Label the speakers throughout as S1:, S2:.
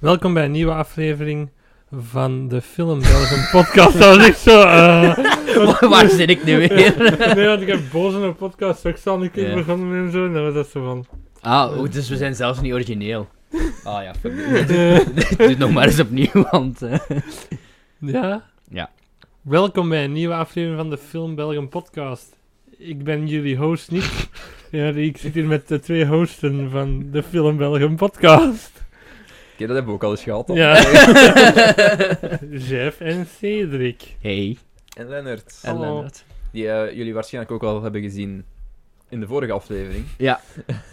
S1: Welkom bij een nieuwe aflevering van de Film Belgium podcast. Dat was echt zo... eh,
S2: Waar- Waar zit ik nu weer?
S1: nee, want ik heb boos in een podcast, zo ik zal niet
S2: Ja.
S1: begonnen met hem zo, en dan was dat zo van...
S2: Ah, oh, dus we zijn zelfs niet origineel. Ah ja, fuck. it. Doe het nog maar eens opnieuw, want... eh,
S1: Ja?
S2: Ja.
S1: Welkom bij een nieuwe aflevering van de Film Belgium podcast. Ik ben jullie host niet. Ja, ik zit hier met de twee hosten van de Film Belgium podcast.
S3: Oké, dat hebben we ook al eens gehad.
S2: Oh.
S3: al.
S1: Ja. Jeff en Cedric.
S2: Hey,
S3: En Lennart,
S2: en
S1: Hallo.
S2: Lennart.
S3: die eh, jullie waarschijnlijk ook al hebben gezien in de vorige aflevering.
S2: Ja.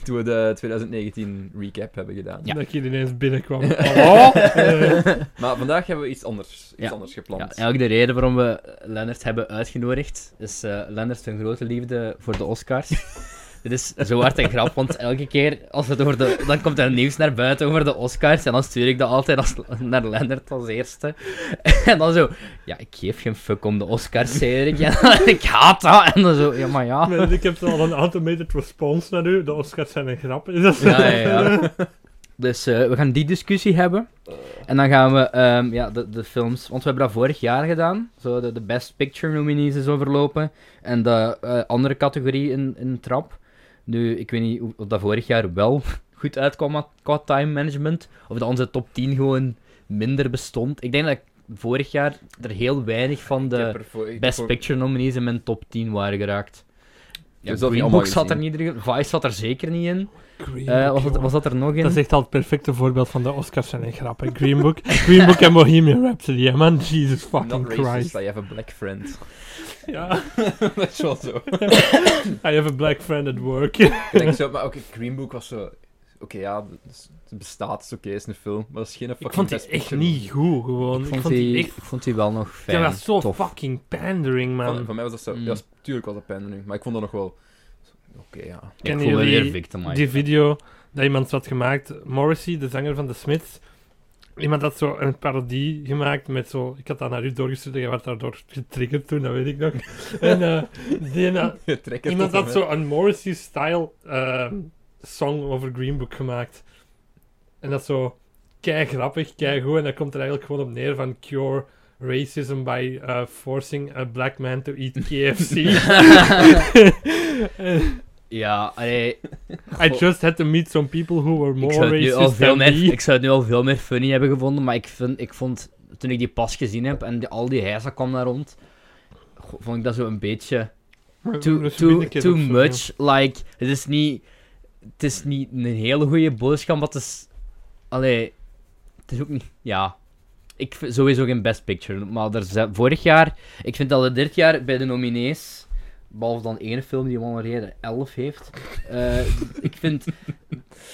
S3: Toen we de 2019 recap hebben gedaan.
S2: Ja.
S1: Dat ik hier ineens binnenkwam. Hallo? Eh,
S3: Maar vandaag hebben we iets anders, iets
S2: Ja.
S3: anders
S2: Ja,
S3: gepland.
S2: eigenlijk de reden waarom we Lennart hebben uitgenodigd, is eh Lennart een grote liefde voor de Oscars. Dit is zo hard en grap, want elke keer als het over de, dan komt er nieuws naar buiten over de Oscars en dan stuur ik dat altijd als, naar Lennart als eerste. En dan zo, ja, ik geef geen fuck om de Oscars, Cedric. Ja, ik haat dat. En dan zo, ja, maar ja.
S1: maar ik heb al een automated response naar u. De Oscars zijn een grap. Is dat zo?
S2: Ja, ja, ja. Dus eh, we gaan die discussie hebben. En dan gaan we ehm, ja, de, de films. Want we hebben dat vorig jaar gedaan. Zo de, de Best Picture nominees is overlopen. En de eh, andere categorie in, in trap. Nu, ik weet niet hoe- of dat vorig jaar wel goed uitkwam qua- qua time management. Of dat onze top 10 gewoon minder bestond. Ik denk dat vorig jaar er heel weinig van
S3: Ik heb
S2: de
S3: er voor- ik
S2: Best
S3: voor-
S2: Picture nominees in mijn top 10 waren geraakt. Ja,
S3: Dus dat niet
S2: Green
S3: allemaal
S2: Book zat er
S3: gezien.
S2: niet in. Vice zat er zeker niet in.
S1: Green
S2: Eh,
S1: Book,
S2: was, dat,
S1: jongen.
S2: was dat er nog in?
S1: Dat is echt al het perfecte voorbeeld van de Oscars zijn een grap. hè. Green Book, Green Book en Bohemian Rhapsody. hè, man, Jesus fucking
S3: Not racist,
S1: Christ.
S3: I have a black friend.
S1: Ja,
S3: dat is wel zo.
S1: I have a black friend at work.
S3: ik denk zo, maar ook Green Book was zo... Oké, ja, dat is- het bestaat, het is oké, het is een film, maar dat is geen fucking
S1: Ik vond die
S3: Best
S1: echt
S3: Picture
S1: niet goed, gewoon.
S2: ik, vond die,
S1: echt...
S2: ik vond die wel nog
S1: Ja,
S2: fijn.
S1: dat was zo
S2: tof.
S1: fucking pandering,
S3: Van,
S1: man.
S3: van mij was dat zo...
S2: Mm.
S3: Ja, tuurlijk was dat pandering, maar ik vond dat nog wel... Oké, ja.
S2: Ik
S1: Kennen
S2: voel me
S1: jullie
S2: weer victimized.
S1: Die video dat iemand had gemaakt, Morrissey, de zanger van de Smiths, iemand had zo een parodie gemaakt met zo... Ik had dat naar u doorgestuurd en jij werd daardoor getriggerd toen, dat weet ik nog. en eh, die... eh,
S3: Je trekt het
S1: Iemand
S3: tot
S1: had
S3: en
S1: zo een Morrissey-style eh, song over Green Book gemaakt. En dat is zo kei grappig, kei goed. En dat komt er eigenlijk gewoon op neer van cure racism by eh, forcing a black man to eat KFC.
S2: ja, allee,
S1: I
S2: Goh.
S1: just had to meet some people who were
S2: ik,
S1: more
S2: zou het nu al
S1: racist
S2: veel
S1: than
S2: meer,
S1: me.
S2: ik zou het nu al veel meer funny hebben gevonden, maar ik, vind, ik vond, toen ik die pas gezien heb en die- al die heisa kwam daar rond, goh, vond ik dat zo een beetje too,
S1: Dus binnen
S2: too,
S1: een keer
S2: too
S1: of zo,
S2: much. Like, het is niet, het is niet een hele goede boodschap, maar het is, allee, het is ook niet, ja. Ik vind sowieso geen best picture, maar er zijn, vorig jaar, ik vind dat er dit jaar bij de nominees, behalve dan ene film die om een reden 11 heeft, eh, ik vind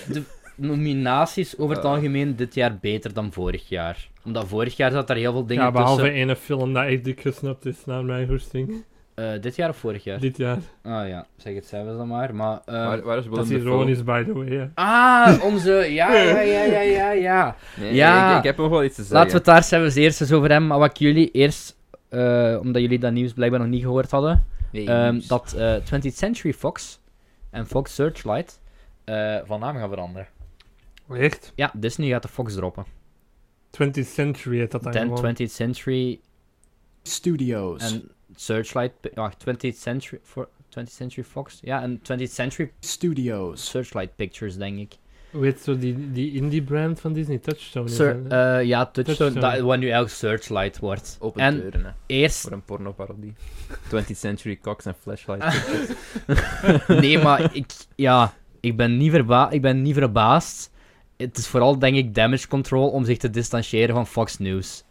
S2: de nominaties over het
S3: Eh.
S2: algemeen dit jaar beter dan vorig jaar. Omdat vorig jaar zat er heel veel
S1: ja.
S2: dingen
S1: Ja, behalve
S2: tussen.
S1: ene film dat echt dik gesnapt is naar mijn goesting.
S2: Eh, dit jaar of vorig jaar?
S1: Dit jaar.
S2: Ah ja, zeg het zelfs dan maar. Maar, eh,
S3: Waar, waar is
S1: Dat is
S3: Willem Dafoe?
S1: ironisch, by the way. hè.
S2: Ah, onze. Ja, ja, ja, ja, ja. ja.
S3: Nee,
S2: Ja.
S3: ik, ik heb nog wel iets te zeggen.
S2: Laten we het daar zelfs eerst eens over hebben. Maar wat ik jullie eerst, eh, omdat jullie dat nieuws blijkbaar nog niet gehoord hadden,
S3: Nee,
S2: ehm,
S3: nieuws.
S2: dat eh 20th Century Fox en Fox Searchlight eh, van naam gaan veranderen.
S1: Echt?
S2: Ja, Disney gaat de Fox droppen.
S1: 20th Century heet dat dan
S2: Ten,
S1: gewoon.
S2: 20th Century
S4: Studios.
S2: en Searchlight. Wacht, 20th Century. For, 20th Century Fox? Ja, en 20th Century
S4: Studios.
S2: Searchlight Pictures, denk ik.
S1: Weet zo die, die indie brand van Disney, Touchstone. is
S2: Sir,
S1: dat, hè?
S2: eh, ja, Touchstone,
S1: Touchstone.
S2: Dat, wat nu eigenlijk Searchlight wordt.
S3: Open
S2: en
S3: deuren, hè.
S2: eerst
S3: Voor een pornoparodie. 20th Century Cox en
S1: Ah,
S3: Flashlight.
S2: Nee, maar ik, ja, ik, ben niet verba ik ben niet verbaasd. Het is vooral, denk ik, damage control om zich te distancieren van Fox News.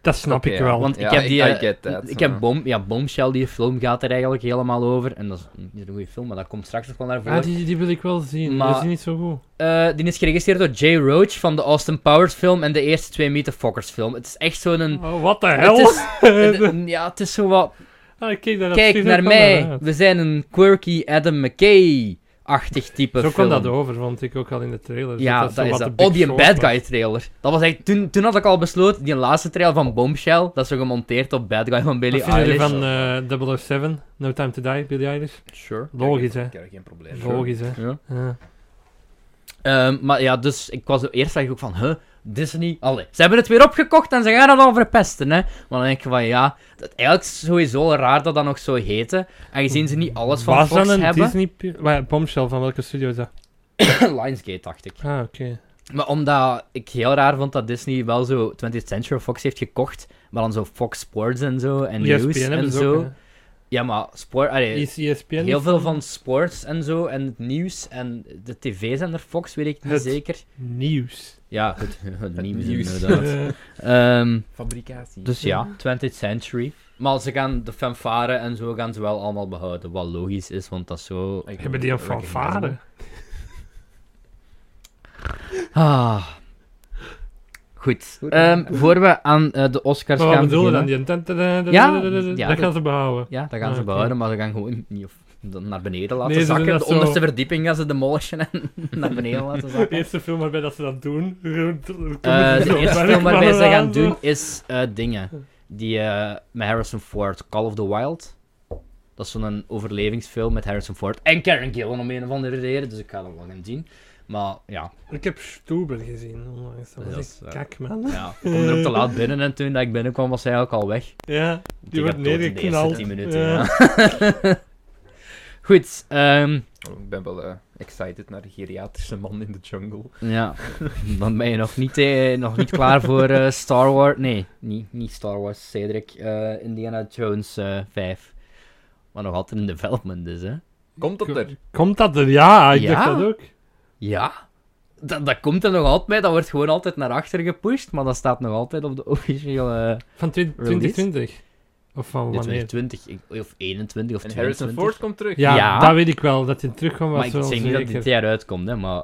S1: dat snap
S3: Oké,
S1: ik
S3: ja,
S1: wel.
S2: eh, Want
S3: ja,
S2: ik heb
S3: I-
S2: die...
S3: I
S2: eh,
S3: get that,
S2: ik
S3: ja.
S2: heb bom ja, Bombshell, die film gaat er eigenlijk helemaal over. En dat is niet een goede film, maar dat komt straks nog wel naar voren.
S1: Ah, die, die wil ik wel zien.
S2: Maar-
S1: Dat is niet zo goed.
S2: Eh, die is geregistreerd door Jay Roach van de Austin Powers film en de eerste twee Meet the Fockers film. Het is echt zo'n...
S1: Oh, what the
S2: Hmm. Het
S1: hell?
S2: is, het- ja, het is zo wat...
S1: Ah, kijk daar, dat
S2: Kijk
S1: schiet
S2: naar
S1: ook wel
S2: mij,
S1: uit.
S2: we zijn een quirky Adam McKay-achtig type
S1: Zo
S2: film.
S1: kwam dat over, vond ik ook al in de trailer.
S2: Ja,
S1: Dus zo
S2: dat, is
S1: wat
S2: dat.
S1: de
S2: Oh,
S1: big
S2: die
S1: short
S2: Bad
S1: was.
S2: Guy trailer. Dat was echt, toen, toen had ik al besloten, die laatste trailer van Bombshell, dat is zo gemonteerd op Bad Guy van Billy
S1: Wat vinden
S2: Eilish.
S1: jullie van eh 007? No Time to Die, Billy Eilish?
S2: Sure.
S1: Logisch, hè?
S3: Kijk, geen probleem.
S1: Logisch, hè?
S2: Ja.
S1: Ja.
S2: Ehm, maar ja, dus ik was eerst dacht ik ook van, huh, Disney, allee, ze hebben het weer opgekocht en ze gaan het al verpesten, hè. Maar dan denk ik van, ja, dat, eigenlijk is het sowieso raar dat dat nog zo heette. Aangezien ze niet alles van
S1: Was
S2: Fox
S1: dat een
S2: hebben.
S1: Disney... pi- Wa- Bombshell, van welke studio is dat?
S2: Lionsgate, dacht ik.
S1: Ah, oké.
S2: Maar omdat ik heel raar vond dat Disney wel zo 20th Century Fox heeft gekocht, maar dan zo Fox Sports en zo, en
S1: ESPN
S2: News
S1: hebben
S2: en
S1: ze
S2: zo.
S1: ook, hè. E
S2: ja, maar sport, allee,
S1: Is ESPN
S2: heel veel van sports en zo, en het nieuws, en de tv-zender Fox, weet ik niet
S1: Het-
S2: zeker.
S1: nieuws?
S2: Ja, het, het nieuws,
S3: nieuws.
S2: inderdaad.
S1: Eh,
S2: Ehm,
S3: Fabricatie.
S2: dus ja, 20th century. Maar ze gaan de fanfare en zo gaan ze wel allemaal behouden. Wat logisch is, want dat is zo.
S1: hebben die een fanfare?
S2: Ah. Goed.
S3: Goed.
S2: Ehm, voor we aan eh, de Oscars
S1: Maar wat
S2: gaan
S1: bedoel je dan?
S2: beginnen.
S1: Die...
S2: Ja, ja,
S1: dat gaan
S2: dat-
S1: ze behouden.
S2: Ja, dat gaan
S1: Ah,
S2: ze
S1: oké.
S2: behouden, maar ze gaan gewoon niet of, dan naar beneden laten
S1: Nee, ze doen
S2: zakken.
S1: dat
S2: De
S1: zo-
S2: onderste verdieping gaan ze demolishen en naar beneden laten
S1: De
S2: zakken.
S1: eerste film waarbij dat ze dat doen.
S2: Eh, de eerste film waarbij
S1: waarbij
S2: ze gaan doen is eh, dingen. Die eh, met Harrison Ford, Call of the Wild. Dat is zo'n overlevingsfilm met Harrison Ford en Karen Gillan om een of andere reden. Dus ik ga dat wel gaan zien. Maar ja,
S1: Ik heb Stuber gezien onlangs. Dat was
S2: Ja, dat
S1: echt
S2: is, eh,
S1: kak, man.
S2: ja, ik kom er ook te laat binnen en toen dat ik binnenkwam was hij ook al weg.
S1: Ja,
S2: Ik
S1: die
S2: heb
S1: wordt
S2: dood in de eerste
S1: neergeknald.
S2: 10 minuten,
S1: Ja.
S2: ja. Goed, ehm,
S3: Oh, ik ben wel eh, excited naar de geriatrische man in de jungle.
S2: ja, dan ben je nog niet, eh, nog niet klaar voor eh, Star Wars. Nee, niet, niet Star Wars, Cedric. eh, Indiana Jones eh 5. Maar nog altijd in development dus, hè.
S3: Komt dat
S1: Kom-
S3: er?
S1: Komt dat er? Ja, ik
S2: Ja?
S1: dacht dat ook.
S2: Ja, dat, dat komt er nog altijd bij. Dat wordt gewoon altijd naar achter gepusht, maar dat staat nog altijd op de officiële...
S1: Van twin-
S2: Release?
S1: 2020? Of van wanneer?
S2: 2020, ik- of 21 of
S3: En Harrison
S2: 22.
S3: Ford komt terug.
S1: Ja,
S2: Ja.
S1: dat weet ik wel. Dat hij terugkomt
S2: Maar
S1: was
S2: ik
S1: wel
S2: zeg niet dat
S1: zeker.
S2: dit jaar uitkomt, hè, maar...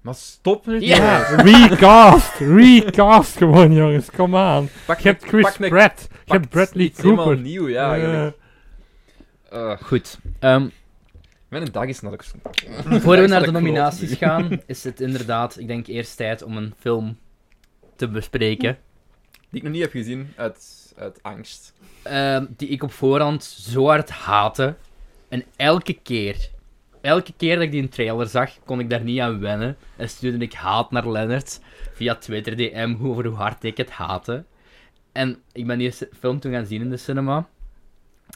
S3: Maar stop nu.
S2: Ja.
S3: toch.
S1: Ja, recast! Recast gewoon, jongens. Kom aan.
S3: Pak
S1: Je hebt Chris
S3: pak een-
S1: Pratt. Je
S3: pak
S1: hebt Bradley
S3: iets helemaal
S1: Cooper.
S3: nieuw, ja. eigenlijk. Eh,
S2: Goed. ehm,
S3: mijn dag is nog...
S2: Voor we naar
S3: Ik zat
S2: de
S3: te
S2: nominaties
S3: kloten
S2: gaan, is het inderdaad, ik denk, eerst tijd om een film te bespreken.
S3: Die ik nog niet heb gezien, uit, uit angst.
S2: ehm, die ik op voorhand zo hard haatte. En elke keer, elke keer dat ik die een trailer zag, kon ik daar niet aan wennen. En stuurde ik haat naar Lennart via Twitter DM hoe- over hoe hard ik het haatte. En ik ben die s- film toen gaan zien in de cinema.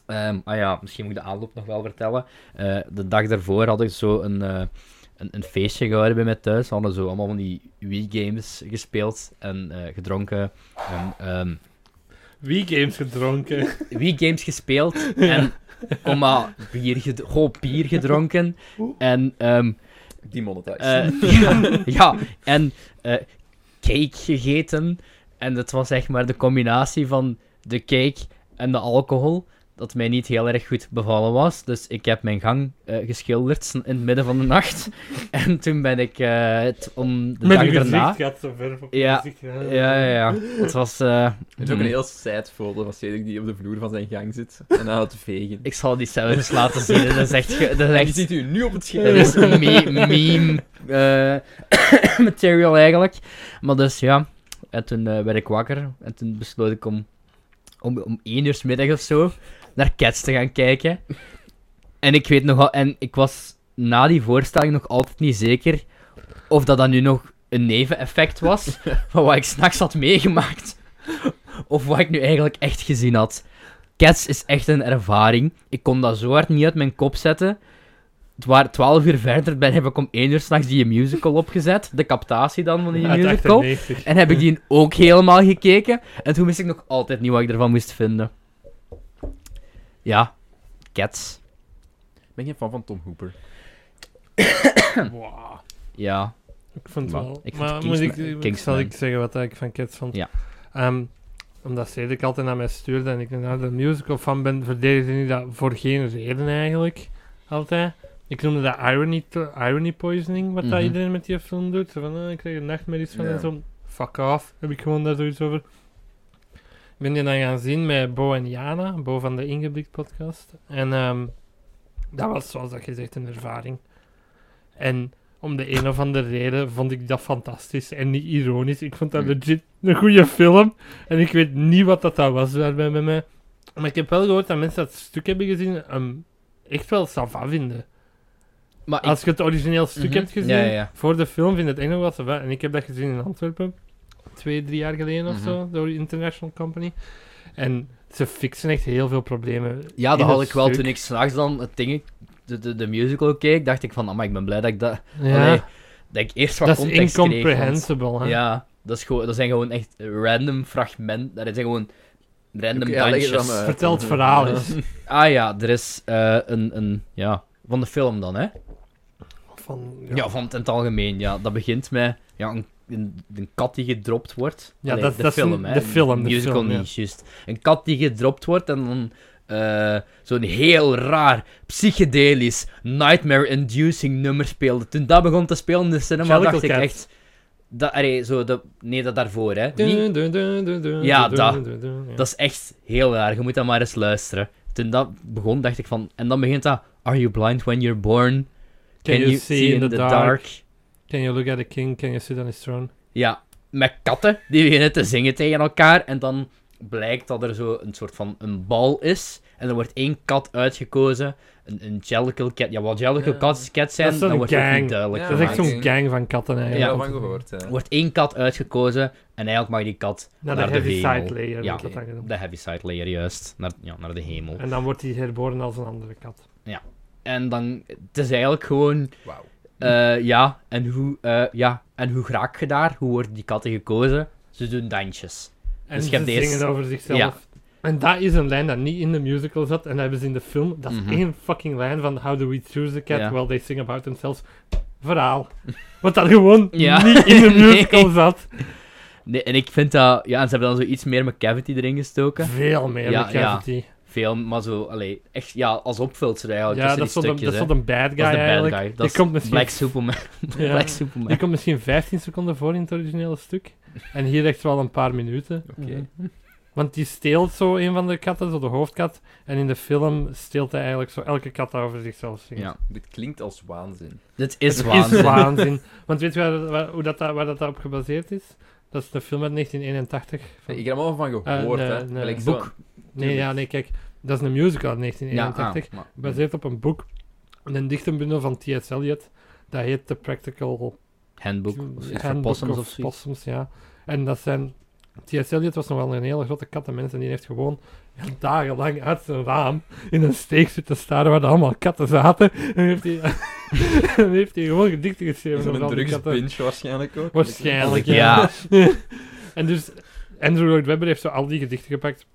S2: Ehm, ah ja, misschien moet ik de aanloop nog wel vertellen. Eh, de dag daarvoor had ik zo een, eh, een, een feestje gehouden bij mij thuis. We hadden zo allemaal van die Wii-games gespeeld en eh, gedronken. En, ehm,
S1: Wie games gedronken?
S2: Wii games gespeeld en komma, bier, ged goh, bier gedronken. En, ehm,
S3: Die monetize.
S2: eh, ja, ja, en eh, cake gegeten. En dat was zeg maar de combinatie van de cake en de alcohol dat mij niet heel erg goed bevallen was. Dus ik heb mijn gang eh, geschilderd s- in het midden van de nacht. En toen ben ik eh, het om de
S1: Met
S2: dag
S1: uw gezicht
S2: daarna...
S1: gaat zo ver op
S2: Ja,
S1: ja. gezicht. Ja,
S2: Ja, ja, ja. Het was... eh,
S3: Het is ook een
S2: hmm.
S3: heel sad foto van Cedric die op de vloer van zijn gang zit en aan het vegen.
S2: Ik zal die zelfs laten zien. hè. Dat is echt... ge- Dat is
S3: En
S2: echt
S3: die ziet u nu op het
S2: Dat
S3: scherm.
S2: is me- meme eh, material eigenlijk. Maar dus ja, en toen eh, werd ik wakker en toen besloot ik om, om, om één uur 's middag of zo naar Cats te gaan kijken. En ik weet nogal, en ik was na die voorstelling nog altijd niet zeker of dat dan nu nog een neveneffect was van wat ik s'nachts had meegemaakt. Of wat ik nu eigenlijk echt gezien had. Cats is echt een ervaring. Ik kon dat zo hard niet uit mijn kop zetten. Het waren 12 uur verder ben, heb ik om 1 uur s'nachts die musical opgezet. De captatie dan van die
S1: Uit
S2: musical.
S1: 98.
S2: En heb ik die ook helemaal gekeken. En toen wist ik nog altijd niet wat ik ervan moest vinden. Ja, Cats.
S3: Ik ben geen fan van Tom Hooper.
S1: Wow.
S2: Ja.
S1: Ik vond het
S2: Maar
S1: wel.
S2: ik vind
S1: maar
S2: Kingsman-
S1: moet ik, ik, zal
S2: Kingsman.
S1: ik zeggen wat ik van Cats vond?
S2: Ja.
S1: Ehm, omdat Cedric altijd naar mij stuurde en ik naar de musical fan ben, verdedigde hij dat voor geen reden eigenlijk. Altijd. Ik noemde dat irony, to- irony poisoning, wat dat
S2: Mhm.
S1: iedereen met die film doet. Zo van, ah, ik krijg er nachtmerries van
S3: Ja.
S1: en zo. Fuck off, heb ik gewoon daar zoiets over. Ik ben die dan gaan zien met Bo en Jana, Bo van de Ingeblikt podcast. En ehm, dat was, zoals dat gezegd, een ervaring. En om de een of andere reden vond ik dat fantastisch en niet ironisch. Ik vond dat
S2: Mm.
S1: legit een goede film. En ik weet niet wat dat, dat was daarbij bij mij. Maar ik heb wel gehoord dat mensen dat stuk hebben gezien hem echt wel sava vinden.
S2: Maar ik-
S1: Als je het origineel stuk
S2: Mhm.
S1: hebt gezien,
S2: Ja, ja, ja.
S1: voor de film vind ik het echt nog wel zo fijn. En ik heb dat gezien in Antwerpen, twee, drie jaar geleden of
S3: Mhm.
S1: zo, door de International Company. En ze fixen echt heel veel problemen.
S2: ja,
S1: in
S2: dat had
S1: het
S2: ik wel
S1: stuk.
S2: toen ik s'nachts dan het ding, de, de, de musical keek, dacht ik van, maar ik ben blij dat ik dat,
S1: Ja,
S2: Allee, dat ik eerst wat
S1: dat is
S2: context kreeg. want-
S1: incomprehensible. hè.
S2: Ja, dat, is gewoon, dat zijn gewoon echt random fragmenten, dat zijn gewoon random
S3: Oké, ja, leg het dan
S2: dansjes.
S3: uit.
S1: Vertel het verhaal eens.
S2: Ah ja, er is eh, een, een, ja, van de film dan, hè?
S1: Van,
S2: Ja, van het, in het algemeen, ja. Dat begint met ja, een, een, een kat die gedropt wordt.
S1: Ja,
S2: Allee,
S1: dat-
S2: de
S1: dat is
S2: film,
S1: een-
S2: hè.
S1: de film, de
S2: musical
S1: film, ja.
S2: niet, juist. Een kat die gedropt wordt en dan eh, zo'n heel raar, psychedelisch, nightmare-inducing nummer speelde. Toen dat begon te spelen in de cinema,
S1: Jellicle
S2: dacht ik
S1: Cat.
S2: echt... Dat, allee, zo de, nee, dat daarvoor, hè. Niet-
S1: Dun, dun, dun, dun, dun,
S2: Ja,
S1: dun,
S2: dat.
S1: dun, dun, dun, ja.
S2: dat is echt heel raar. Je moet dat maar eens luisteren. Toen dat begon, dacht ik van... En dan begint dat... Are you blind when you're born?
S1: Can, you, see, in the, dark? Can you look at a king? Can you sit on his throne?
S2: Ja, met katten die beginnen te zingen tegen elkaar. En dan blijkt dat er zo een soort van een bal is. En er wordt één kat uitgekozen. Een, een Jellicle Cat. Ja, wat Jellicle
S3: Ja.
S2: cats- cats zijn,
S1: Dat is zo'n
S2: dan wordt het
S1: gang.
S2: niet duidelijk.
S3: Ja,
S1: dat is echt
S2: gemaakt.
S1: zo'n gang van katten
S3: Ja,
S1: eigenlijk.
S2: Ja.
S3: ja. van gehoord. hè.
S2: Er wordt één kat uitgekozen. En eigenlijk mag die kat
S1: Naar,
S2: Naar
S1: de
S2: de
S1: heavy
S2: hemel.
S1: side layer
S2: Ja.
S1: wordt dat dan genoemd.
S2: de Heaviside layer juist. Naar, ja, naar de hemel.
S1: En dan wordt hij herboren als een andere kat.
S2: En dan... Het is eigenlijk gewoon...
S3: Wauw.
S2: Eh, ja, en hoe, eh, ja, en hoe raak je daar? Hoe worden die katten gekozen? Ze doen dansjes.
S1: En
S2: Dus je
S1: ze
S2: hebt de eerste-
S1: zingen over zichzelf.
S2: Ja.
S1: En dat is een lijn dat niet in de musical zat. En dat hebben ze in de film. Dat is
S2: Mhm.
S1: één fucking lijn van How do we choose the cat?
S2: Ja.
S1: Well, they sing about themselves. Verhaal. Wat dat gewoon
S2: Ja.
S1: niet in de
S2: Nee.
S1: musical zat.
S2: Nee, en ik vind dat... Ja, en ze hebben dan zo iets meer McCavity erin gestoken.
S1: Veel meer
S2: Ja,
S1: met
S2: ja. Oh,
S1: Cavity.
S2: Veel, maar zo... Allee, echt, ja, als opvulser eigenlijk.
S1: Ja,
S2: tussen
S1: dat
S2: die
S1: stond een,
S2: stukjes,
S1: dat stond
S2: hè.
S1: een bad guy
S2: dat is de bad
S1: eigenlijk.
S2: guy.
S1: Die
S2: Dat is
S1: komt misschien
S2: Black Superman.
S1: Ja.
S2: Black
S1: Die
S2: Superman.
S1: komt misschien 15 seconden voor in het originele stuk. En hier echt wel een paar minuten.
S3: Oké.
S1: Want die steelt zo een van de katten, zo de hoofdkat. En in de film steelt hij eigenlijk zo elke kat dat over zichzelf zingt.
S2: Ja.
S3: Dit klinkt als waanzin.
S2: Dit is
S1: Het
S2: waanzin.
S1: is waanzin. Want weet je waar, waar- hoe dat, waar dat op gebaseerd is? Dat is de film uit 1981.
S3: Ik heb er allemaal van gehoord,
S1: Eh,
S3: hè.
S1: nee, nee.
S3: Gelijk zo-
S2: Boek.
S1: Nee, ja, nee, kijk. Dat is een musical uit
S2: Ja, ah,
S1: 1981.
S2: maar-
S1: Gebaseerd op een boek. Een dichtenbundel van T.S. Eliot. Dat heet The Practical
S2: Handboek.
S1: Handbook
S2: Of zoiets voor possums
S1: of
S2: of zoiets.
S1: possums, ja. En dat zijn... T.S. Eliot was nog wel een hele grote kattenmens en die heeft gewoon dagenlang uit zijn raam in een steek zitten staren waar er allemaal katten zaten. En heeft hij, en heeft hij gewoon gedichten geschreven over
S3: Zo'n
S1: al die katten.
S3: drugspinch waarschijnlijk ook.
S1: Waarschijnlijk,
S2: Ja.
S1: En dus Andrew Lloyd Webber heeft zo al die gedichten gepakt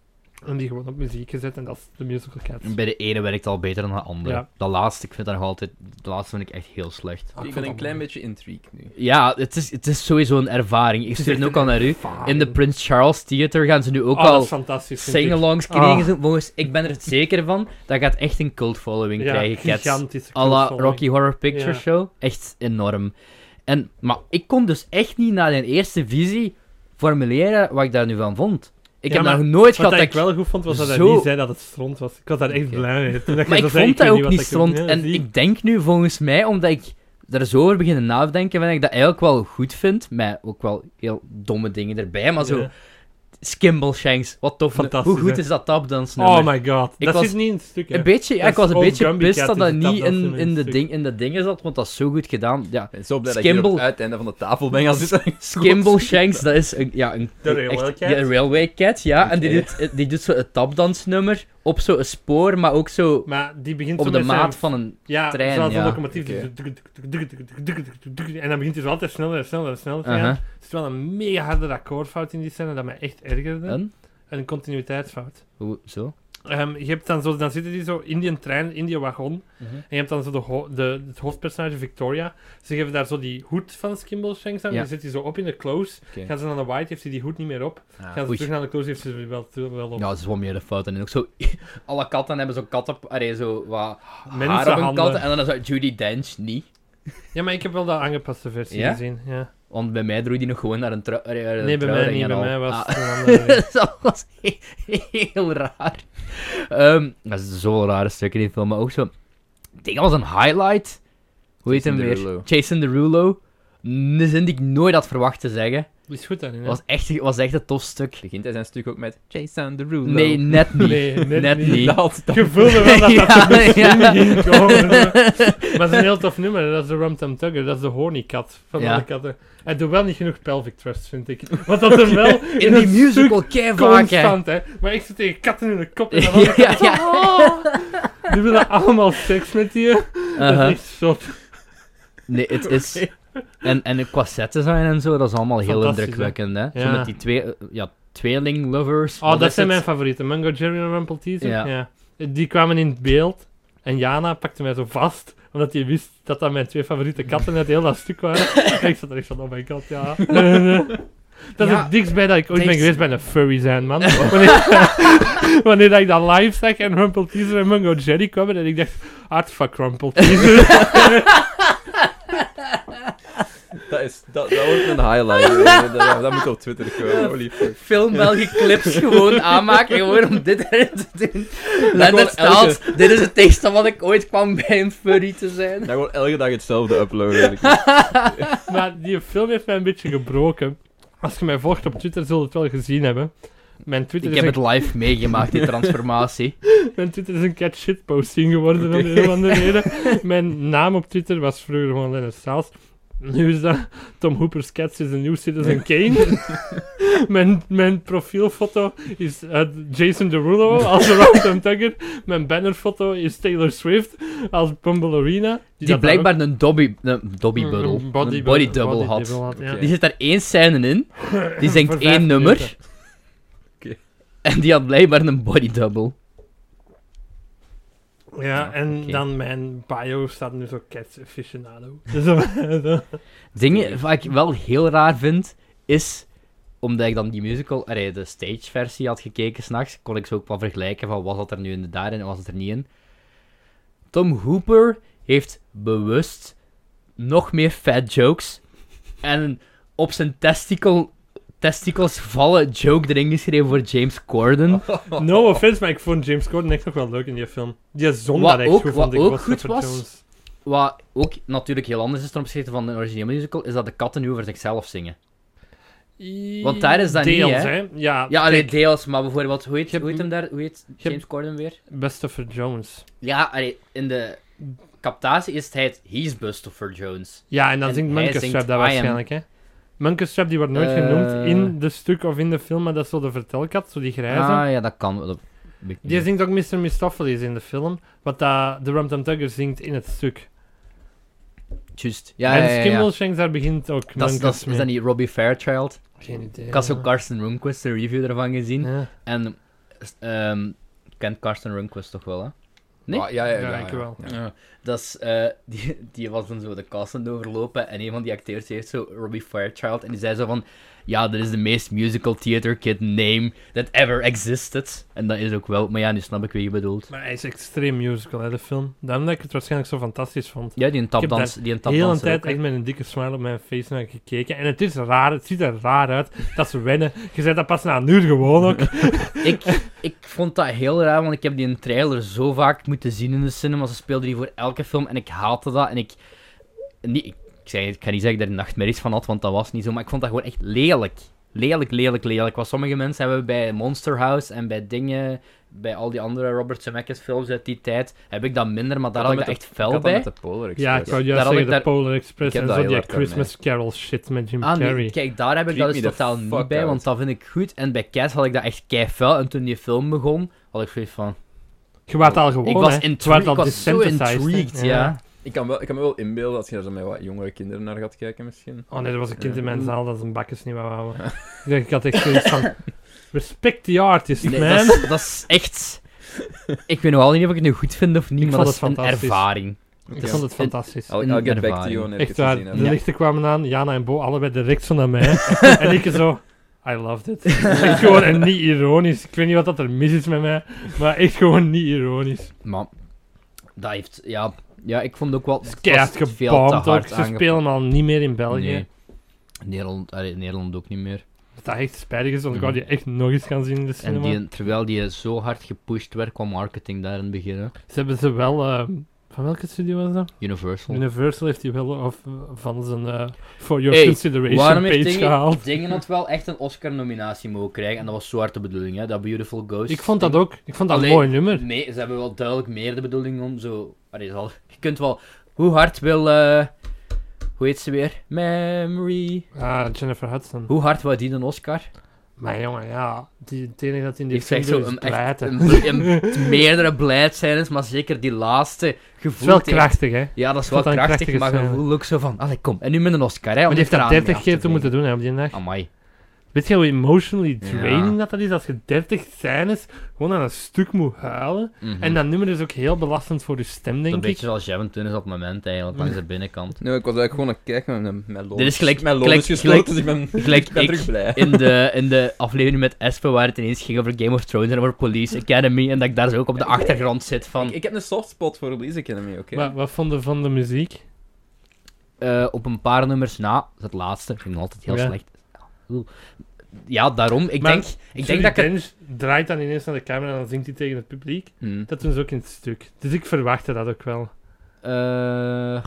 S1: en die gewoon op muziek gezet en dat is de musical Cats.
S2: Bij de ene werkt het al beter dan de andere.
S1: Ja.
S2: Dat laatste, ik vind dat nog altijd... Dat laatste vind ik echt heel slecht.
S1: Ah,
S3: Ik
S1: vond
S3: ben
S1: dat
S3: een klein
S1: mooi.
S3: beetje intrigued nu.
S2: Ja, het is, het is sowieso een ervaring. Ik
S1: Het is
S2: stuur
S1: echt
S2: het ook al naar u. In de Prince Charles Theater gaan ze nu ook
S1: Oh, dat
S2: al
S1: is fantastisch. vind ik.
S2: sing-alongs krijgen.
S1: Ah.
S2: Zo, Volgens, ik ben er zeker van, dat gaat echt een cult following
S1: Ja,
S2: krijgen, Cats.
S1: gigantisch.
S2: A la
S1: cultfollowing.
S2: Rocky Horror Picture
S1: Ja.
S2: Show. Echt enorm. En, maar ik kon dus echt niet na de eerste visie formuleren wat ik daar nu van vond. Ik
S1: Ja,
S2: heb
S1: maar
S2: nog nooit
S1: Wat
S2: gehad
S1: dat
S2: dat
S1: ik
S2: ik...
S1: wel goed vond, was dat hij
S2: zo-
S1: niet zei dat het stront was. Ik was daar echt
S2: Oké.
S1: blij mee. Toen dat
S2: Maar
S1: jij
S2: ik
S1: zei,
S2: vond dat
S1: weet
S2: ook
S1: wat
S2: niet
S1: ik-
S2: stront.
S1: Ja,
S2: En
S1: zie.
S2: ik denk nu volgens mij, omdat ik er zo over begin nadenken, ben ik dat eigenlijk wel goed vind. Met ook wel heel domme dingen erbij, maar zo...
S1: Ja.
S2: Skimble Shanks, wat tof.
S1: Fantastisch,
S2: Hoe goed
S1: hè?
S2: is dat tapdansnummer?
S1: Oh my god.
S2: Ik
S1: dat
S2: was-
S1: zit niet in het stuk, hè.
S2: Een beetje, ja,
S1: Dat
S2: ik was
S1: is
S2: een
S1: ook
S2: beetje
S1: Gumby
S2: pissed
S1: Cat
S2: dat
S1: is
S2: dat
S1: een
S2: niet in,
S1: tapdansnummer in
S2: in, de
S1: het
S2: ding, in de dingen zat, want dat is zo goed gedaan. Ja.
S3: En zo blij dat ik
S2: Skimble.
S3: hier op het einde van de tafel ben gaan zitten.
S2: Skimble Shanks, dat is een, ja, een,
S1: De Railway
S2: echt-
S1: Cat?
S2: ja, een railway cat, ja. En die
S3: Oké.
S2: doet, eh, die doet zo het tapdansnummer op zo'n spoor, maar ook zo
S1: Maar die begint
S2: op
S1: zo
S2: de
S1: met zijn-
S2: maat van een...
S1: ja,
S2: trein,
S1: zoals een
S2: ja.
S1: locomotief. En dan begint hij zo altijd sneller en sneller en sneller te gaan.
S2: Uh-huh.
S1: Er zit wel een mega harde akkoordfout in die scène dat mij echt ergerde.
S2: Een?
S1: Een continuïteitsfout.
S2: Hoe, zo?
S1: Ehm, je hebt dan, zo, dan zitten die zo in die trein, in die wagon.
S2: Mhm.
S1: En je hebt dan zo de, ho- de, het hoofdpersonage Victoria. Ze geven daar zo die hoed van Skimble Shanks aan.
S2: Ja.
S1: Die zit hij zo op in de close.
S3: Oké.
S1: Gaan ze naar de white, heeft hij die hoed niet meer op.
S3: Ah.
S1: Gaan ze
S2: oei.
S1: terug naar de close, heeft ze er wel, wel op.
S2: Ja, dat is wel meer de fout. En ook zo... Alle katten hebben zo'n katten... Allee, zo wat haar op hun
S1: Mensenhanden.
S2: katten. En dan is dat Judy Dench niet.
S1: Ja, maar ik heb wel de aangepaste versie
S2: Ja?
S1: gezien. Ja.
S2: Want bij mij droeg die nog gewoon naar een trui. allee, naar een
S1: Nee, bij mij
S2: trouwring
S1: niet. Bij
S2: en al.
S1: mij was
S2: Ah.
S1: het een andere.
S2: dat was he- heel raar. Ehm, dat is zo'n rare stuk in die film, maar ook zo... Ik denk dat was een highlight. Hoe heet
S3: Jason
S2: hem weer?
S3: Derulo.
S2: Jason Derulo. Een zin die ik nooit had verwacht te zeggen.
S1: is goed daarin. hè?
S2: was echt, was echt een tof stuk.
S3: Begint hij zijn stuk ook met Jason Derulo.
S2: Nee, net niet.
S1: Nee, net,
S2: net
S1: niet.
S2: niet.
S3: Dat, dat-
S1: Je voelde wel dat dat
S2: Ja,
S1: de beste
S2: ja.
S1: nummer ging komen. Maar dat is een heel tof nummer. hè. Dat is de Rum Tum Tugger. Dat is de hornykat van
S2: Ja.
S1: alle katten. Hij doet wel niet genoeg pelvic thrust, vind ik. Want dat er wel in,
S2: In
S1: het
S2: die
S1: stuk
S2: musical kei vaak, hè.
S1: constant, hè. Maar ik zit tegen katten in de kop en dan
S2: Ja,
S1: andere
S2: ja.
S1: katten. Die willen allemaal seks met je. Dat
S2: Uh-huh.
S1: is echt zot.
S2: Nee, het is... En, en de quassettes zijn en zo, dat is allemaal heel
S1: Fantastisch,
S2: indrukwekkend, hè. Zo
S1: Ja.
S2: met die twee... eh, Ja, tweeling lovers.
S1: Oh, dat zijn mijn
S2: mensen.
S1: favorieten. Mungo Jerry en Rumpelteazer. Ja.
S2: Ja.
S1: Die kwamen in het beeld. En Jana pakte mij zo vast. Omdat hij wist dat dat mijn twee favoriete katten uit heel dat stuk waren. en ik zat er echt van, oh my god, ja. dat is
S2: Ja, Oh.
S1: het dichtst bij dat ik ooit ben
S2: thanks.
S1: geweest bij een furry zijn, man. wanneer wanneer dat ik dat live zag en Rumpelteazer en Mungo Jerry kwamen. En ik dacht, hardfuck Rumpelteazer.
S3: dat, is, dat, dat wordt een highlight. dat, dat, dat moet op Twitter komen. Holy fuck.
S2: Film België clips gewoon aanmaken, gewoon om dit erin te doen.
S3: gewoon
S2: Leonard Staals, dit is het tekst van wat ik ooit kwam bij een furry te
S3: Dat
S2: zijn.
S3: gewoon elke dag hetzelfde uploaden.
S1: maar die film heeft mij een beetje gebroken. Als je mij volgt op Twitter, zul je het wel gezien hebben. Mijn Twitter
S2: Ik
S1: is
S2: heb
S1: een
S2: het live meegemaakt, die transformatie.
S1: Mijn Twitter is een cat shit posting geworden om de een of andere reden. Mijn naam op Twitter was vroeger gewoon Lennart Staals. Nu is dat Tom Hooper's Cats is the New Citizen Kane. mijn, mijn profielfoto is eh, Jason Derulo als de Random Tugger. Mijn bannerfoto is Taylor Swift als Bumble Arena. dat
S2: Die
S1: daar ook
S2: blijkbaar een dobby, een dobby
S1: een
S2: buddle, een body, double had.
S1: double ja.
S3: Oké.
S2: Die zit daar één scène in, die zingt
S1: Voor
S2: één
S1: vijf
S2: nummer.
S1: minuten.
S3: Oké.
S2: En die had blijkbaar een body double.
S1: Ja, en
S2: oké.
S1: dan mijn bio staat nu zo Cats aficionado. Dus dat-
S2: Dingen wat ik wel heel raar vind, is omdat ik dan die musical, allee, de stage versie had gekeken s'nachts, kon ik ze ook wel vergelijken van was dat er nu in daarin en was het er niet in. Tom Hooper heeft bewust nog meer fat jokes en op zijn testicle, testicles vallen joke erin geschreven voor James Corden.
S1: No offense, maar ik vond James Corden echt nog wel leuk in die film. Die zong
S2: Wat
S1: dat echt
S2: ook-
S1: goed, vond
S2: wat
S1: ik.
S2: ook
S1: Christopher
S2: goed was-
S1: Jones.
S2: Wat ook natuurlijk heel anders is ten opzichte van de originele musical, is dat de katten nu over zichzelf zingen. Want daar is dat niet,
S1: Deels,
S2: hè?
S1: Ja,
S2: Ja,
S1: kijk,
S2: alleen deels, maar bijvoorbeeld, hoe heet,
S1: Je hebt-
S2: hoe heet hem daar, hoe heet
S1: je
S2: James Corden weer?
S1: Christopher Jones.
S2: Ja, allee, in de captatie is het hij- He's Bustopher Jones.
S1: Ja, en dan
S2: En
S1: zingt
S2: hij
S1: Munkerstrap
S2: zingt
S1: dat
S2: I am.
S1: waarschijnlijk, hè? Munkerstrap, die wordt nooit
S2: Eh.
S1: genoemd in de stuk of in de film, maar dat is zo de vertelkat, zo die grijze.
S2: Ah ja, dat kan. wel, Dat weet ik
S1: Die
S2: niet.
S1: zingt ook Mr. Mistopheles in de film, wat dat de Rum Tum Tugger zingt in het stuk.
S2: Juist. Ja, ja,
S1: en
S2: ja, ja.
S1: Skimbleshanks, daar begint ook
S2: Dat is, dat
S1: Munkers
S2: is, is dat
S1: mee.
S2: niet Robbie Fairchild?
S1: Geen idee.
S2: Ik had zo
S1: ja.
S2: Carsten Runquist een review ervan gezien.
S1: Ja.
S2: En ehm kent Carsten Runquist toch wel, hè? Nee?
S3: Ah, ja, ja, ja.
S1: Ja,
S3: ja,
S1: ik wel.
S3: ja.
S2: Ja. Dat is, eh, die, die was dan zo de cast aan het overlopen en een van die acteurs heeft zo Robbie Fairchild en die zei zo van ja, dit is de meest musical theater kid name that ever existed. En dat is ook wel, maar ja, nu snap ik wie je bedoelt.
S1: Maar hij is extreem musical, hè, de film. Daarom dat ik het waarschijnlijk zo fantastisch vond.
S2: Ja, die een
S1: heb
S2: tapdans. Die een
S1: De hele
S2: tapdans
S1: tijd echt met een dikke smile op mijn face naar gekeken. En het is raar, het ziet er raar uit dat ze wennen. Je zei dat pas na een uur gewoon ook.
S2: ik, ik vond dat heel raar, want ik heb die een trailer zo vaak moeten zien in de cinema. Ze speelden die voor elke film en ik haatte dat. En ik. Niet, ik, zei, ik ga niet zeggen dat ik er nachtmerries van had, want dat was niet zo. Maar ik vond dat gewoon echt lelijk. Lelijk, lelijk, lelijk. Wat sommige mensen hebben bij Monster House en bij dingen. Bij al die andere Robert Zemeckis films uit die tijd. Heb ik dat minder, maar daar
S3: Ik
S2: had
S3: had
S2: ik
S3: dat
S2: dat echt
S3: met Ik
S2: fel
S3: had dat
S2: bij.
S3: met de Polar
S1: Ja, ik
S3: Express.
S1: wou
S2: Daar
S1: juist
S2: had
S1: zeggen,
S2: ik
S1: de
S2: daar-
S1: Polar Express
S3: Ik heb
S1: en
S3: dat
S1: zo
S3: heel
S1: die
S3: hard daarmee.
S1: Christmas Carol shit met Jim
S2: Ah,
S1: Carrey.
S2: nee, kijk, daar heb ik
S3: Creep
S2: dat dus
S3: me the
S2: totaal
S3: fuck
S2: niet bij,
S3: out.
S2: want dat vind ik goed. En bij Cats had ik dat echt kei fel. En toen die film begon, had ik zoiets van.
S1: je waart al gewoon,
S2: ik was,
S1: hè. Je
S2: intri-
S1: waart
S2: ik
S1: al
S2: was zo
S1: desensitized, hè.
S2: intrigued, ja.
S3: Ik kan, wel, ik kan me wel inbeelden als je daar zo met wat jongere kinderen naar gaat kijken, misschien.
S1: Oh nee, er was een kind in mijn
S3: Ja.
S1: zaal dat zijn bakjes niet wou houden. Ik dacht, Ik had echt zoiets van... Respect the artist,
S2: Nee,
S1: man.
S2: dat, is, dat is echt... Ik weet nog al niet of ik het nu goed vind of niet,
S1: Ik vond
S2: maar dat is
S1: het
S2: een
S1: fantastisch.
S2: ervaring.
S1: Ik vond het fantastisch.
S3: I'll,
S2: een
S3: I'll get back to
S2: ervaring.
S3: you wanneer ik
S1: Echt
S3: het
S1: waar,
S3: gezien
S1: de
S3: heb.
S2: ja.
S1: lichten kwamen aan, Jana en Bo, allebei direct zo naar mij. en ik zo, I loved it. Echt gewoon, en niet ironisch. Ik weet niet wat dat er mis is met mij, maar echt gewoon niet ironisch.
S2: Maar dat heeft... Ja, ja ik vond ook wel...
S1: Het is
S2: het
S1: keihard
S2: was veel te
S1: gebomd ook.
S2: hard
S1: Ze
S2: aange-
S1: spelen al niet meer in België.
S2: Nee. Nederland, allee, Nederland ook niet meer.
S1: Dat Dat echt spijtig is, want ik wou die
S2: Mhm.
S1: echt nog eens gaan zien in de
S2: En
S1: cinema.
S2: die, terwijl die zo hard gepusht werd qua marketing daar in het begin. hè.
S1: Ze hebben ze wel ehm, Van welke studio was dat?
S2: Universal.
S1: Universal heeft die wel of, van zijn eh, For Your
S2: Hey,
S1: Consideration
S2: Waarom
S1: page
S2: heeft dingen,
S1: gehaald.
S2: dingen had wel echt een Oscar-nominatie mogen krijgen? En dat was zwaar de bedoeling, hè? Dat Beautiful Ghost.
S1: Ik vond dat ook. Ik vond dat
S2: Allee,
S1: een mooi nummer.
S2: Nee, ze hebben wel duidelijk meer de bedoeling om zo. Allee, dat is al- je kunt wel. Hoe hard wil. eh, hoe heet ze weer? Memory.
S1: Ah, Jennifer Hudson.
S2: Hoe hard wou die een Oscar?
S1: Maar jongen, ja. Die, het enige dat in die
S2: Ik
S1: film
S2: zeg zo
S1: doet is
S2: een, echt,
S1: pleiten.
S2: een,
S1: Het
S2: een- meerdere blijdscènes, maar zeker die laatste
S1: is wel
S2: gevoel. tegen-
S1: krachtig, hè.
S2: Ja, dat is wel
S1: Dat is een
S2: krachtig,
S1: krachtige
S2: maar
S1: scène.
S2: je voelt ook zo van. Allee, kom. En nu met een Oscar, hè?
S1: Maar die heeft dat 30 keer te
S2: toen
S1: moeten doen, hè, op die dag.
S2: Amai.
S1: Weet je hoe emotionally
S2: Ja.
S1: draining dat, dat is? Als je 30 scènes gewoon aan een stuk moet huilen.
S2: Mhm.
S1: En dat nummer is ook heel belastend voor je stem,
S2: Een
S1: denk ik.
S2: beetje zoals Jevon toen is op het moment eigenlijk, langs de binnenkant.
S3: Nee, ik was eigenlijk gewoon aan het kijken met mijn loon.
S2: Dit is gelijk-
S3: Mijn loon
S2: gelijk-
S3: is gesloten,
S2: gelijk-
S3: dus ik ben,
S2: gelijk
S3: ik ben
S2: ik.
S3: terug blij.
S2: In de, in de aflevering met Espen, waar het ineens ging over Game of Thrones en over Police Academy, en dat ik daar zo ook op de achtergrond zit van...
S3: Ik heb een softspot voor Release Academy, oké?
S1: Wat, wat vond je van de muziek?
S2: eh, op een paar nummers na, het laatste, ging altijd heel
S1: Ja.
S2: slecht. Oeh. Ja, daarom, ik
S1: Maar
S2: denk, ik denk dat ik... het-
S1: Dench draait dan ineens naar de camera en dan zingt hij tegen het publiek.
S2: Hm.
S1: Dat doen ze ook in het stuk. Dus ik verwachtte dat ook wel.
S2: Eh,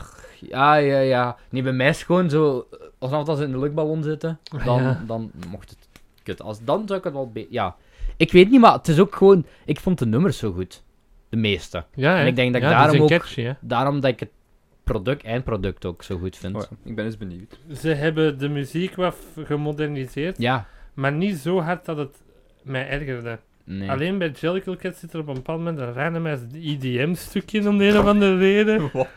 S2: ja, ja, ja. Nee, bij mij is het gewoon zo, eh, alsof dat ze in de luchtballon zitten,
S3: Ah,
S2: dan,
S1: Ja.
S2: dan mocht het kut. Als, dan zou ik het wel... be- Ja, ik weet niet, maar het is ook gewoon... Ik vond de nummers zo goed. De meeste.
S1: Ja,
S2: En
S1: hè?
S2: ik denk dat ik
S1: ja, die
S2: daarom
S1: zijn
S2: ook-
S1: catchy, hè?
S2: Daarom dat ik het product en product ook zo goed vind.
S3: Oh ja, ik ben eens benieuwd.
S1: Ze hebben de muziek wat f- gemoderniseerd,
S2: Ja,
S1: maar niet zo hard dat het mij ergerde.
S2: nee.
S1: Alleen bij Jellicle Cat zit er op een bepaald moment een randomized EDM-stukje om de een of andere reden.
S3: Wat?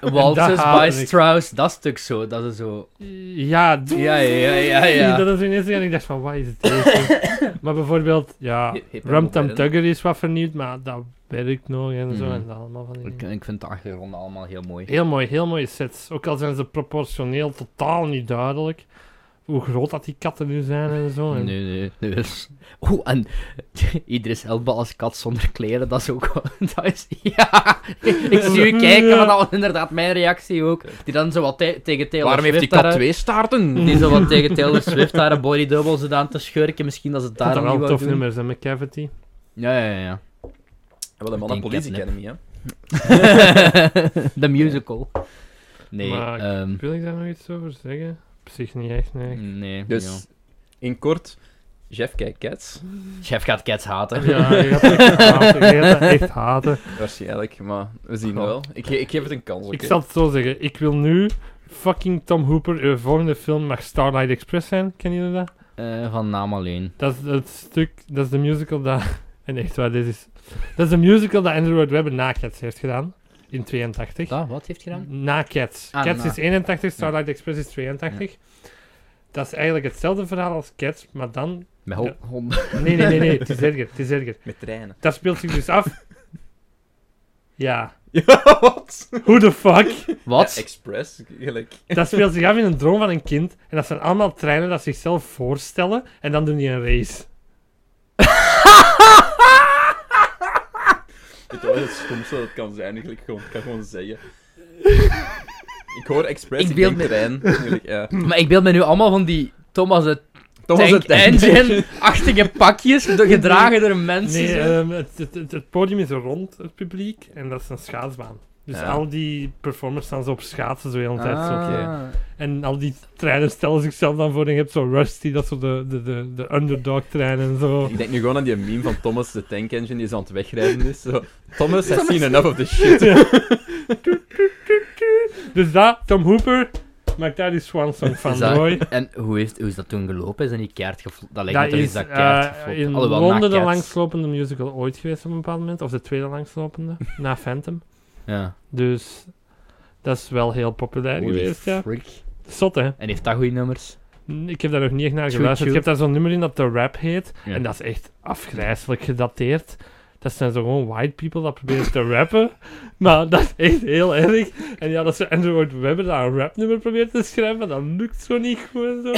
S1: dat
S2: Waltzes by
S1: haat ik.
S2: Strauss, dat stuk zo, dat is zo...
S1: Ja, d-
S2: Ja, ja, ja, ja.
S1: dat is ineens... En ik dacht van, wat is het deze? maar bijvoorbeeld, ja...
S3: Hip- hip-
S1: Rum Tam
S3: hip-
S1: Tugger is wat vernieuwd, maar dat werkt nog en zo.
S2: Mhm.
S1: En dat allemaal van die
S2: Ik,
S1: dingen.
S2: ik vind de achtergronden allemaal heel mooi.
S1: Heel mooi, heel mooie sets. Ook al zijn ze proportioneel totaal niet duidelijk. Hoe groot dat die katten nu zijn en zo. En
S2: Nee, nee, nee. Dus... Oeh, en Idris Elba als kat zonder kleren, dat is ook wel... Dat is... Ja, ik zie u kijken, maar dat was inderdaad mijn reactie ook. Die dan zo wat te- tegen Taylor
S3: Waarom heeft die
S2: Swift
S3: kat
S2: daar-
S3: twee
S1: Mm.
S3: staarten?
S2: Die zo wat tegen Taylor Swift haar body double zit te schurken, misschien dat ze het
S1: dat zijn
S2: daarom niet
S1: wel
S2: wou
S1: tof
S2: doen.
S1: nummers, hè, met Cavity.
S2: Ja, ja, ja.
S3: Wel een man aan
S2: denk
S3: Police
S2: catnip.
S3: Academy, hè?
S2: De musical. Nee,
S1: Maar-
S2: ehm,
S1: Wil ik daar nog iets over zeggen? Op zich niet echt, nee.
S2: nee.
S3: Dus,
S2: ja.
S3: in kort, Jeff kijkt Cats.
S2: Chef gaat cats haten.
S1: Ja, je gaat het echt haten. Je gaat dat echt haten.
S3: Waarschijnlijk, maar we zien
S1: Goh.
S3: wel. Ik, ge- ik geef het een kans, oké?
S1: Ik zal het zo zeggen. Ik wil nu fucking Tom Hooper. Uw volgende film mag Starlight Express zijn. Kennen jullie dat?
S2: Eh, van naam alleen.
S1: Dat is het stuk, dat is de musical dat. En echt waar, dit is. Dat is de musical dat Andrew Lloyd Webber na Cats heeft gedaan. In 82.
S2: Ah, wat heeft hij gedaan?
S1: Na Cats.
S2: Ah,
S1: Cats
S2: na.
S1: is 81, Starlight Express is 82. Dat is eigenlijk hetzelfde verhaal als Cats, maar dan.
S2: Met
S1: hol-
S2: honden.
S1: Nee, nee, nee, nee, het is erger. Het is erger.
S3: Met treinen.
S1: Dat speelt zich dus af. Ja.
S3: Ja, wat?
S1: Hoe de fuck?
S2: Wat?
S3: Ja, express, gelijk.
S1: Dat speelt zich af in een droom van een kind. En dat zijn allemaal treinen dat zichzelf voorstellen. En dan doen die een race.
S3: Weet je wat het stomste dat het kan zijn? Eigenlijk gewoon, ik kan gewoon zeggen. Ik hoor Express,
S2: Ik
S3: ik,
S2: beeld
S3: denk trein. Eigenlijk, ja.
S2: maar ik beeld me nu allemaal van die Thomas het
S3: Dat was
S2: Tank
S3: het einde.
S2: Engine-achtige pakjes, do- gedragen door mensen.
S1: Nee,
S2: zo.
S1: ehm, het, het, het- het podium is rond, het publiek, en dat is een schaatsbaan. Dus
S3: Ja.
S1: al die performers staan zo op schaatsen zo de hele tijd. Zo.
S2: Ah.
S3: oké.
S1: En al die treinen stellen zichzelf dan voor. En je hebt zo Rusty, dat is zo de, de, de, de underdog-treinen en zo.
S3: Ik denk nu gewoon aan die meme van Thomas de Tank Engine die zo aan het wegrijden is. Zo, Thomas has seen enough of this shit.
S1: Dus dat, Tom Hooper, maakt daar die swansong van,
S2: Is dat-
S1: mooi.
S2: En hoe, heeft, hoe is dat toen gelopen? Is dat niet keihard geflopt? Dat lijkt
S1: Dat
S2: me toch
S1: is
S2: eens dat
S1: eh,
S2: keihard geflopt.
S1: in
S2: Alhoewel, na
S1: Londen de
S2: Cats.
S1: langslopende musical ooit geweest op een bepaald moment. Of de tweede langslopende, na Phantom.
S2: Ja.
S1: Dus dat is wel heel populair
S2: Holy
S1: geweest, ja.
S2: frick.
S1: Zot, hè?
S2: En heeft dat goede nummers?
S1: N- Ik heb daar nog niet echt naar
S2: Choo
S1: geluisterd.
S2: choo.
S1: Je hebt daar zo'n nummer in dat de rap heet.
S2: Ja.
S1: En dat is echt afgrijzelijk gedateerd. Dat zijn zo gewoon white people dat proberen te rappen. Maar dat is echt heel erg. En ja, dat ze Andrew Lloyd Webber dat een rapnummer probeert te schrijven. maar Dat lukt zo niet goed en zo.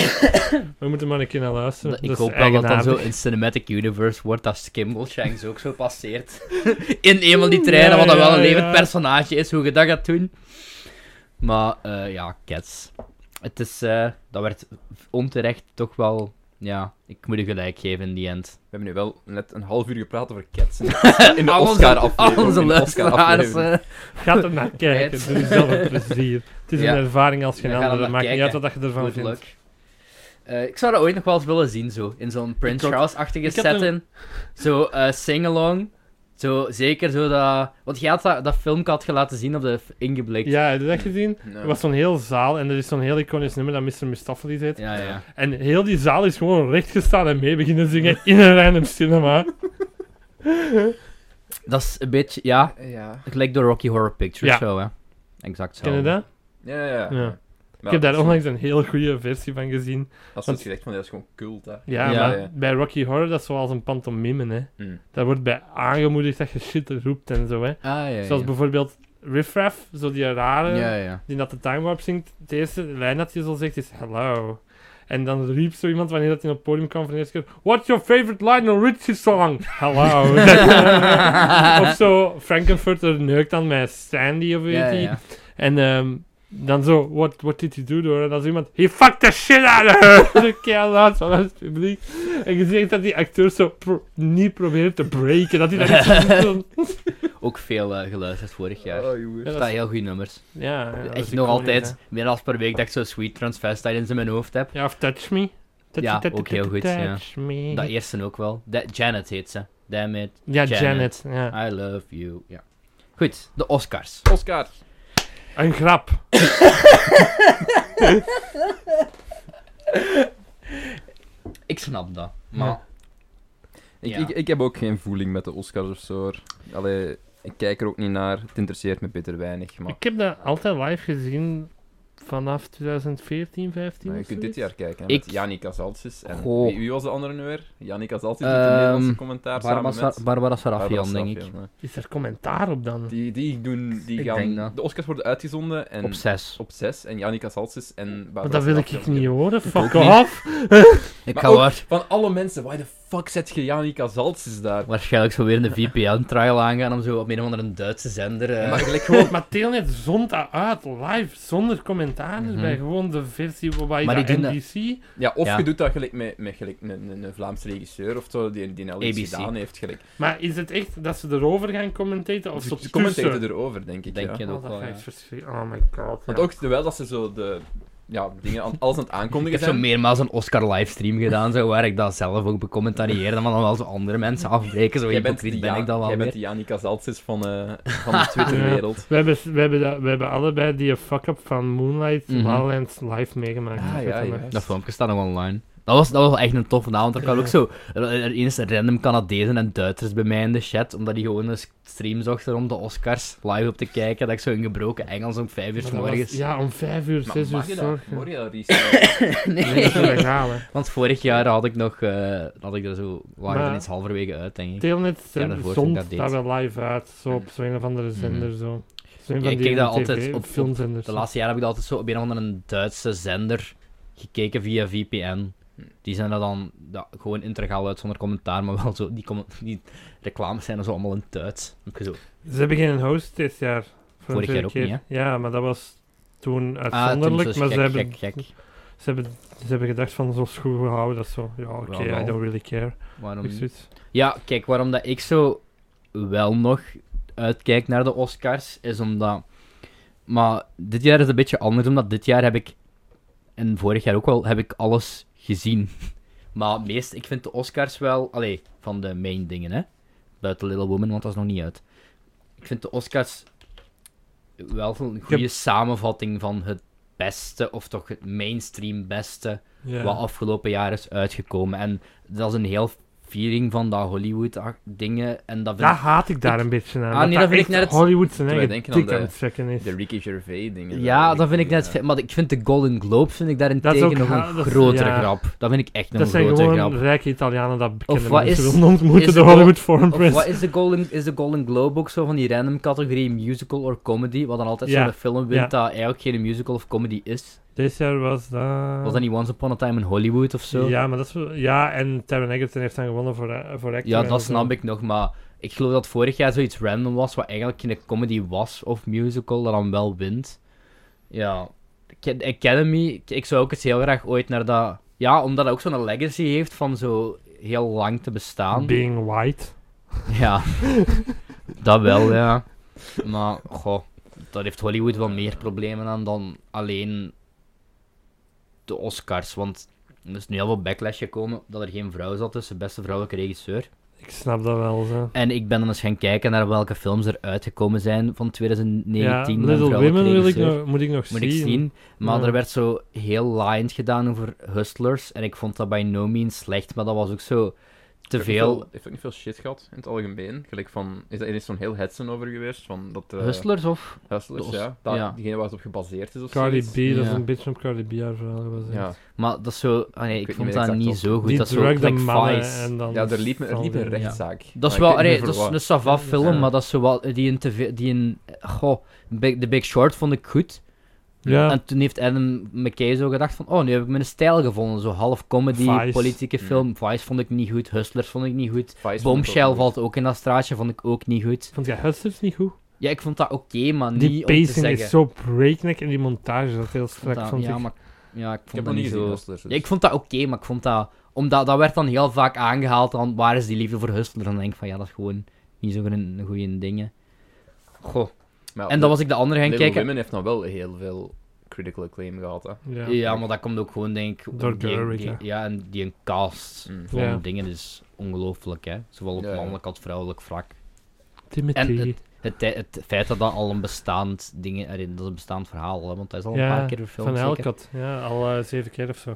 S1: We moeten maar een keer naar luisteren.
S2: Dat- ik
S1: is
S2: hoop wel dat dan zo
S1: eigenaardig.
S2: in Cinematic Universe wordt dat Skimble Shanks ook zo passeert. in een van die treinen, wat dan wel een
S1: Ja, ja,
S2: levend
S1: ja.
S2: personage is, hoe je dat gaat doen. Maar eh, ja, Cats. Het is, eh, dat werd onterecht toch wel ja, ik moet je gelijk geven in die end.
S3: We hebben nu wel net een half uur gepraat over cats. in de- In de
S2: Al onze-
S3: Oscar-aflevering.
S2: al onze
S3: in de
S2: luisteraars.
S3: Oscar-aflevering.
S2: eh,
S1: Ga er naar kijken.
S2: Het.
S1: Doe jezelf een plezier. Het is
S2: Ja.
S1: een ervaring als geen
S2: Ja, ga er
S1: andere.
S2: naar
S1: Maakt niet uit
S2: kijken.
S1: wat je ervan
S2: Good
S1: vindt.
S2: luck. Eh, ik zou dat ooit nog wel eens willen zien, zo. In zo'n Prince
S1: ook.
S2: Charles-achtige
S1: Ik heb een-
S2: setting. Zo eh sing-along. Zo, zeker zo dat... Want jij had dat, dat filmpje had je laten zien op de f- ingeblikt.
S1: Ja, heb je dat gezien?
S3: Ja.
S1: Er was zo'n heel zaal en er is zo'n heel iconisch nummer dat Mr. Mistopheles heet.
S2: ja. ja.
S1: En heel die zaal is gewoon rechtgestaan en mee beginnen zingen in een random cinema.
S2: Dat is een beetje... Ja,
S3: Ja.
S2: gelijk de Rocky Horror Picture
S1: Ja.
S2: Show, hè. Exact zo.
S1: Ken je dat?
S3: Ja, ja,
S1: Ja.
S3: ja.
S1: Ik heb daar onlangs een heel goede versie van gezien.
S3: Als je het gezegd van, dat is gewoon cult, hè.
S1: Ja,
S2: Ja,
S1: maar
S3: ja.
S1: bij Rocky Horror, dat is zoals een pantomime, hè.
S3: Mm.
S1: Daar wordt bij aangemoedigd dat je shit roept en zo, hè.
S2: Ah, ja, ja.
S1: Zoals bijvoorbeeld Riff Raff, zo die rare,
S2: Ja, ja.
S1: die dat de time warp zingt. De eerste lijn dat je zo zegt is hello. En dan riep zo iemand wanneer dat hij op het podium kwam van de eerste keer, What's your favorite Lionel Richie song? Hello. of zo, Frankenfurter neukt dan met Sandy of weet
S2: Ja, ja,
S1: je.
S2: ja.
S1: En ehm, dan zo, what, what did he do? Door? En dan zo iemand, he fucked the shit out of her! Zo keihard vanuit het publiek. En je ziet dat die acteur zo pro- niet proberen te breken. Dat hij dat niet zo doet.
S2: Ook veel eh, geluisterd vorig jaar. Er
S3: Oh, jongens.
S1: Ja, dat
S2: staan
S1: is-
S2: heel goede nummers.
S1: Ja, ja, dat is
S2: Echt nog
S1: iconisch,
S2: altijd,
S1: hè.
S2: meer dan per week, dat ik zo Sweet Transvestite in mijn hoofd heb.
S1: Ja, of Touch Me. Touch,
S2: Ja,
S1: touch,
S2: ook heel
S1: touch,
S2: goed, ja.
S1: touch me.
S2: Dat eerste ook wel. Da- Janet heet ze. Damn it.
S1: ja,
S2: Janet.
S1: Janet. ja.
S2: I love you. Ja. Goed, de Oscars.
S3: Oscar.
S1: Een grap.
S2: Ik snap dat. Maar
S1: Ja.
S3: Ik,
S2: Ja.
S3: ik, ik heb ook geen voeling met de Oscars of zo. hoor. Allee, ik kijk er ook niet naar. Het interesseert me bitter weinig. Maar,
S1: Ik heb dat altijd live gezien vanaf 2014, 15
S3: maar je
S1: of
S3: kunt dit
S1: zoiets.
S3: jaar kijken. hè, Met
S2: Ik-
S3: Janik Azalsis. En
S2: Goh.
S3: wie, wie was de andere nu weer? Janik Azalsis doet de
S2: Ehm,
S3: Nederlandse commentaar
S2: Barbara,
S3: samen
S2: Sa-
S3: met...
S2: Barbara
S3: Barbara
S2: Sarafian, denk ik.
S3: Sarafian, hè.
S1: Is er commentaar op dan?
S3: Die, die, doen, die
S2: Ik
S3: gaan...
S2: denk dat.
S3: De Oscars worden uitgezonden en
S2: Op zes.
S3: op 6. En Janik Azalsis en Barbara
S1: Want dat wil ik,
S3: Sarafian.
S1: niet horen.
S2: ook
S1: Fuck
S2: niet.
S1: off.
S2: Ik
S3: Maar
S2: ga
S3: ook-
S2: waar-
S3: Van alle mensen, why the fuck zet je Janik Azalsis daar?
S2: waarschijnlijk zo weer een VPN-trial aangaan om zo op een of andere Duitse zender... eh,
S3: Ja, maar gelijk gewoon...
S1: Maar Telnet zond dat uit, live, zonder commentaar
S2: Mhm.
S1: bij gewoon de versie waarbij
S2: Maar
S1: dat
S2: die doen
S1: NBC...
S3: Ja, of
S2: Ja.
S3: je doet dat gelijk met, met gelijk een, een, een Vlaamse regisseur of zo, die, die al iets
S2: ABC.
S3: gedaan heeft. Gelijk.
S1: Maar is het echt dat ze erover gaan commentaten of
S3: Ze
S1: ze
S3: commentaten
S1: tussen?
S3: erover, denk ik.
S2: Denk
S3: ja.
S2: je
S1: Oh,
S2: ook
S1: dat
S2: wel,
S1: ga
S2: ja.
S1: ik verschrikken. Oh my god.
S3: Want
S1: ja.
S3: ook terwijl dat ze zo de ja, dingen aan, alles aan het
S2: Ik
S3: aankondigen
S2: heb zo
S3: zijn.
S2: meermaals een Oscar-livestream gedaan, zo, waar ik dat zelf ook becommentarieerde, maar dan wel zo andere mensen afbreken. Zo
S3: Jij bent die
S2: hypocriet ben
S3: Ja-
S2: ik dan wel
S3: jij bent
S2: weer.
S3: die Janica Zaltzis van, eh, van de Twitterwereld.
S1: We hebben, we, hebben dat- we hebben allebei die fuck-up van Moonlight
S2: Mhm.
S1: La La Land live meegemaakt.
S3: Ah,
S1: Dat
S3: ja,
S1: weet ik
S3: ja.
S1: nog.
S2: Dat filmpje staat nog online. Dat was, dat was echt een toffe avond. Er kwamen ook zo er, er eens random Canadezen en Duitsers bij mij in de chat, omdat die gewoon een stream zochten om de Oscars live op te kijken. Dat ik zo in gebroken Engels om vijf uur
S1: Maar
S2: 's
S1: dat was-
S2: morgens...
S1: Ja, om vijf uur,
S3: Maar
S1: zes uur.
S3: mag je dat?
S1: s'nachts, hè.
S3: Hoor je dat, Ries?
S1: Nee, dat is
S2: Nee.
S1: legaal, hè.
S2: Want vorig jaar had ik nog... eh, had ik er zo... waren er
S1: Maar-
S2: iets halverwege uit, denk ik.
S1: Telnet
S2: Ja, daarvoor
S1: zond
S2: dat
S1: dat,
S2: deed.
S1: wel live uit, zo op zo'n of andere zender. Zo. Zo'n
S2: Ja,
S1: van
S2: Mhm. ik
S1: die
S2: kijk dat
S1: TV
S2: altijd op- op
S1: filmzenders.
S2: De laatste jaren heb ik dat altijd zo op een of andere Duitse zender gekeken via VPN. Die zijn er dan ja, gewoon integraal uit zonder commentaar, maar wel zo. Die, comment- die reclames zijn er zo allemaal in het Duits. Dan heb je zo,
S1: Ze hebben geen host dit jaar. Voor
S2: Vorig
S1: een
S2: jaar ook
S1: tweede
S2: niet,
S1: Ja, maar dat was toen
S2: ah, toen
S1: uitzonderlijk.
S2: zo
S1: maar
S2: gek,
S1: ze, hebben,
S2: gek, gek.
S1: Ze, hebben, ze hebben gedacht van zo schoen houden dat zo. Ja, oké,
S2: Ja, wel.
S1: I don't really care.
S2: Waarom
S1: Ik zoiets.
S2: Ja, kijk, waarom dat ik zo wel nog uitkijk naar de Oscars, is omdat... Maar dit jaar is het een beetje anders, omdat dit jaar heb ik, en vorig jaar ook wel, heb ik alles gezien. Maar meest, ik vind de Oscars wel... Allee, van de main dingen, hè. Buiten Little Woman, want dat is nog niet uit. Ik vind de Oscars wel een goede samenvatting van het beste, of toch het mainstream beste
S1: Ja.
S2: wat afgelopen jaar is uitgekomen. En dat is een heel viering van dat Hollywood-dingen. En dat vind
S1: Daar
S2: ik...
S1: haat ik daar een beetje aan.
S2: Ah, nee, dat vind ik
S1: echt
S2: net-
S1: Hollywood zijn
S3: Terwijl
S1: eigen
S3: denken aan
S1: dik aan
S3: de-
S1: het checken is.
S3: De Ricky Gervais dingen.
S2: Ja, dat vind ik net...
S3: Ja.
S2: ge- Maar ik vind de Golden Globe vind ik daarentegen
S1: Dat is
S2: nog
S1: ook
S2: een
S1: ha- dat is-
S2: grotere
S1: ja.
S2: grap. Dat vind ik echt nog
S1: Dat
S2: een
S1: zijn
S2: grotere
S1: gewoon
S2: grap.
S1: rijke Italianen dat bekende
S2: wat
S1: mensen
S2: is-
S1: willen ontmoeten.
S2: is
S1: De
S2: het
S1: Hollywood Foreign
S2: Of wat
S1: Press.
S2: is de, Golden, is de Golden Globe ook zo van die random categorie musical or comedy? Wat dan altijd
S1: Ja.
S2: zo'n film wint
S1: Ja.
S2: dat eigenlijk geen musical of comedy is.
S1: Dit jaar was dat...
S2: Was dat niet Once Upon a Time in Hollywood of zo?
S1: Ja, maar dat is... wel- Ja, en Taron Egerton heeft dan gewonnen voor, eh, voor actor.
S2: Ja,
S1: en
S2: dat
S1: zo.
S2: snap ik nog, maar ik geloof dat vorig jaar zoiets random was, wat eigenlijk geen comedy was of musical, dat dan wel wint. Ja, Ke- de Academy, ik- ik zou ook eens heel graag ooit naar dat Ja, omdat hij ook zo'n legacy heeft van zo heel lang te bestaan.
S1: Being white.
S2: Ja, dat wel, ja. Maar, goh, daar heeft Hollywood wel meer problemen aan dan alleen de Oscars. Want er is nu heel veel backlash gekomen dat er geen vrouw zat tussen beste vrouwelijke regisseur.
S1: Ik snap dat wel, zo.
S2: En ik ben dan eens gaan kijken naar welke films er uitgekomen zijn van 2019.
S1: Ja,
S2: van
S1: Little
S2: vrouwelijke
S1: Women wil ik
S2: regisseur.
S1: nog, moet ik nog
S2: Moet
S1: zien.
S2: ik zien. Maar
S1: Ja.
S2: er werd zo heel lined gedaan over Hustlers. En ik vond dat by no means slecht, maar dat was ook zo te veel.
S3: Heeft ook niet veel shit gehad in het algemeen. Gelijk van, is er is zo'n heel hetsen over geweest. Van dat, eh,
S2: Hustlers of?
S3: Hustlers,
S2: Os-
S3: ja. Dat,
S2: ja.
S3: Diegene waar het op gebaseerd is of
S1: Cardi B,
S3: zoiets.
S1: dat is
S2: Ja.
S1: een beetje op Cardi B haar verhaal gebaseerd.
S3: Ja.
S2: Maar dat is zo. ah nee,
S3: Ik
S2: ik,
S3: weet
S2: vond
S3: niet
S2: dat
S3: meer exact
S2: niet
S3: wat-
S2: zo goed.
S1: Die
S2: dat is zo
S1: drugde
S2: like
S1: mannen
S2: Vice.
S1: en dan...
S3: ja, er liep, er liep een
S1: valde-
S3: rechtszaak.
S2: Dat is
S3: Maar ik
S2: wel,
S3: weet
S2: allee,
S3: niet
S2: dat is
S3: voor
S2: een
S3: wat.
S2: savaf film,
S3: Ja.
S2: maar dat is zo wel, die in, tv, die in, goh, Big- The Big Short vond ik goed.
S1: Ja,
S2: En toen heeft Adam McKay zo gedacht van, oh, nu heb ik mijn stijl gevonden. Zo half comedy,
S1: Vice.
S2: politieke
S3: Mm.
S2: film. Vice vond ik niet goed, Hustlers vond ik niet goed.
S3: Vice vond ik
S2: Bombshell
S3: ook
S2: valt ook in dat straatje, vond ik ook niet goed.
S1: vond jij Hustlers niet goed?
S2: Ja, ik vond dat oké, maar niet
S1: Die
S2: om te
S1: pacing
S2: zeggen.
S1: is zo breakneck en die montage dat is heel
S2: Ik vond
S1: strak,
S2: dat-
S1: vond
S2: ja,
S1: ik.
S2: maar ja, ik
S3: Ik heb
S2: vond
S3: nog
S2: dat
S3: niet
S2: niet
S3: gezien,
S2: zo...
S3: Hustlers. dus.
S2: Ja, ik vond dat oké, maar ik vond dat... Omdat dat werd dan heel vaak aangehaald dan waar is die liefde voor Hustler? En dan denk ik van, ja, dat is gewoon niet zo'n goede dingen. Goh.
S3: Maar
S2: En dan was ik de andere gaan
S3: Little
S2: kijken.
S3: Women heeft nou wel heel veel critical acclaim gehad, hè.
S1: Ja.
S2: Ja, maar dat komt ook gewoon, denk ik...
S1: Door
S2: die-
S1: Gerwig,
S2: die-
S1: hè.
S2: Ja, en die een cast
S3: Mm.
S2: van
S1: Ja.
S2: dingen is ongelooflijk, hè. Zowel op
S3: Ja, ja.
S2: mannelijk als vrouwelijk vlak.
S1: Timothy.
S2: En Het, tij- het feit dat dat al een bestaand ding... allee, Dat is een bestaand verhaal, hè, want dat is al
S1: Ja,
S2: een paar keer verfilmd,
S1: Van
S2: zeker.
S1: Elkot, ja, al eh, zeven keer of zo.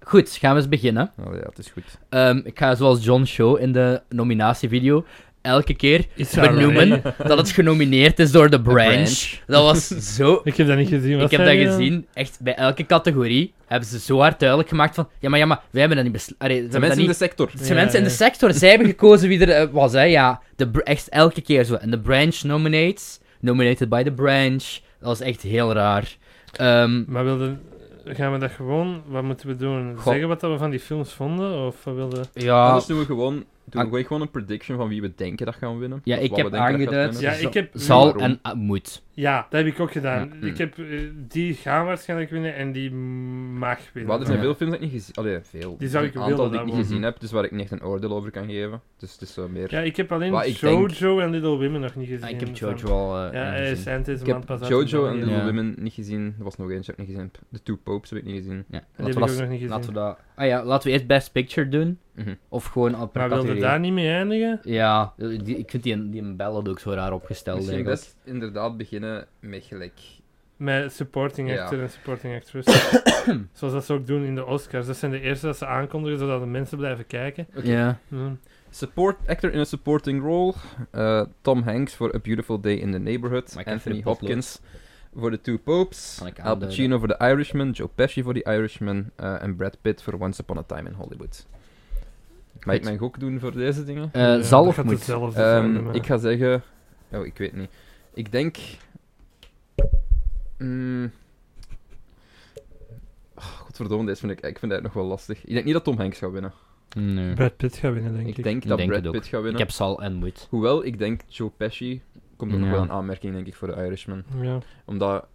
S2: Goed, gaan we eens beginnen.
S3: Oh ja, het is goed.
S2: Ehm, ik ga zoals John Show in de nominatievideo elke keer
S1: Is
S2: benoemen dat het genomineerd is door The Branch.
S3: Branch.
S2: Dat was zo...
S1: Ik heb dat niet gezien.
S2: Ik
S1: wat
S2: heb dat
S1: zei je?
S2: gezien. Echt, bij elke categorie hebben ze zo hard duidelijk gemaakt van... Ja, maar ja, maar wij hebben dat niet besloten.
S3: De mensen in de sector.
S2: Het
S1: Ja,
S2: zijn mensen in de
S1: ja.
S2: sector. Zij hebben gekozen wie er eh, was, hè. Ja, de br- echt elke keer zo. En The Branch nominates. Nominated by The Branch. Dat was echt heel raar. Ehm,
S1: Maar wilden, gaan we dat gewoon, wat moeten we doen?
S2: Goh.
S1: Zeggen wat dat we van die films vonden? Of we wilden...
S2: ja...
S3: Anders doen we gewoon,
S2: Ah.
S3: doen we gewoon- gewoon een prediction van wie we denken dat gaan winnen.
S2: Ja,
S3: Of
S2: ik
S3: wat we
S2: heb
S3: denken dat gaat
S2: aangeduid-
S1: Ja,
S3: winnen.
S1: ik heb...
S2: Zal hm.
S3: waarom?
S2: en ah, moet.
S1: Ja, dat heb ik ook gedaan.
S3: Ja, mm.
S1: Ik heb, eh, die gaan waarschijnlijk winnen en die mag winnen.
S3: Maar er zijn
S2: Ja.
S3: veel films dat ik niet gezien Allee, veel.
S1: Die zou ik
S3: een
S1: willen,
S3: aantal die
S1: dat
S3: ik niet
S1: wel.
S3: gezien heb, dus waar ik niet echt een oordeel over kan geven. Dus het is eh, meer...
S1: Ja, ik heb alleen
S3: Waar ik denk-
S1: Jojo en Little Women nog niet gezien.
S2: Ah, ik heb
S1: dus
S2: Jojo
S1: dan-
S2: al... eh,
S1: Ja, eh,
S2: gezien.
S1: Santa is een
S3: Ik
S1: maand
S3: heb
S1: pas uit,
S3: Jojo
S1: maar
S3: en
S1: die-
S3: Little
S2: Ja.
S3: Women niet gezien. Er was nog eentje die ik niet gezien heb. The Two Popes heb ik niet gezien.
S2: Ja,
S1: Die
S2: laten
S1: heb
S2: we
S1: ik
S2: dat...
S1: ook nog niet gezien.
S2: Laten we dat... Ah ja, laten we eerst Best Picture doen.
S3: Mhm.
S2: Of gewoon al per
S1: Maar wilde
S2: categorie.
S1: daar niet mee eindigen?
S2: Ja, die- ik vind die, die ballad ook zo raar opgesteld.
S3: Misschien
S2: eigenlijk.
S3: best inderdaad beginnen met gelijk...
S1: Met supporting
S3: Ja.
S1: actor en supporting actress. Zoals dat ze ook doen in de Oscars. Dat zijn de eerste dat ze aankondigen, zodat de mensen blijven kijken.
S3: Oké.
S2: Ja.
S1: Hm.
S3: Support actor in a supporting role. eh, Tom Hanks voor A Beautiful Day in the Neighborhood.
S2: Maar ik heb
S3: Anthony
S2: voor de potlood.
S3: Hopkins voor The Two Popes.
S2: Kan ik
S3: Al
S2: aanduiden.
S3: Pacino voor The Irishman. Joe Pesci voor The Irishman. eh, en Brad Pitt voor Once Upon a Time in Hollywood. Mag ik
S2: Goed.
S3: mijn gok doen voor deze dingen?
S2: Eh,
S1: Ja,
S2: zal
S1: dat
S2: of
S1: gaat
S2: moet?
S1: hetzelfde
S3: Ehm,
S1: zijn, maar-
S3: ik ga zeggen... Oh, ik weet niet. Ik denk... Mm. Oh, godverdomme, deze vind ik, ik vind dat nog wel lastig. Ik denk niet dat Tom Hanks gaat winnen.
S2: Nee.
S1: Brad Pitt gaat winnen, denk ik.
S3: Ik denk dat
S2: denk
S3: Brad
S2: het ook.
S3: Pitt gaat
S2: Ik
S3: winnen.
S2: heb zal en moet.
S3: Hoewel, ik denk Joe Pesci komt er nog
S2: Ja.
S3: wel een aanmerking, denk ik, voor de Irishman.
S1: Ja.
S3: Omdat...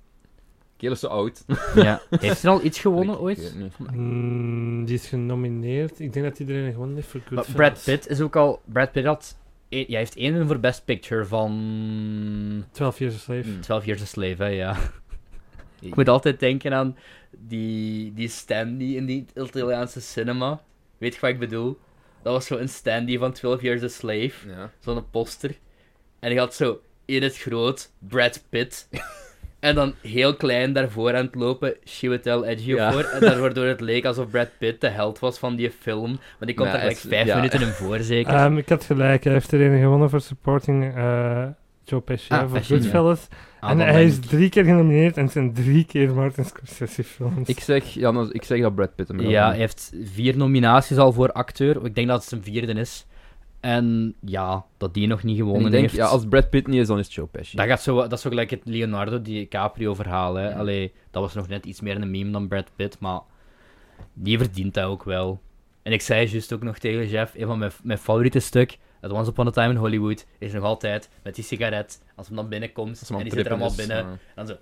S3: Keel is zo oud.
S2: Ja. Heeft hij al iets gewonnen
S3: Ik- Ik weet
S2: ooit?
S3: niet.
S1: Mm, die is genomineerd. Ik denk dat iedereen gewonnen heeft voor
S2: Maar
S1: Goodfellas.
S2: Brad Pitt is ook al... Brad Pitt had... e- Jij heeft één voor Best Picture van...
S1: 12 Years a Slave.
S3: Mm.
S2: 12 Years a Slave, hè, ja. Ik moet altijd denken aan die, die standy in die Italiaanse cinema. Weet je wat ik bedoel? Dat was zo'n standy van 12 Years a Slave.
S3: Ja.
S2: zo'n poster. En die had zo in het groot Brad Pitt. en dan heel klein daarvoor aan het lopen Chiwetel Ejiofor. En daar- waardoor het leek alsof Brad Pitt de held was van die film. Want die komt
S3: Maar
S2: er
S3: hij
S2: gelijk
S3: is-
S2: vijf
S3: ja.
S2: minuten in voor, zeker.
S1: Ehm, ik had gelijk. Hij heeft er een gewonnen voor supporting eh, Joe Pesci
S2: Ah,
S1: hè, voor
S2: Pesci, ja.
S1: Goodfellas.
S2: Ah,
S1: en
S2: dan
S1: hij
S2: ben
S1: is
S2: ik-
S1: drie keer genomineerd en het zijn drie keer Martin Scorsese films.
S3: Ik, zeg, ja, nou, ik zeg dat Brad Pitt hem gaat
S2: Ja, hij
S3: winnen.
S2: heeft vier nominaties al voor acteur. Ik denk dat het zijn vierde is. En ja, dat die nog niet
S3: En
S2: gewonnen
S3: ik denk,
S2: heeft.
S3: ja, als Brad Pitt niet is, dan is Joe Pesci.
S2: dat, gaat zo, dat is zo gelijk het Leonardo DiCaprio verhaal. Hè. Allee, dat was nog net iets meer een meme dan Brad Pitt, maar die verdient dat ook wel. En ik zei juist ook nog tegen Jeff, een van mijn, mijn favoriete stuk, het Once Upon a Time in Hollywood, is nog altijd met die sigaret, als hem dan binnenkomt,
S3: Als hem
S2: en
S3: aan
S2: die
S3: het
S2: zit er
S3: trippen
S2: allemaal
S3: is,
S2: binnen,
S3: ja.
S2: dan zo...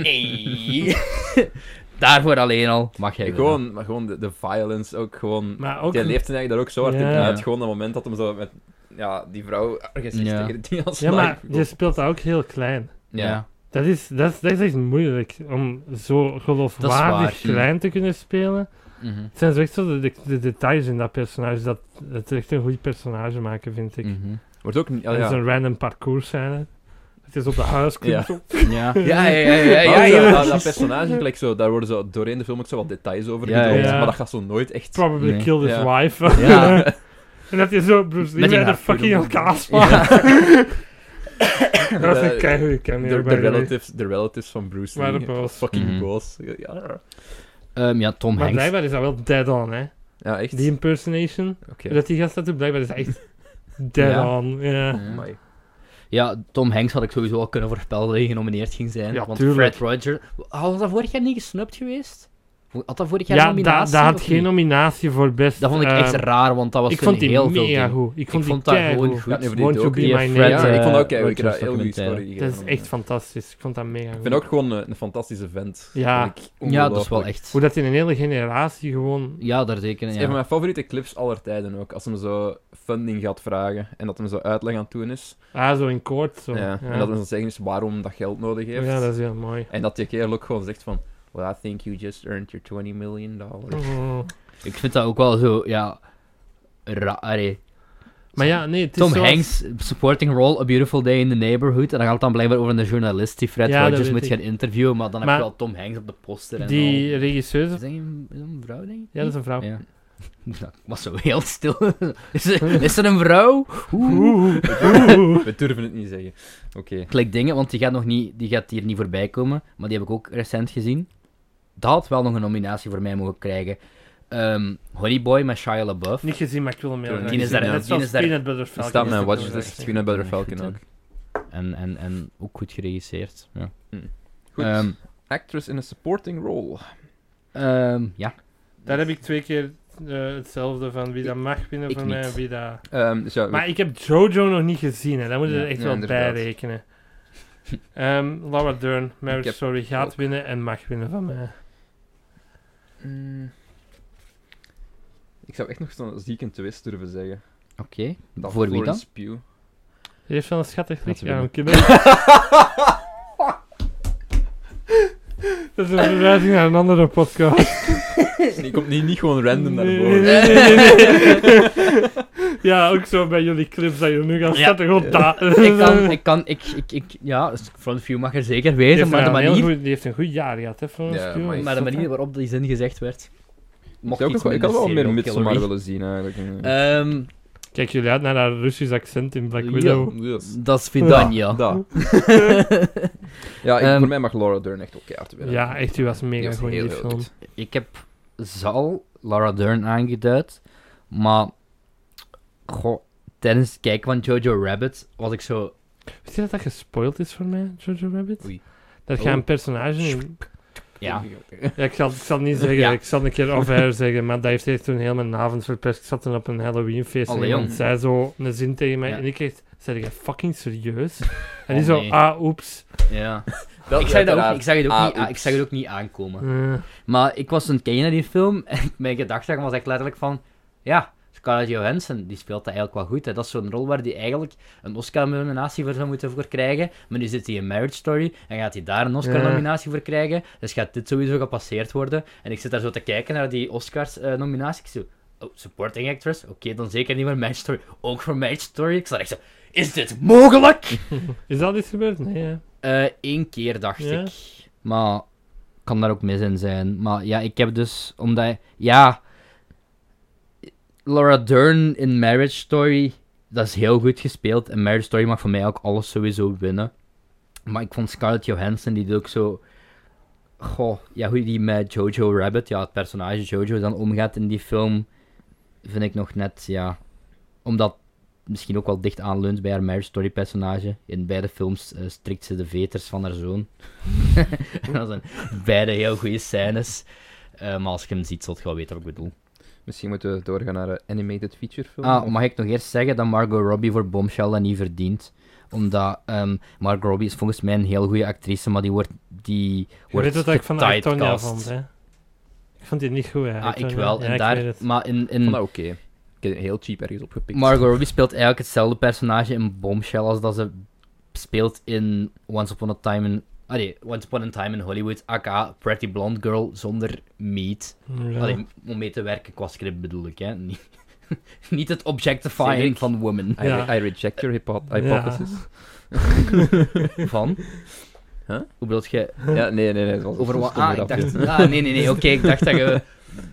S2: Hey. Daarvoor alleen al mag jij winnen.
S3: Gewoon, maar gewoon de, de violence ook gewoon.
S1: Maar ook...
S3: Die leeft er eigenlijk daar ook zo hard in
S1: Ja.
S3: uit. Gewoon dat moment dat hem zo met ja, die vrouw ergens
S2: Ja. dus-
S3: tegen die als
S1: Ja, maar je speelt dat ook heel klein.
S2: Ja.
S3: Ja.
S1: Dat is, dat, is, dat is echt moeilijk om zo geloofwaardig
S2: hm.
S1: klein te kunnen spelen.
S2: Mhm.
S1: Het zijn zo echt zo de, de, de details in dat personage dat het echt een goed personage maken, vind ik.
S2: Mhm.
S3: Wordt ook niet.
S1: Dat
S3: ah,
S1: is
S3: ja.
S1: een random parcours scène. Het is op de huis.
S3: Ja.
S1: komt zo.
S2: Ja, ja, ja, ja, ja,
S3: Maar
S2: ja, ja.
S3: ook zo, Dat, dat personage, gelijk zo, daar worden zo doorheen de film ook zo wat details over
S2: Ja,
S3: gedropt,
S1: ja.
S3: maar dat gaat zo nooit echt...
S1: Probably
S2: Nee.
S1: killed his
S3: Ja.
S1: wife.
S2: Ja.
S1: en dat je zo Bruce Lee
S2: Met
S1: bij
S2: die
S1: de
S2: haarvuur
S1: fucking
S2: op de-
S1: elkaar slaat. dat is
S3: De-
S1: een keigoede
S3: De,
S1: cameo, by
S3: de,
S1: the way.
S3: relatives, de relatives van Bruce Lee.
S1: Waren boos.
S3: Fucking
S2: Mhm.
S3: boos. Ja,
S2: Ehm, ja, Tom
S1: Maar
S2: Hanks.
S1: blijkbaar is dat wel dead on, hè.
S3: ja echt.
S1: Die impersonation,
S3: Oké.
S1: dat die gast dat doet, blijkbaar is echt dead
S2: Ja.
S1: on. Ja.
S2: Ja.
S3: Amai.
S2: Ja, Tom Hanks had ik sowieso al kunnen voorspellen dat hij genomineerd ging zijn.
S1: Ja,
S2: want
S1: tuurlijk.
S2: Fred Rogers... Had dat vorig jaar niet gesnupt geweest? Had dat vorig jaar
S1: Ja, dat
S2: nominatie?
S1: dat had
S2: of
S1: geen
S2: niet?
S1: nominatie voor best.
S2: Dat vond ik echt
S1: ehm,
S2: raar, want dat was
S1: Ik
S2: toen
S1: vond die
S2: heel veel
S1: mega
S2: dingen.
S1: goed. Ik
S2: Ik
S1: vond die
S2: vond dat gewoon
S1: keigoed.
S2: goed.
S3: Ja, nee, voor die
S1: Won't you
S3: docu-
S1: be
S2: die
S1: my
S2: Fred,
S1: neighbor?
S3: ja, ik vond dat ook
S2: eh,
S3: heel Ik heb daar
S2: Rogers
S3: heel goede
S2: documentaire.
S3: story
S1: Dat is echt fantastisch. Ik vond dat mega goed.
S3: Ik vind ook gewoon eh, een, een fantastische vent.
S1: Ja.
S3: Vind ik
S2: Ja, dat is wel
S3: ongelooflijk.
S2: echt...
S1: Hoe dat in een hele generatie gewoon...
S2: Ja, daar zeker. Ja.
S3: Het is een van mijn favoriete clips aller tijden ook. Als hem zo funding gaat vragen en dat hem zo uitleg aan het doen is.
S1: Ah, zo in koord. Zo.
S3: Ja, En dat hem dan zeggen is waarom dat geld nodig heeft.
S1: Ja, dat is heel mooi.
S3: En dat die kerel ook gewoon zegt van... Well, I think you just earned your 20 million dollars.
S1: Oh.
S2: Ik vind dat ook wel zo, ja... Raar, allee.
S1: Maar ja, nee, het is
S2: Tom
S1: zoals-
S2: Hanks, supporting role, A Beautiful Day in the Neighborhood. En dan gaat het dan blijkbaar over een journalist die Fred
S1: Ja, dat
S2: Rogers
S1: weet
S2: moet
S1: ik.
S2: gaan interviewen. Maar dan
S1: Maar
S2: heb je wel Tom Hanks op de poster en
S1: Die
S2: al.
S1: regisseuse...
S2: Is dat een, is dat een vrouw, denk ik?
S1: Ja, dat is een vrouw.
S2: Ja. Oh. Dat was zo heel stil. Is er, is er een vrouw? Oeh.
S1: Oeh, oeh.
S3: We durven het niet zeggen. Oké.
S2: Klik dingen, want die gaat, nog niet, die gaat hier niet voorbij komen. Maar die heb ik ook recent gezien. Dat had wel nog een nominatie voor mij mogen krijgen. Ehm Honey Boy met Shia LaBeouf.
S1: Niet gezien, maar ik wil hem heel
S3: Die
S1: graag
S3: is
S1: zien.
S3: daar-
S1: Net
S3: die
S1: zoals
S2: is daar-
S1: Peanut Butter
S3: Er
S1: Falcon.
S3: staat
S1: is
S3: mijn
S1: ook
S3: watch
S1: heel
S3: list
S1: graag
S3: Peanut Butter
S2: Ja,
S3: Falcon
S2: goed,
S3: ook.
S2: En, en, en ook goed geregisseerd. Ja.
S3: Goed.
S2: Ehm,
S3: Actress in a supporting role.
S2: ehm, ja.
S1: zien. Daar heb ik twee keer eh, hetzelfde van. Wie dat mag winnen
S2: ik
S1: van mij en
S2: niet.
S1: wie dat...
S3: Ehm, dus ja,
S1: Maar ik heb Jojo nog niet gezien, hè. Daar moeten we
S2: Ja,
S1: echt
S3: ja,
S1: wel bij
S3: inderdaad.
S1: rekenen. Ehm, Laura Dern, Marriage
S3: heb
S1: Story gaat
S3: ook-
S1: winnen en mag winnen van mij.
S3: Mm. Ik zou echt nog zo'n zieke twist durven zeggen.
S2: Oké. Voor wie dan?
S3: Florence Pugh.
S1: Die heeft wel een schattig
S2: Laten we
S1: lichaam, kinderen. Dat is een verwijzing naar een andere podcast.
S3: Die komt Dus niet, niet gewoon random naar
S1: Nee,
S3: boven.
S1: nee, nee, nee, nee. ja, ook zo bij jullie clips dat je nu gaat
S2: Ja.
S1: zetten, gewoon daar.
S2: ik kan, ik kan, ik, ik, ik, ja, dus Front View mag er zeker
S1: Die
S2: wezen,
S1: heeft,
S2: maar de
S1: een heel
S2: manier,
S1: goed- die heeft een goed jaar gehad, hè, voor ons.
S3: Ja,
S1: Q.
S3: maar
S2: maar de manier waarop die zin gezegd werd, mocht
S3: ik,
S2: iets
S3: zou ook, ik had
S2: minder
S3: wel meer
S2: serial
S3: Midsommar
S2: killer.
S3: willen zien eigenlijk.
S2: Ehm,
S1: Kijk jullie uit naar haar Russisch accent in Black
S2: Ja.
S1: Widow.
S3: Yes.
S2: dat is Vidania.
S3: eh. Da. ja, ik-
S2: Ehm,
S3: voor mij mag Laura Dern echt ook keihard winnen.
S1: Ja, echt, die was mega
S3: was
S1: goed in
S3: heel
S1: die
S3: heel
S1: film.
S3: goed.
S2: Ik heb zal Laura Dern aangeduid, maar goh, tijdens het kijken van Jojo Rabbit was ik zo,
S1: Wist je dat dat gespoild is voor mij, Jojo Rabbit?
S2: Oei.
S1: Dat gaat een
S2: Oh.
S1: personage in...
S2: ja,
S1: Ja, ik zal, ik zal het niet zeggen,
S2: Ja.
S1: ik zal een keer of her zeggen, maar dat heeft echt toen heel mijn avond verpest. Ik zat toen op een Halloweenfeest en
S2: Allee,
S1: iemand
S2: jong.
S1: zei zo een zin tegen mij
S2: Ja.
S1: en ik echt, zei jij fucking serieus? En
S2: Oh,
S1: die zo,
S2: nee.
S1: ah, oeps.
S2: ja. Ik zag, dat ook, ik, zag het ook
S3: Ah,
S2: niet, aan- ik
S3: oeps.
S2: zag het ook niet aankomen.
S1: Eh,
S2: Maar ik was aan het kijken naar die film en mijn gedachte was echt letterlijk van... Ja, Scarlett Johansson, die speelt dat eigenlijk wel goed. Hè. Dat is zo'n rol waar die eigenlijk een Oscar-nominatie voor zou moeten voor krijgen. Maar nu zit hij in Marriage Story en gaat hij daar een Oscar-nominatie voor krijgen. Dus gaat dit sowieso gepasseerd worden. En ik zit daar zo te kijken naar die Oscars-nominatie. ik zo... Oh, supporting actress? Oké, dan zeker niet voor Marriage Story. Ook voor Marriage Story? Ik zat echt zo... Is dit mogelijk?
S1: Is dat iets gebeurd? Nee, hè?
S2: eh Eén keer, dacht
S1: Ja.
S2: ik. Maar kan daar ook mis in zijn. Maar ja, ik heb dus, omdat... Ja, Laura Dern in Marriage Story, dat is heel goed gespeeld. En Marriage Story mag voor mij ook alles sowieso winnen. Maar ik vond Scarlett Johansson, die doet ook zo... Goh, ja, hoe die met Jojo Rabbit, ja, het personage Jojo dan omgaat in die film, vind ik nog net, ja... Omdat misschien ook wel dicht aanleunt bij haar Marriage Story personage. In beide films eh, strikt ze de veters van haar zoon. En dat zijn beide heel goede scènes. Eh, maar als je hem ziet, zult je wel weten wat ik bedoel.
S3: Misschien moeten we doorgaan naar een animated feature film.
S2: Ah, mag ik nog eerst zeggen dat Margot Robbie voor Bombshell dat niet verdient? Omdat ehm, Margot Robbie is volgens mij een heel goede actrice, maar die wordt, die
S1: Je
S2: wordt
S1: weet wat ik van Antonia
S2: getypecast.
S1: vond, hè? Ik vond die niet goed
S2: Ah,
S1: eigenlijk.
S2: ik
S1: hoor.
S2: wel.
S1: Ja,
S2: En
S1: ik weet
S2: daar,
S1: het.
S2: maar in,
S3: Ik
S2: in
S3: vond dat oké. Ik heb het heel cheap ergens opgepikt.
S2: Margot Robbie speelt eigenlijk hetzelfde personage in Bombshell als dat ze speelt in Once Upon a Time in... Allee, Once Upon a Time in Hollywood, aka Pretty Blonde Girl, zonder meat.
S1: Ja.
S2: Allee, om mee te werken qua script bedoel ik, hè. Niet, niet het objectifying van women.
S3: I,
S1: Ja.
S3: I reject your hypo-
S1: Ja.
S3: hypothesis.
S2: Van?
S3: Huh?
S2: Hoe bedoelt jij?
S3: Ja. nee, nee, nee. Het was
S2: Over
S3: een
S2: wat?
S3: stomme
S2: Ah, ik
S3: grapje.
S2: dacht... Ah, nee, nee, nee. Oké, ik dacht dat je...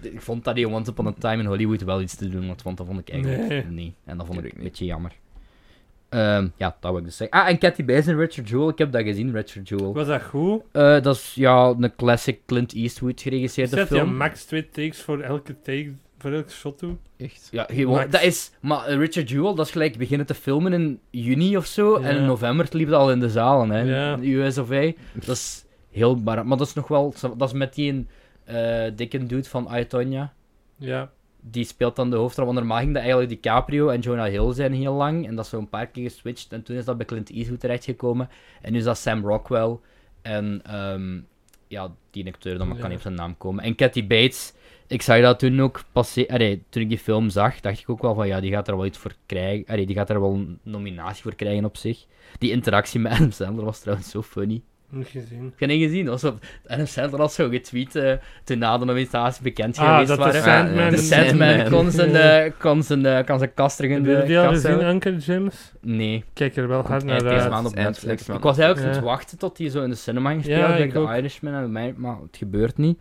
S2: Ik vond dat die Once Upon a Time in Hollywood wel iets te doen had, want dat vond ik eigenlijk
S1: Nee.
S2: niet. En dat vond ik
S3: Ik
S2: een
S3: niet.
S2: beetje jammer. Ehm, ja, dat wil ik dus zeggen. Ah, en Cathy Bates en Richard Jewell. Ik heb dat gezien, Richard Jewell.
S1: Was dat goed?
S2: Eh, dat is ja, een classic Clint Eastwood geregisseerde
S1: Zet je
S2: film.
S1: max twee takes voor elke take, voor elk shot toe?
S3: Echt?
S2: Ja, gewoon,
S1: Max.
S2: dat is... Maar eh, Richard Jewell, dat is gelijk beginnen te filmen in juni of zo.
S1: Ja.
S2: En in november het liep het al in de zalen, hè.
S1: Ja.
S2: in de US of A. Dat is heel bar. Maar dat is nog wel... Dat is met die eh, dikke dude van Aitonia.
S1: Ja.
S2: die speelt dan de hoofdrol. Want normaal ging dat eigenlijk DiCaprio en Jonah Hill zijn heel lang. En dat is zo een paar keer geswitcht. En toen is dat bij Clint Eastwood terechtgekomen. En nu is dat Sam Rockwell. En ehm, ja, die acteur, dan
S1: Ja.
S2: kan niet op zijn naam komen. En Kathy Bates. Ik zag dat toen ook passeren. Allee, toen ik die film zag, dacht ik ook wel van ja, die gaat er wel iets voor krijgen. Allee, die gaat er wel een nominatie voor krijgen op zich. Die interactie met Adam Sandler was trouwens zo funny.
S1: Niet gezien.
S2: Heb je niet gezien? Dat was op Adam Sandler had zo getweet eh, toen na de nominatie bekend
S1: Ah,
S2: geweest
S1: dat
S2: waren.
S1: de
S3: waren-
S1: Sandman...
S2: De
S3: De
S2: Sandman
S3: Sandman.
S2: kon zijn, eh, kon zijn, eh, kan zijn kast terug in
S1: Heb
S2: de
S1: je die al
S2: kast
S1: gezien,
S2: houden.
S1: Uncle James?
S2: Nee.
S1: Kijk er wel hard
S2: Hij
S1: naar
S2: is deze
S1: uit.
S2: maand op
S3: Eind
S2: Netflix.
S3: next
S2: Ik
S3: maand.
S2: was eigenlijk aan het
S1: Ja.
S2: wachten tot hij zo in de cinema ging spelen.
S1: Ja,
S2: ik
S1: ik
S2: denk
S1: ook.
S2: de Irishman en mij, maar het gebeurt niet.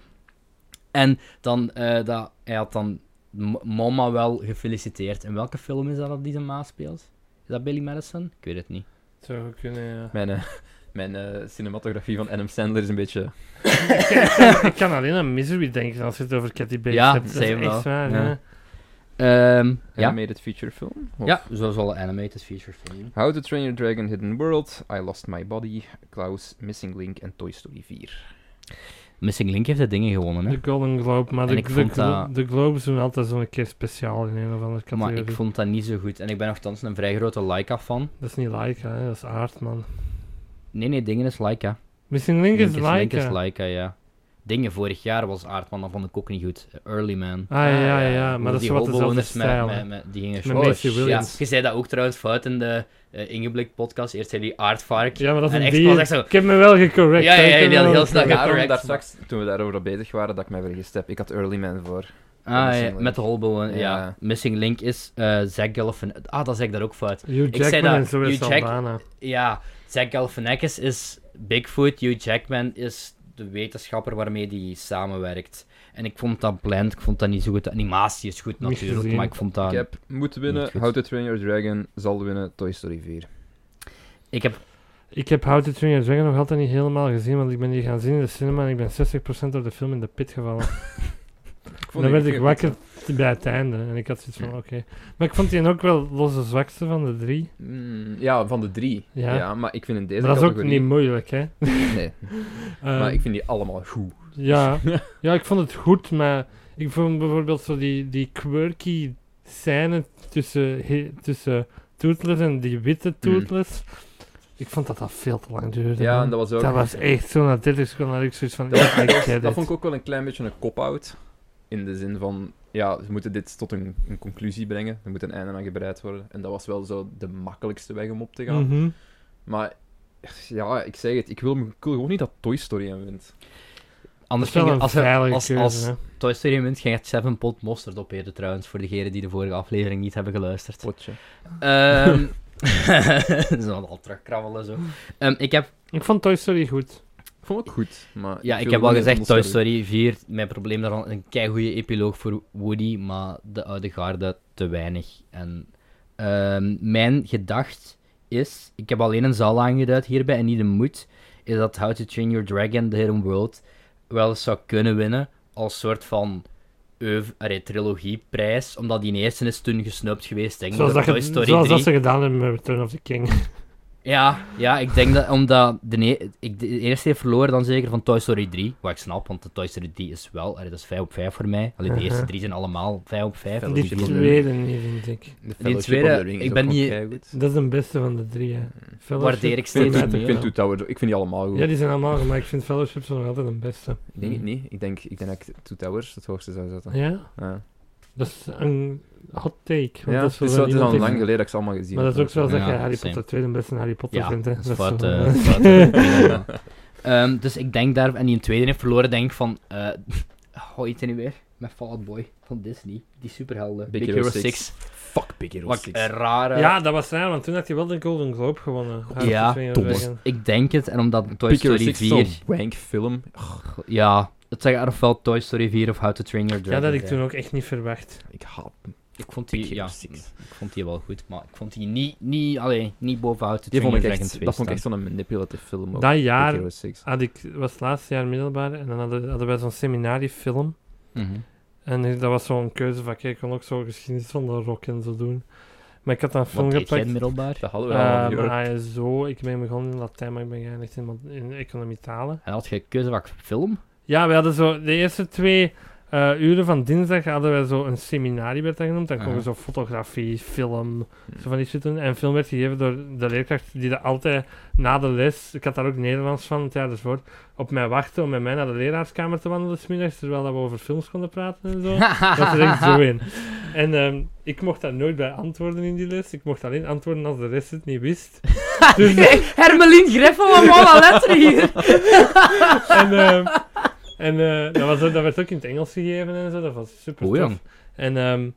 S2: En dan, eh, dat, hij had dan M- Mama wel gefeliciteerd. In welke film is dat dat die zijn ma speelt? Is dat Billy Madison? Ik weet het niet.
S1: Zou goed kunnen, ja.
S3: Mijn, eh, mijn eh, cinematografie van Adam Sandler is een beetje...
S1: Ik kan alleen aan Misery denken als je het over Cathy Bates
S2: Ja,
S1: hebt. Dat is
S2: same
S1: echt
S2: wel.
S1: waar,
S2: Ja.
S1: ja.
S2: Ehm, ja.
S3: Animated feature film. Of
S2: ja, zoals alle animated feature films.
S3: How to Train Your Dragon Hidden World, I Lost My Body, Klaus, Missing Link en Toy Story 4.
S2: Missing Link heeft de dingen gewonnen, hè?
S1: De Golden Globe, maar
S2: En
S1: de,
S2: ik
S1: de,
S2: vond
S1: glo-
S2: dat-
S1: de Globes doen altijd zo'n keer speciaal in een of andere
S2: Maar
S1: categorie.
S2: ik vond dat niet zo goed. En ik ben nogthans een vrij grote Laika-fan.
S1: Dat is niet Laika, hè, dat is Aard, man.
S2: Nee, nee, dingen is Laika.
S1: Misschien Link is
S2: Link is
S1: Laika.
S2: Laika, ja. Dingen vorig jaar was Aardman, dat vond ik ook niet goed. eh, Early Man.
S1: Ah, ja, ja, ja,
S2: Hoe
S1: maar dat is
S2: die
S1: wat dezelfde
S2: hobbelwoners met-
S1: stijl.
S2: met-
S1: hè.
S2: met- Die gingen
S1: Met
S2: showen.
S1: Macy Williams.
S2: Ja, je zei dat ook trouwens fout in de eh Ingeblik podcast. Eerst zei die Aardvark.
S1: Ja, maar dat is
S2: En
S1: een
S2: echt
S1: dier.
S2: was echt zo-
S1: Ik heb me wel gecorrect.
S2: Ja, ja,
S1: hè, ik
S2: ja,
S1: heb
S2: die
S1: me
S2: had
S1: wel
S2: heel snel
S1: gecorrect.
S2: Ja,
S3: Daarom
S2: correct.
S3: daar straks, toen we daarover bezig waren, dat ik mij vergist heb. Ik had Early Man voor.
S2: Ah, ja,
S3: Missing Link.
S2: met de Holbowen, ja.
S3: Ja.
S2: Missing Link is eh Zach Galifianakis. Ah, dat zeg ik daar ook fout.
S1: Hugh
S2: Ik zei
S1: Jackman
S2: dat,
S1: en zo is
S2: Hugh Jack-
S1: Saldana.
S2: Ja, Zach Galifianakis is Bigfoot. Hugh Jackman is de wetenschapper waarmee die samenwerkt. En ik vond dat bland, ik vond dat niet zo goed. De animatie is goed
S1: Niet
S2: natuurlijk,
S1: gezien.
S2: maar ik vond dat...
S3: ik heb Moet
S2: niet
S3: winnen,
S2: goed.
S3: How to Train Your Dragon, zal winnen, Toy Story 4.
S2: Ik heb
S1: Ik heb How to Train Your Dragon nog altijd niet helemaal gezien, want ik ben die gaan zien in de cinema en ik ben 60% door de film in de pit gevallen. En dan werd ik wakker t- bij het einde en ik had zoiets van, oké. Maar ik vond die ook wel los de zwakste van de drie.
S3: Mm, ja, van de drie.
S1: Ja.
S3: Ja. maar ik vind in deze
S1: Maar dat is ook
S3: categorie...
S1: niet moeilijk, hè.
S3: Nee, maar
S1: Ehm,
S3: ik vind die allemaal goed.
S1: Ja. ja, ik vond het goed, maar ik vond bijvoorbeeld zo die, die quirky scène tussen, he- tussen Tootles en die witte Tootles. Ik vond dat dat veel te lang duurde.
S3: Mm. Ja,
S1: man.
S3: en dat was ook...
S1: dat was echt zo na 30 seconden had ik zoiets van,
S3: Dat,
S1: ja, ik
S3: dat,
S1: get
S3: dat
S1: it.
S3: vond ik ook wel een klein beetje een cop-out. In de zin van, ja, ze moeten dit tot een, een conclusie brengen. Er moet een einde aan gebreid worden. En dat was wel zo de makkelijkste weg om op te gaan.
S1: Mhm.
S3: Maar, ja, ik zeg het, ik wil, ik wil gewoon niet dat Toy Story hem wint.
S1: Dat
S2: Anders
S1: is wel
S2: ging-
S1: een
S2: als, er-
S1: veilige
S2: als,
S1: keuze,
S2: als
S1: hè.
S2: Toy Story wint, ging het 7 pot mosterd opeten trouwens, voor degenen die de vorige aflevering niet hebben geluisterd.
S3: Potje.
S2: Ehm Ze hadden al terugkrabbelen zo. Ehm, ik heb,
S1: Ik vond Toy Story goed.
S3: Ik vond het goed, maar...
S2: ja, ik
S3: wil
S2: heb al
S3: gewoon
S2: gezegd,
S3: niet
S2: Toy
S3: onderschatten.
S2: Story 4, mijn probleem daarvan, een keigoede epiloog voor Woody, maar de oude garde te weinig. En ehm, mijn gedacht is, ik heb alleen een zaal aangeduid hierbij en niet de moed, is dat How to Train Your Dragon, The Hidden World, wel eens zou kunnen winnen als soort van oeuvre- allee, trilogieprijs, omdat die eerste is toen gesnupt geweest, denk ik,
S1: Zoals,
S2: door
S1: dat,
S2: Toy
S1: ge-
S2: Story
S1: zoals
S2: 3.
S1: dat ze gedaan hebben met Return of the King.
S2: Ja, ja, ik denk dat omdat de, ne- ik de eerste heeft verloren dan zeker van Toy Story 3. Wat ik snap, want de Toy Story 3 is wel, allee, dat is 5 op 5 voor mij. Allee, de
S1: Mhm.
S2: eerste drie zijn allemaal 5 op 5.
S3: Fellowship
S1: Die
S3: of the
S1: tweede niet, vind ik.
S3: De
S2: Die tweede, ik ben niet-
S3: Goed.
S1: Dat is de beste van de drie, hè. Fellowship,
S2: Waardeer ik
S3: Ik
S2: steeds
S3: vind,
S1: Payback.
S2: meer.
S3: ik vind Two Towers, ik vind die allemaal goed.
S1: Ja, die zijn allemaal goed, maar ik vind Fellowship zo nog altijd de beste.
S3: Ik denk het niet. Ik denk, ik denk dat ik Two Towers het hoogste zou zetten.
S1: Ja?
S3: Ja,
S1: Dat is een hot take. Want
S3: ja
S1: dat is
S3: het is,
S1: wel
S3: wel-
S1: zo
S3: het is al
S1: iemand
S3: lang
S1: die-
S3: geleden dat ik ze allemaal gezien
S1: Maar dat is ook
S3: heb.
S1: zoals dat
S2: Ja,
S1: je Harry
S2: same.
S1: Potter tweede beste Harry Potter
S2: Ja,
S1: vindt, hè.
S2: dat is
S1: Dat is
S2: fout.
S1: zo,
S2: eh,
S1: eh.
S2: fout, eh, Ehm, dus ik denk daar, en die in tweede heeft verloren, denk ik van, eh hoe heet hij nu weer? Met Fallout Boy van Disney, die superhelden. Big,
S3: Big Hero
S2: Hero eh, 6.
S3: Six. Fuck Big Hero
S2: Wat
S3: 6.
S2: een rare...
S1: Ja, dat was raar, want toen had hij wel de Golden Globe gewonnen. Harry
S2: Ja,
S1: Potter
S2: dom.
S1: ging zeggen.
S2: ik denk het, en omdat Toy
S3: Big Hero
S2: Story
S3: 6 is
S2: 4...
S3: zo'n wank film.
S2: Ja, het zeggen ofwel Toy Story 4 of How to Train Your Dragon.
S1: Ja, dat had ik
S2: zijn.
S1: toen ook echt niet verwacht.
S3: Ik haat
S2: Ik vond
S3: Big
S2: die, ja,
S3: Hero
S2: ik
S3: 6.
S2: vond die wel goed, maar ik vond die niet, niet, allee, niet boven How to
S3: Die
S2: Train
S3: vond ik
S2: Your Dragon
S3: echt,
S2: 2
S3: dat vond ik echt
S2: staan.
S3: zo'n manipulative film. ook.
S1: Dat
S3: Big
S1: jaar
S3: Hero 6.
S1: had ik, was het laatste jaar middelbaar en dan hadden, hadden wij zo'n seminariefilm.
S2: Mhm.
S1: En dat was zo'n keuzevak. hè. Ik kon ook zo geschiedenis van de rock en zo doen. Maar ik had dan een film
S2: Wat deed jij
S1: gepakt.
S2: middelbaar?
S3: Dat hadden we al
S1: Ehm,
S3: een jaar.
S1: ASO, ik ben begonnen in Latijn, maar ik ben geëindigd in, ma- in economie talen.
S2: En had je keuzevak film?
S1: Ja, we hadden zo de eerste twee eh, uren van dinsdag hadden wij zo een seminarie werd dat genoemd. Dan kon je
S2: Aha.
S1: zo fotografie, film,
S3: Hmm.
S1: zo van die shit doen. En film werd gegeven door de leerkracht die dat altijd na de les, ik had daar ook Nederlands van het jaar ervoor, op mij wachtte om met mij naar de leraarskamer te wandelen smiddags, terwijl dat we over films konden praten en zo. Dat er echt zo in. En ehm, ik mocht daar nooit bij antwoorden in die les. Ik mocht alleen antwoorden als de rest het niet wist. Dus-
S2: Hermelien Greffel van Mona Letter hier!
S1: en ehm, en eh, dat, was, ook- dat werd ook in het Engels gegeven en zo. Dat was super
S2: Oei,
S1: tof.
S2: jong.
S1: En ehm,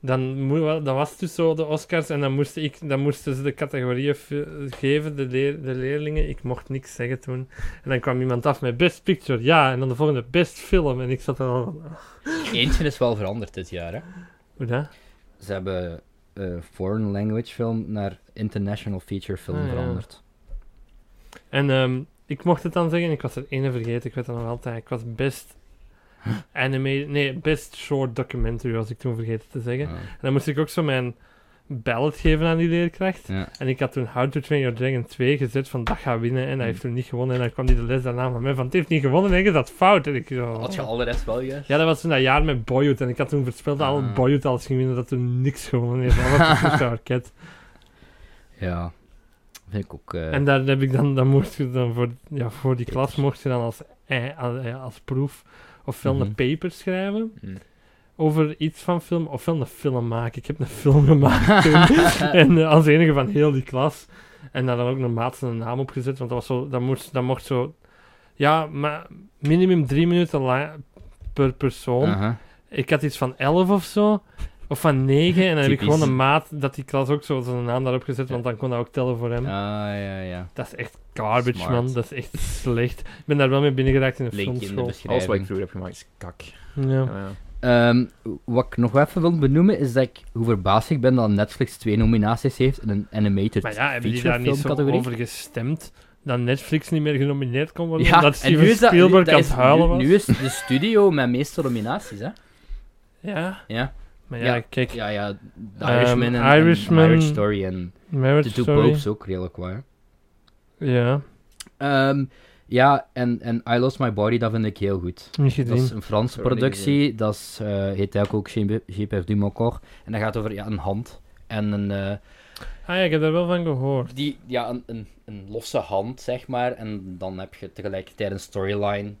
S1: dan, moe- wa- dan was het dus zo de Oscars en dan, moest ik, dan moesten ze de categorieën v- geven, de, leer- de leerlingen. Ik mocht niks zeggen toen. En dan kwam iemand af met Best Picture, ja. En dan de volgende Best Film. En ik zat er al van, ah,
S2: Eentje is wel veranderd dit jaar, hè.
S1: hoe dat?
S2: Ze hebben eh, foreign language film naar international feature film
S1: Ah, ja.
S2: veranderd.
S1: En ehm, ik mocht het dan zeggen, ik was er ene vergeten, ik weet dat nog altijd. Ik was Best Anime, nee, Best Short Documentary was ik toen vergeten te zeggen.
S2: Ah,
S1: En dan moest ik ook zo mijn ballot geven aan die leerkracht.
S2: ja.
S1: En ik had toen How to Train Your Dragon 2 gezet van dat gaat winnen. En hij
S2: Hmm.
S1: heeft toen niet gewonnen. En dan kwam hij de les daarna van mij van het heeft niet gewonnen. En ik dat is fout. En ik zo,
S2: Had je al de rest wel juist?
S1: Ja, dat was toen dat jaar met Boyhood. En ik had toen voorspeld dat al
S2: Ah.
S1: Boyhood alles ging winnen. Dat toen niks gewonnen heeft. Maar wat is zo'n raket.
S2: Ja. Vind ik ook... eh,
S1: En daar heb ik dan, dan mocht je dan voor, ja, voor die klas mocht je dan als, eh, als, eh, als proef ofwel
S2: Mhm.
S1: een paper schrijven.
S3: Mm.
S1: over iets van film, ofwel een film maken. Ik heb een film gemaakt toen. en eh, als enige van heel die klas. En daar dan ook een maat zijn naam op gezet, want dat, was zo, dat, moest, dat mocht zo... Ja, maar minimum drie minuten la- per persoon.
S2: aha.
S1: Ik had iets van elf of zo. Of van negen. En dan heb ik
S2: Typisch.
S1: gewoon een maat dat die klas ook zo zijn naam daarop gezet, want dan kon dat ook tellen voor hem.
S2: Ah, ja, ja.
S1: Dat is echt garbage,
S2: Smart.
S1: man. Dat is echt slecht. Ik ben daar wel mee binnengeraakt in een
S2: Link in de
S1: filmschool.
S2: beschrijving.
S3: Alles wat ik vroeger heb gemaakt is kak.
S1: Ja.
S3: Ja, ja.
S2: Ehm, wat ik nog even wil benoemen is dat ik hoe verbaasd ik ben dat Netflix twee nominaties heeft in een animated
S1: Maar ja, hebben die
S2: feature
S1: daar niet
S2: film
S1: zo
S2: categorie.
S1: over gestemd dat Netflix niet meer genomineerd kon worden?
S2: Ja,
S1: omdat
S2: en nu
S1: Steven
S2: is dat, nu-
S1: Spielberg
S2: dat
S1: aan
S2: is
S1: het huilen
S2: nu,
S1: was?
S2: nu is de studio met meeste nominaties, hè?
S1: Ja,
S2: Ja,
S1: maar ja,
S2: Ja.
S1: kijk,
S2: ja, ja. The
S1: Ehm,
S2: Irishman en- en, en
S1: Irishman,
S2: Marriage Story en
S1: Marriage
S2: The Two
S1: Story.
S2: Popes ook redelijk waar.
S1: Ja,
S2: Ehm, ja, en, en I Lost My Body, dat vind ik heel goed.
S1: niet
S2: Dat is
S1: gezien.
S2: een Franse
S3: Sorry,
S2: productie, dat is, eh, heet eigenlijk ook J'ai- J'ai perdu mon corps. En dat gaat over ja, een hand en een... eh,
S1: Ah ja, ik heb daar wel van gehoord.
S2: die, ja, een, een, een losse hand, zeg maar. En dan heb je tegelijkertijd een storyline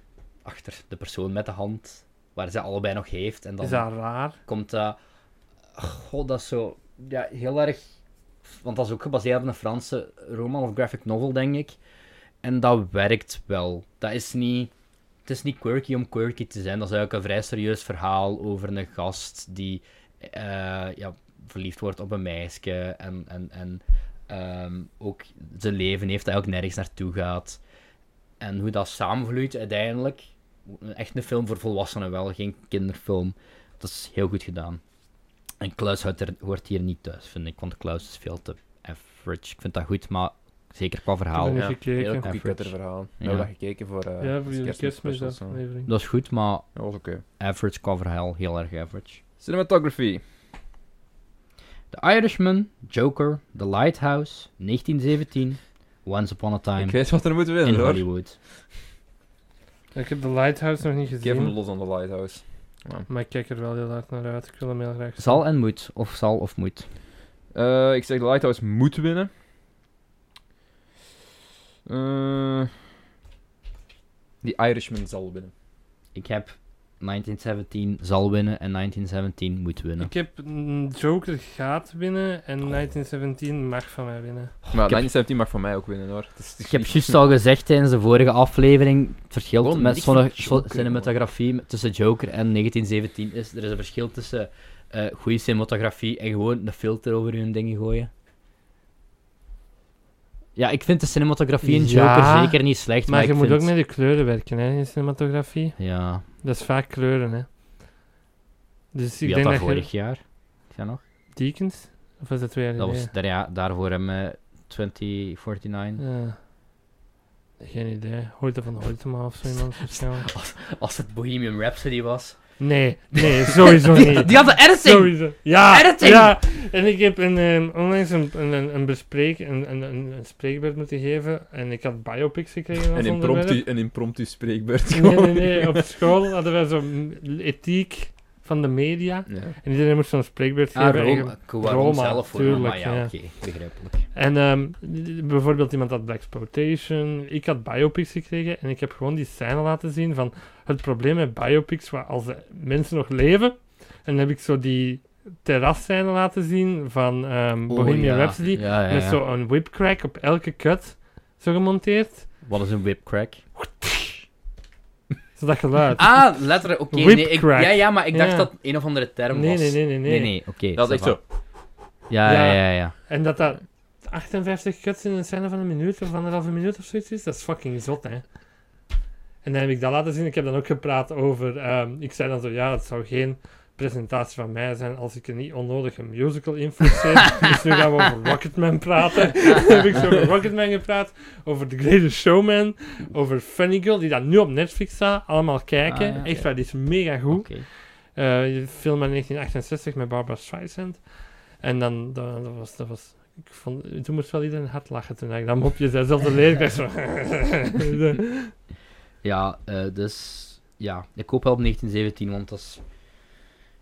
S2: achter de persoon met de hand, waar ze allebei nog heeft. En dan
S1: Is dat raar?
S2: komt dat... God, dat is zo... Ja, heel erg... Want dat is ook gebaseerd op een Franse roman of graphic novel, denk ik. En dat werkt wel. Dat is niet... Het is niet quirky om quirky te zijn. Dat is eigenlijk een vrij serieus verhaal over een gast die eh, ja, verliefd wordt op een meisje. En, en, en ehm, ook zijn leven heeft dat ook nergens naartoe gaat. En hoe dat samenvloeit uiteindelijk. Echt een film voor volwassenen wel, geen kinderfilm. Dat is heel goed gedaan. En Klaus hoort, er- hoort hier niet thuis, vind ik. Want Klaus is veel te average. Ik vind dat goed, maar zeker qua verhaal.
S1: Ik ben
S3: Ja,
S1: niet gekeken.
S3: Heel cookie
S2: Average.
S3: cutter verhaal. We
S2: Ja.
S3: hebben dat gekeken voor, eh
S1: ja, voor jullie
S3: kerstmis specials, hè.
S1: kerstmisaflevering.
S2: Dat is goed, maar
S3: Dat was oké.
S2: average qua verhaal, heel erg average.
S3: Cinematography.
S2: The Irishman, Joker, The Lighthouse, 1917, Once Upon a
S3: Ik
S2: Time
S3: weet wat er moet
S2: in
S3: winnen, hoor.
S2: Hollywood.
S1: Ik heb The Lighthouse nog niet
S3: Ik geef hem
S1: gezien.
S3: los aan de Lighthouse.
S1: Maar ik kijk er wel heel hard naar uit. Ik wil hem heel graag zien.
S2: Zal en moet, of zal of moet.
S3: Eh, ik zeg de Lighthouse moet winnen. Eh, die Irishman zal winnen.
S2: Ik heb 1917 zal winnen en 1917 moet winnen.
S1: Ik heb mm, Joker gaat winnen en 1917 mag van mij winnen.
S3: maar
S2: ik heb-
S3: 1917 mag van mij ook winnen hoor. Het is-
S2: Dus Ik heb juist al gezegd tijdens de vorige aflevering, het verschil
S3: Gewoon
S2: met
S3: niks
S2: zo'n
S3: van Joker,
S2: cinematografie tussen Joker en 1917 is, er is een verschil tussen eh goede cinematografie en gewoon een filter over hun dingen gooien. Ja, ik vind de cinematografie in Joker
S1: Ja,
S2: zeker niet slecht, maar,
S1: maar je
S2: ik
S1: moet
S2: vind...
S1: ook met de kleuren werken hè, in cinematografie.
S2: Ja,
S1: Dat is vaak kleuren, hè. Dus ik
S2: wie had
S1: denk
S2: dat
S1: dat
S2: vorig
S1: je...
S2: jaar? Ja, nog?
S1: Deakins? Of was dat twee jaar
S2: Dat was
S1: geleden?
S2: daar, ja, daarvoor hem eh, 2049.
S1: Ja. Geen idee. Hoort van Hoytema of zo iemand waarschijnlijk.
S2: Als het Bohemian Rhapsody was.
S1: Nee, nee, sowieso niet.
S2: Die had de editing!
S1: Sowieso. Ja,
S2: Editing!
S1: ja. En ik heb een, ehm, onlangs een, een, een, een bespreek, een, een, een, een spreekbeurt moeten geven. En ik had biopics gekregen als
S3: Een
S1: onderwerp.
S3: impromptu, een impromptu spreekbeurt.
S1: Nee, nee, nee. Op school hadden wij zo'n ethiek van de media.
S3: Ja.
S1: En iedereen moest zo'n spreekbeurt
S2: Ah,
S1: geven. En
S2: Rome, Roma,
S1: Roma,
S2: zelf voor
S1: tuurlijk,
S2: maar ja,
S1: ja.
S2: oké, begrijpelijk.
S1: En ehm, bijvoorbeeld iemand had Black Exploitation. Ik had biopics gekregen en ik heb gewoon die scène laten zien van het probleem met biopics, waar als de mensen nog leven. En dan heb ik zo die terrasscène laten zien van ehm, Bohemian Rhapsody.
S2: Oh, Ja, ja,
S1: Met
S2: ja.
S1: zo'n whipcrack op elke cut zo gemonteerd.
S2: Wat is een whipcrack?
S1: Zo dat geluid.
S2: Ah, letterlijk, oké. nee, ik-
S1: Whipcrack.
S2: ja, ja, maar ik dacht
S1: Ja.
S2: dat het een of andere term
S1: nee,
S2: was.
S1: nee, nee, nee, nee,
S2: nee, nee, oké.
S3: Dat is echt
S2: ça va.
S3: zo.
S2: Ja, ja,
S1: Ja.
S2: ja, ja.
S1: En dat dat 58 cuts in een scène van een minuut of anderhalve minuut of zoiets is, dat is fucking zot, hè. En dan heb ik dat laten zien. Ik heb dan ook gepraat over... ehm, ik zei dan zo, ja, het zou geen presentatie van mij zijn als ik er niet onnodige musical infuseer. dus nu gaan we over Rocketman praten. dan heb ik zo over Rocketman gepraat, over The Greatest Showman, over Funny Girl, die dat nu op Netflix staat. Allemaal kijken.
S2: Ah, ja.
S1: Echt waar, die is mega goed.
S2: Oké.
S1: Eh, je film uit 1968 met Barbara Streisand. En dan, dan dat was, dat was, ik vond, toen moest wel iedereen hard lachen toen ik dat mopje zei. Zelfs de leerkracht zo.
S2: Ja, eh, dus... Ja, ik koop wel op 1917, want dat is...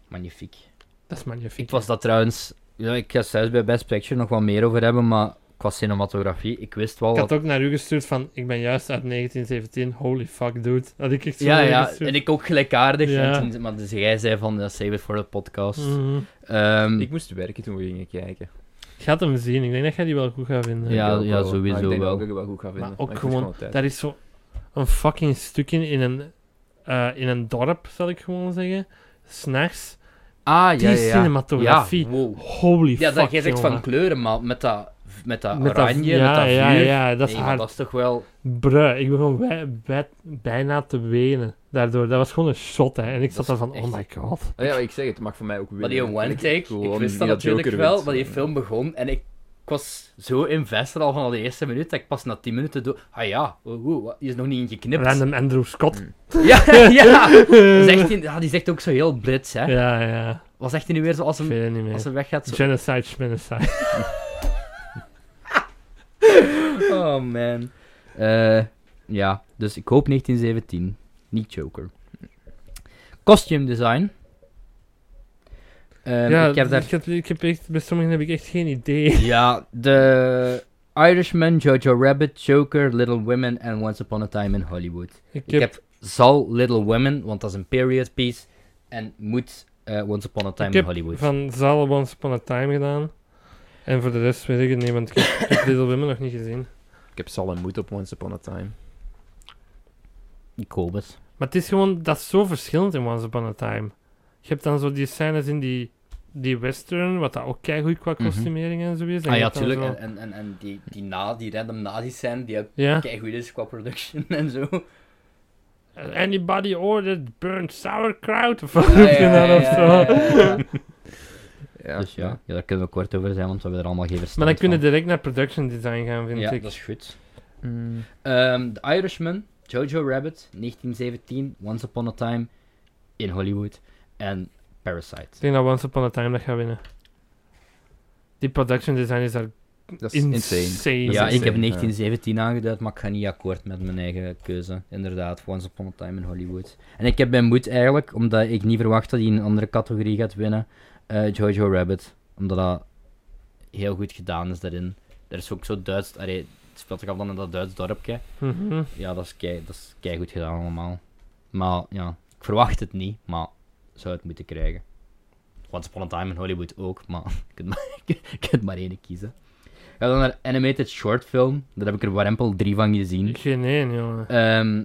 S2: Magnifiek.
S1: dat is magnifiek.
S2: Ik was dat trouwens... Ja, ik ga zelfs bij Best Picture nog wat meer over hebben, maar qua cinematografie, ik wist wel
S1: Ik
S2: wat...
S1: had ook naar u gestuurd van, ik ben juist uit 1917, holy fuck dude. Had ik echt zo
S2: Ja,
S1: naar u
S2: ja,
S1: gestuurd.
S2: en ik ook gelijkaardig.
S1: Ja.
S2: En toen- maar dus jij zei van, ja, save it for the podcast.
S1: Mhm.
S2: Ehm,
S3: Ik moest werken toen we gingen kijken.
S1: Ik had hem zien, ik denk dat jij die wel goed gaat vinden.
S2: Ja,
S3: Ik ook
S2: ja,
S3: wel. Maar
S2: sowieso
S3: ik denk
S2: wel.
S3: Dat ik het wel goed ga vinden.
S1: ook
S3: ik moest
S1: gewoon-
S3: tijd.
S1: Daar is zo een fucking stuk in, in een, eh, in een dorp, zal ik gewoon zeggen. S'nachts.
S2: ah,
S1: Die
S2: ja, ja, ja.
S1: cinematografie.
S2: Ja, wow.
S1: Holy
S2: Ja,
S1: fuck,
S2: dat jij zegt
S1: jongen.
S2: van kleuren, maar met dat, met dat
S1: Met dat-
S2: oranje,
S1: ja,
S2: met dat vuur.
S1: ja, ja, dat is
S2: Nee, maar
S1: hard.
S2: dat is toch wel...
S1: Bruh, ik begon bij- bij- bijna te wenen daardoor. Dat was gewoon een shot, hè. En ik zat
S2: Dat
S1: daar
S2: is
S1: van,
S2: echt-
S1: oh my god.
S3: Ah, ja, ik zeg het, mag voor mij ook winnen.
S2: Maar die one
S3: Ik-
S2: take, ik,
S3: gewoon
S2: wist dat
S3: niet
S2: natuurlijk
S3: Joker
S2: wel,
S3: wint.
S2: maar die film begon en ik, ik was zo invested al van al de eerste minuut, dat ik pas na 10 minuten door... Ah ja, oh, oh, wat, die is nog niet ingeknipt.
S1: Random Andrew Scott.
S2: Hmm, Ja, ja. Dat is echt in- ja, die zegt ook zo heel Brits, hè.
S1: Ja, ja.
S2: Was echt niet weer zo als
S1: Ik
S2: hem,
S1: weet het niet meer.
S2: als hem weggaat, zo...
S1: Genocide, genocide.
S2: Oh, man. Eh, ja, dus ik hoop 1917. Niet Joker. Costume design. Ehm,
S1: ja,
S2: ik heb daar...
S1: ik heb echt, bij sommigen heb ik echt geen idee.
S2: Ja, de Irishman, Jojo Rabbit, Joker, Little Women en Once Upon a Time in Hollywood.
S1: Ik heb,
S2: Ik heb zal Little Women, want dat is een period piece, en moet eh, Once Upon a Time
S1: ik
S2: in
S1: heb
S2: Hollywood.
S1: van Zal Once Upon a Time gedaan. En voor de rest weet ik het niet, want ik heb, ik heb Little Women nog niet gezien.
S3: Ik heb Sal en Moed op Once Upon a Time.
S2: Ik hoop het.
S1: Maar het is gewoon, dat is zo verschillend in Once Upon a Time. Je hebt dan zo die scènes in die, die western, wat dat ook keigoed qua
S2: Mhm.
S1: kostumering en zo is. En
S2: Ah
S1: je
S2: ja,
S1: hebt dan
S2: tuurlijk.
S1: zo-
S2: En, en, en, en die, die, na, die random nazi's zijn, die ook
S1: Ja.
S2: keigoed is qua production en zo.
S1: eh, Anybody ordered burnt sauerkraut? Of
S2: Ja,
S1: wat
S2: ja,
S1: roep je
S2: ja,
S1: dan of
S2: ja,
S1: zo?
S2: ja, ja, ja.
S3: Ja.
S2: Dus ja, ja, daar kunnen we kort over zijn, want we hebben er allemaal geen verstand
S1: Maar dan kunnen
S2: van.
S1: we direct naar production design gaan, vind
S2: Ja,
S1: ik.
S2: dat is goed.
S3: Mm.
S2: Ehm, The Irishman, Jojo Rabbit, 1917, Once Upon a Time in Hollywood en Parasite.
S1: Ik denk dat Once Upon a Time dat gaat winnen. Die production designers daar
S3: Dat is
S1: insane.
S3: insane.
S2: ja,
S3: is
S2: ik
S3: insane,
S2: heb
S3: ja.
S2: 1917 aangeduid, maar ik ga niet akkoord met mijn eigen keuze. Inderdaad, Once Upon a Time in Hollywood. En ik heb mijn moed eigenlijk, omdat ik niet verwacht dat hij in een andere categorie gaat winnen, eh, Jojo Rabbit. Omdat dat heel goed gedaan is daarin. Er is ook zo Duits... Allee, het speelt zich af dan in dat Duits dorpje.
S1: Mhm.
S2: Ja, dat is kei, dat is kei goed gedaan allemaal. Maar ja, ik verwacht het niet, maar zou het moeten krijgen. Once Upon a Time in Hollywood ook, maar je kunt maar, je kunt maar één kiezen. Ga dan naar Animated Short Film. Daar heb ik er warempel drie van gezien.
S1: Geen één, jongen.
S2: Ehm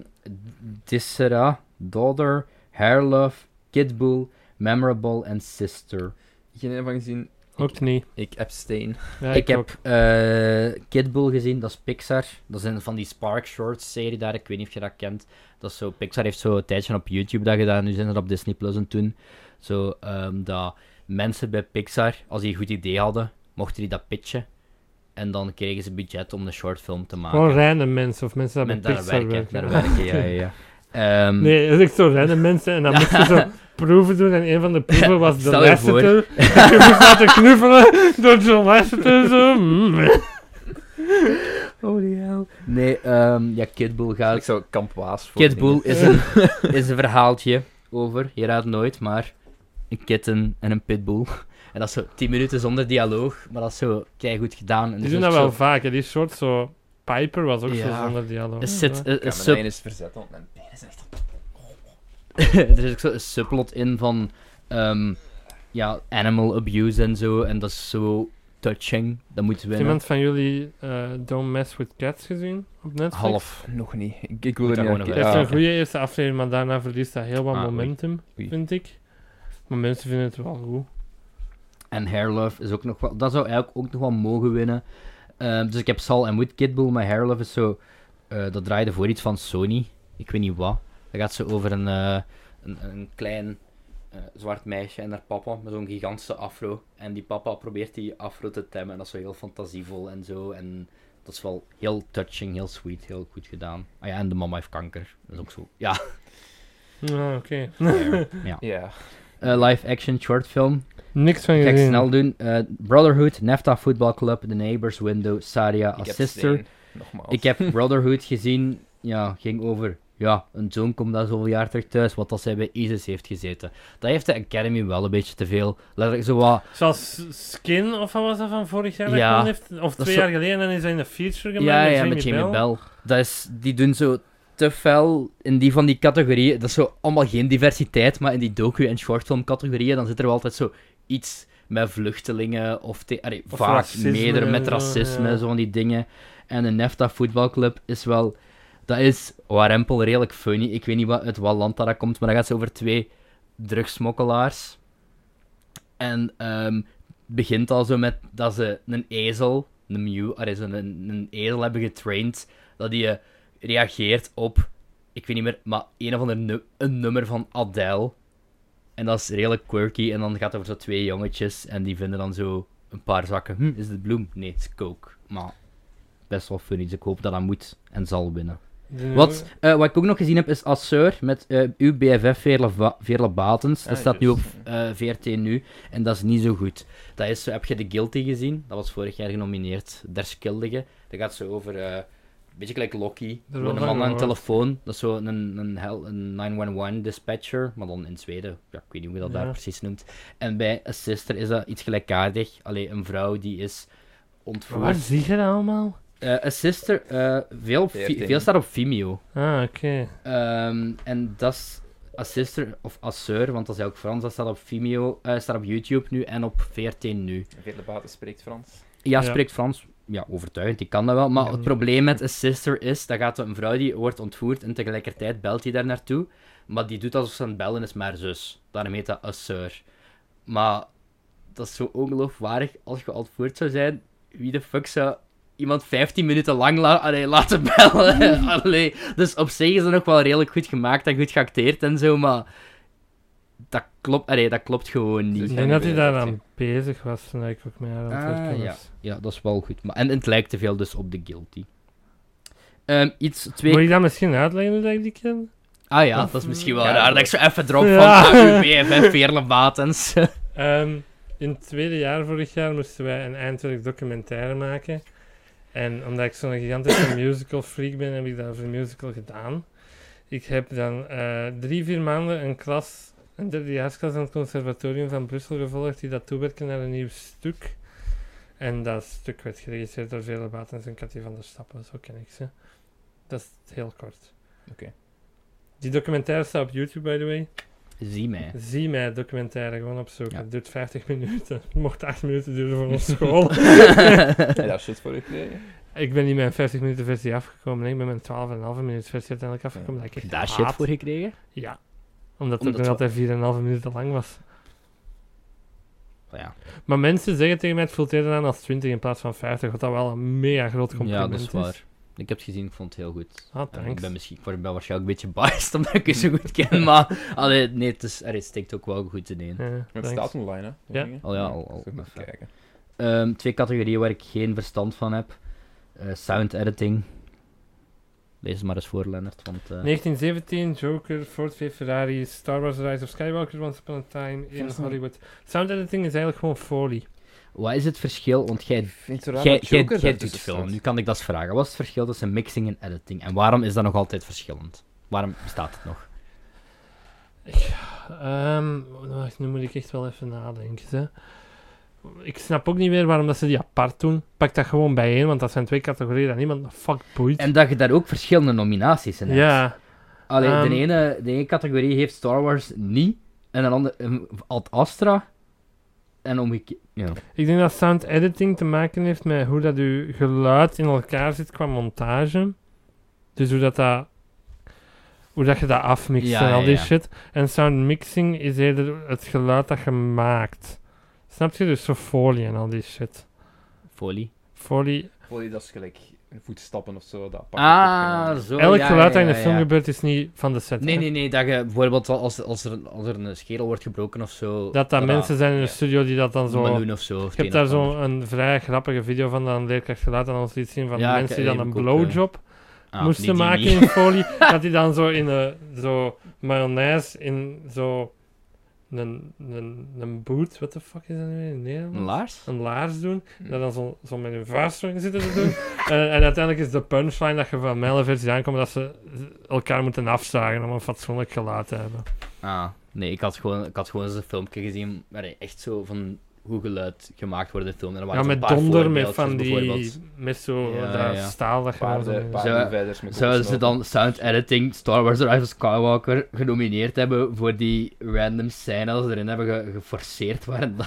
S2: Dissera, Daughter, Hair Love, Kid Bull, Memorable en Sister.
S3: Geen een van gezien.
S1: Ook niet.
S3: Ik abstain.
S1: Ja,
S2: ik
S1: ook.
S2: heb eh Kid Bull gezien, dat is Pixar. Dat is een van die Spark Shorts serie daar, ik weet niet of je dat kent. Dat is zo, Pixar heeft zo een tijdje op YouTube dat gedaan, nu zijn ze dat op Disney Plus en toen. Zo, ehm, dat mensen bij Pixar, als die een goed idee hadden, mochten die dat pitchen. En dan kregen ze budget om een shortfilm te maken.
S1: Gewoon random mensen of mensen die
S2: Met-
S1: bij
S2: Ah, daar
S1: Pixar
S2: werken,
S1: werken.
S2: daar werken, ja, ja, ja. Ehm,
S1: Nee, dat is echt zo random mensen en dan moest je zo proeven doen en een van de proeven was de
S2: Stel je
S1: Lasseter. Je moest laten knuffelen door John Lasseter zo. Mm.
S2: Holy hell. Nee, ehm, ja, Kid Bull gaat
S3: Ik zou Kamp Waas voor
S2: Kid Bull is een, is een verhaaltje over, je raadt nooit, maar een kitten en een pitbull. En dat is zo 10 minuten zonder dialoog, maar dat is zo goed gedaan. En
S1: Die doen
S2: er zit
S1: dat
S2: zo-
S1: wel vaak, hè. die soort zo. Piper was ook
S2: Ja.
S1: zo zonder dialoog.
S2: Er zit eh, een- een
S3: Mijn
S2: sub-
S3: been is verzet, want mijn been is echt...
S2: er is ook zo een subplot in van ehm, ja, animal abuse en zo. En dat is zo touching. Dat moeten we
S1: Heeft iemand van jullie eh, Don't Mess With Cats gezien op Netflix?
S3: Half. Nog niet. Ik, ik wil
S2: Moet
S3: er
S2: daar
S3: niet
S1: Het
S2: gewoon nog
S3: aan
S1: heeft
S3: kijken.
S2: wel.
S1: een goede eerste aflevering, maar daarna verliest dat heel wat
S2: Ah, oei.
S1: momentum,
S3: Oei.
S1: vind ik. Maar mensen vinden het wel goed.
S2: En Hairlove is ook nog wel... Dat zou eigenlijk ook nog wel mogen winnen. Ehm, dus ik heb Sal en Wood Kid Bull, maar Hairlove is zo... eh, dat draaide voor iets van Sony. Ik weet niet wat. Dat gaat zo over een, eh, een, een klein eh, zwart meisje en haar papa met zo'n gigantische afro. En die papa probeert die afro te temmen. En dat is zo heel fantasievol en zo. En dat is wel heel touching, heel sweet, heel goed gedaan. Ah ja, en de mama heeft kanker. Dat is ook zo. Ja.
S1: Ah, oké.
S3: Ja.
S2: Eh, live action short film.
S1: Niks van
S2: Ik ga
S1: jullie.
S2: ik snel doen. Eh, Brotherhood, Nefta Football Club, The Neighbors Window, Saria
S3: Ik
S2: als
S3: abstain.
S2: sister.
S3: Nogmaals.
S2: Ik heb Brotherhood gezien. Ja, ging over. Ja, een zoon komt daar zoveel jaar terug thuis, wat als hij bij ISIS heeft gezeten. Dat heeft de Academy wel een beetje te veel. Letterlijk zo wat.
S1: Zoals Skin, of wat was dat van vorig jaar? dat
S2: Ja.
S1: gewonnen heeft? Of
S2: is
S1: twee
S2: zo-
S1: jaar geleden, en is hij in de feature gemaakt
S2: Ja,
S1: met,
S2: ja,
S1: Jamie
S2: met Jamie
S1: Bell.
S2: Bell. Dat is, die doen zo te fel in die van die categorieën. Dat is zo allemaal geen diversiteit, maar in die docu- en shortfilm categorieën, dan zit er wel altijd zo iets met vluchtelingen of, te- allee,
S1: Of
S2: vaak
S1: racisme
S2: meerdere
S1: en
S2: met
S1: zo,
S2: racisme,
S1: ja.
S2: zo van die dingen. En de Nefta voetbalclub is wel, dat is warempel redelijk funny. Ik weet niet wat, uit wat land dat dat komt, maar dat gaat zo over twee drugsmokkelaars. En ehm, het begint al zo met dat ze een ezel, een mew, allee, zo een, een ezel hebben getraind, dat die eh, reageert op, ik weet niet meer, maar een of ander nu- een nummer van Adele. En dat is redelijk quirky. En dan gaat het over zo twee jongetjes en die vinden dan zo een paar zakken. Hm, is dit bloem? Nee, het is coke. Maar best wel funny, dus ik hoop dat dat moet en zal winnen.
S1: Die-
S2: Wat, eh, wat ik ook nog gezien heb is Asseur met eh, uw BFF Veerle, Va- Veerle Batens. Dat
S3: Ah,
S2: staat nu op
S3: juist.
S2: eh, VRT nu en dat is niet zo goed. Dat is, zo- heb je The Guilty gezien? Dat was vorig jaar genomineerd. Der Schuldige. Dat gaat zo over, eh, een beetje gelijk Loki.
S1: wel
S2: Gewoon een
S1: van
S2: man aan
S1: gehoord.
S2: een telefoon. Dat is zo een, een, hel- een 911 dispatcher, maar dan in Zweden. Ja, ik weet niet hoe je dat daar
S1: Ja.
S2: precies noemt. En bij A Sister is dat iets gelijkaardig. Alleen een vrouw die is ontvoerd.
S1: Waar zie je dat allemaal?
S2: Eh, A Sister, eh, veel, op Vi-
S3: 14.
S2: veel staat op Vimeo.
S1: Ah, oké.
S2: Ehm, en dat is Assister of Asseur, want dat is ook Frans. Dat staat op Vimeo, eh, staat op YouTube nu en op VRT nu.
S3: Veerle Baten spreekt Frans.
S2: Ja,
S1: Ja.
S2: spreekt Frans. Ja, overtuigend, ik kan dat wel. Maar
S1: Ja.
S2: het probleem met Assister is, dat gaat zo- een vrouw die wordt ontvoerd en tegelijkertijd belt hij daar naartoe. Maar die doet alsof ze aan het bellen is, maar zus. Daarom heet dat Asseur. Maar dat is zo ongeloofwaardig als je ontvoerd zou zijn. Wie de fuck zou iemand 15 minuten lang la- allee, laten bellen? allee. Dus op zich is dat nog wel redelijk goed gemaakt en goed geacteerd en zo, maar dat klopt, allee, dat klopt gewoon niet.
S3: Dus-
S1: Ik denk
S3: Ja, nu
S1: dat hij
S3: weet
S1: daar
S3: ik het,
S1: aan bezig was toen ik ook mee aan het
S2: Ah,
S1: werken
S2: ja.
S1: was.
S2: Ja, dat is wel goed. Maar, en het lijkt te veel dus op de Guilty. Ehm, iets twee...
S1: Moet ik dat misschien uitleggen hoe dat ik die ken?
S2: Ah ja, dat is misschien wel
S3: Ja.
S2: raar. Lijkt zo even erop
S1: Ja.
S2: van ah, uw BFF Veerle Watens.
S1: Ehm, in het tweede jaar vorig jaar moesten wij een eindwerk documentaire maken. En omdat ik zo'n gigantische musical freak ben, heb ik dat voor musical gedaan. Ik heb dan eh, drie, vier maanden een klas, een derdejaarsklas aan het conservatorium van Brussel gevolgd, die dat toewerkte naar een nieuw stuk. En dat stuk werd geregisseerd door Vele Batens en Cathy van der Stappen, zo ken ik ze. Dat is heel kort.
S3: Oké.
S1: Die documentaire staat op YouTube, by the way.
S2: Zie mij.
S1: Zie mij documentaire gewoon opzoeken.
S2: Ja.
S1: Het duurt 50 minuten. Mocht 8 minuten duren voor ons school.
S3: Heb je daar shit voor gekregen?
S1: ik ben niet met een 50 minuten versie afgekomen. nee, Ik ben met een 12,5 minuten versie uiteindelijk afgekomen. Dat ik echt
S2: Daar shit
S1: haat.
S2: voor gekregen?
S1: Ja. Omdat het
S2: Omdat
S1: nog
S2: we-
S1: altijd 4,5 minuten lang was.
S2: Ja,
S1: Maar mensen zeggen tegen mij, het voelt eerder aan als 20 in plaats van 50. Wat dat wel een mega groot
S2: ja
S1: compliment
S2: dat is waar. Ik heb het gezien, ik vond het heel goed.
S1: Ah,
S2: En Ik
S1: thanks.
S2: ben misschien ik word- ben waarschijnlijk een beetje biased omdat ik je zo goed ken, maar allee, nee, het, is, allee, het steekt ook wel goed in één.
S1: Ja,
S3: Maar
S1: thanks.
S3: het staat online, hè? dat
S1: Ja.
S3: ding, hè?
S2: Al ja, al- al-
S3: Ik zal even
S2: even.
S3: kijken.
S2: Ehm, twee categorieën waar ik geen verstand van heb. Eh, sound editing. Lees het maar eens voor, Lennart, want... eh,
S1: 1917, Joker, Ford v Ferrari, Star Wars Rise of Skywalker, Once Upon a Time in
S3: Volgens mij-
S1: Hollywood. Sound editing is eigenlijk gewoon folie.
S2: Wat is het verschil? Want jij
S3: Ik vind het zo raar
S2: jij-
S3: dat
S2: jij-
S3: Joker
S2: jij
S3: daar
S2: doet
S3: tussen staat.
S2: film, nu kan ik dat eens vragen. Wat is het verschil tussen mixing en editing? En waarom is dat nog altijd verschillend? Waarom bestaat het nog?
S1: Ehm, wacht, nu moet ik echt wel even nadenken. Hè. Ik snap ook niet meer waarom dat ze die apart doen. Pak dat gewoon bijeen, want dat zijn twee categorieën dat niemand de fuck boeit.
S2: En dat je daar ook verschillende nominaties in hebt.
S1: ja,
S2: Allee,
S1: Ehm.
S2: de, ene, de ene categorie heeft Star Wars niet, en een andere een Ad Astra, en omgekeerd. Ja.
S1: ik denk dat sound editing te maken heeft met hoe dat uw geluid in elkaar zit qua montage. Dus hoe dat, dat hoe dat je dat afmixt
S2: Ja,
S1: en al
S2: ja,
S1: die
S2: ja.
S1: shit. En sound mixing is eerder het geluid dat je maakt. Snap je? Dus zo folie en al die shit.
S2: Folie.
S1: Folie
S3: Voor je dat is gelijk voetstappen of zo. Dat apart
S2: Ah, zo.
S1: Elk
S2: ja,
S1: geluid dat
S2: ja,
S1: in de
S2: ja,
S1: film
S2: ja.
S1: gebeurt is niet van de set.
S2: Nee,
S1: hè?
S2: nee, nee, dat je bijvoorbeeld wel als, als, er, als er een schedel wordt gebroken of zo.
S1: Dat dat mensen zijn in de
S2: ja.
S1: studio die dat dan
S2: zo.
S1: zo...
S2: of zo.
S1: Ik heb daar zo'n vrij grappige video van dat een leerkracht geluid aan ons liet zien van
S2: Ja,
S1: mensen die
S2: ik-
S1: dan
S2: die
S1: een
S2: heb ik ook, eh,
S1: blowjob
S2: Ah,
S1: moesten maken in folie. dat die dan zo in een zo mayonaise in zo een, een, een boot, what the fuck is dat nu in
S2: Een
S1: Nederland?
S2: laars? Hm.
S1: Een laars doen,
S3: Hmm.
S1: dat dan zo, zo met hun vuist zo in zitten te doen. en, en uiteindelijk is de punchline dat je van mijne versie aankomt dat ze elkaar moeten afzagen om een fatsoenlijk geluid te hebben.
S2: Ah, nee, ik had gewoon, ik had gewoon eens een filmpje gezien waar hij echt zo van hoe geluid gemaakt wordt in film. En er
S1: Ja,
S2: waren zo'n
S1: met
S2: paar
S1: donder, met
S2: voorbeeldjes
S1: van die...
S2: bijvoorbeeld.
S1: Met zo
S2: Ja,
S1: dat
S2: ja.
S1: staal dat je dan zo-
S3: Paarden,
S2: Zou-
S3: paardenvelders met
S2: Zouden ze
S3: kokosnoten.
S2: dan sound editing Star Wars The Rise of Skywalker genomineerd hebben voor die random scène als ze erin hebben ge- geforceerd waarin dan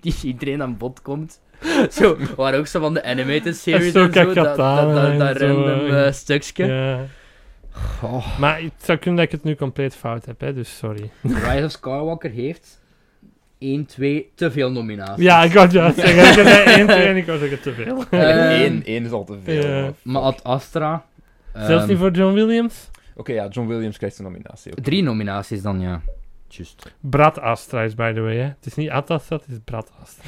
S2: die iedereen aan bod komt? Zo, waar ook zo van de animated series
S1: Ahsoka
S2: en zo, dat, dat, dat,
S1: Katana en
S2: dat
S1: zo,
S2: random
S1: eh.
S2: eh, stukje.
S1: Ja.
S2: Goh.
S1: Maar het zou kunnen dat ik het nu compleet fout heb, hè, dus sorry.
S2: Rise of Skywalker heeft 1, 2, te veel nominaties.
S1: Ja, ik had juist zeggen, ik had één, twee en ik was zeggen te veel.
S2: Ehm,
S3: Eén, één is al te veel.
S1: Eh, Ja.
S3: man.
S2: Maar Ad Astra...
S1: Zelfs
S2: ehm,
S1: niet voor John Williams?
S3: Oké, ja, John Williams krijgt een nominatie. oké.
S2: Drie nominaties dan, ja. Just.
S1: Brad Astra is, by the way, hè. Het is niet Ad Astra, het is Brad Astra.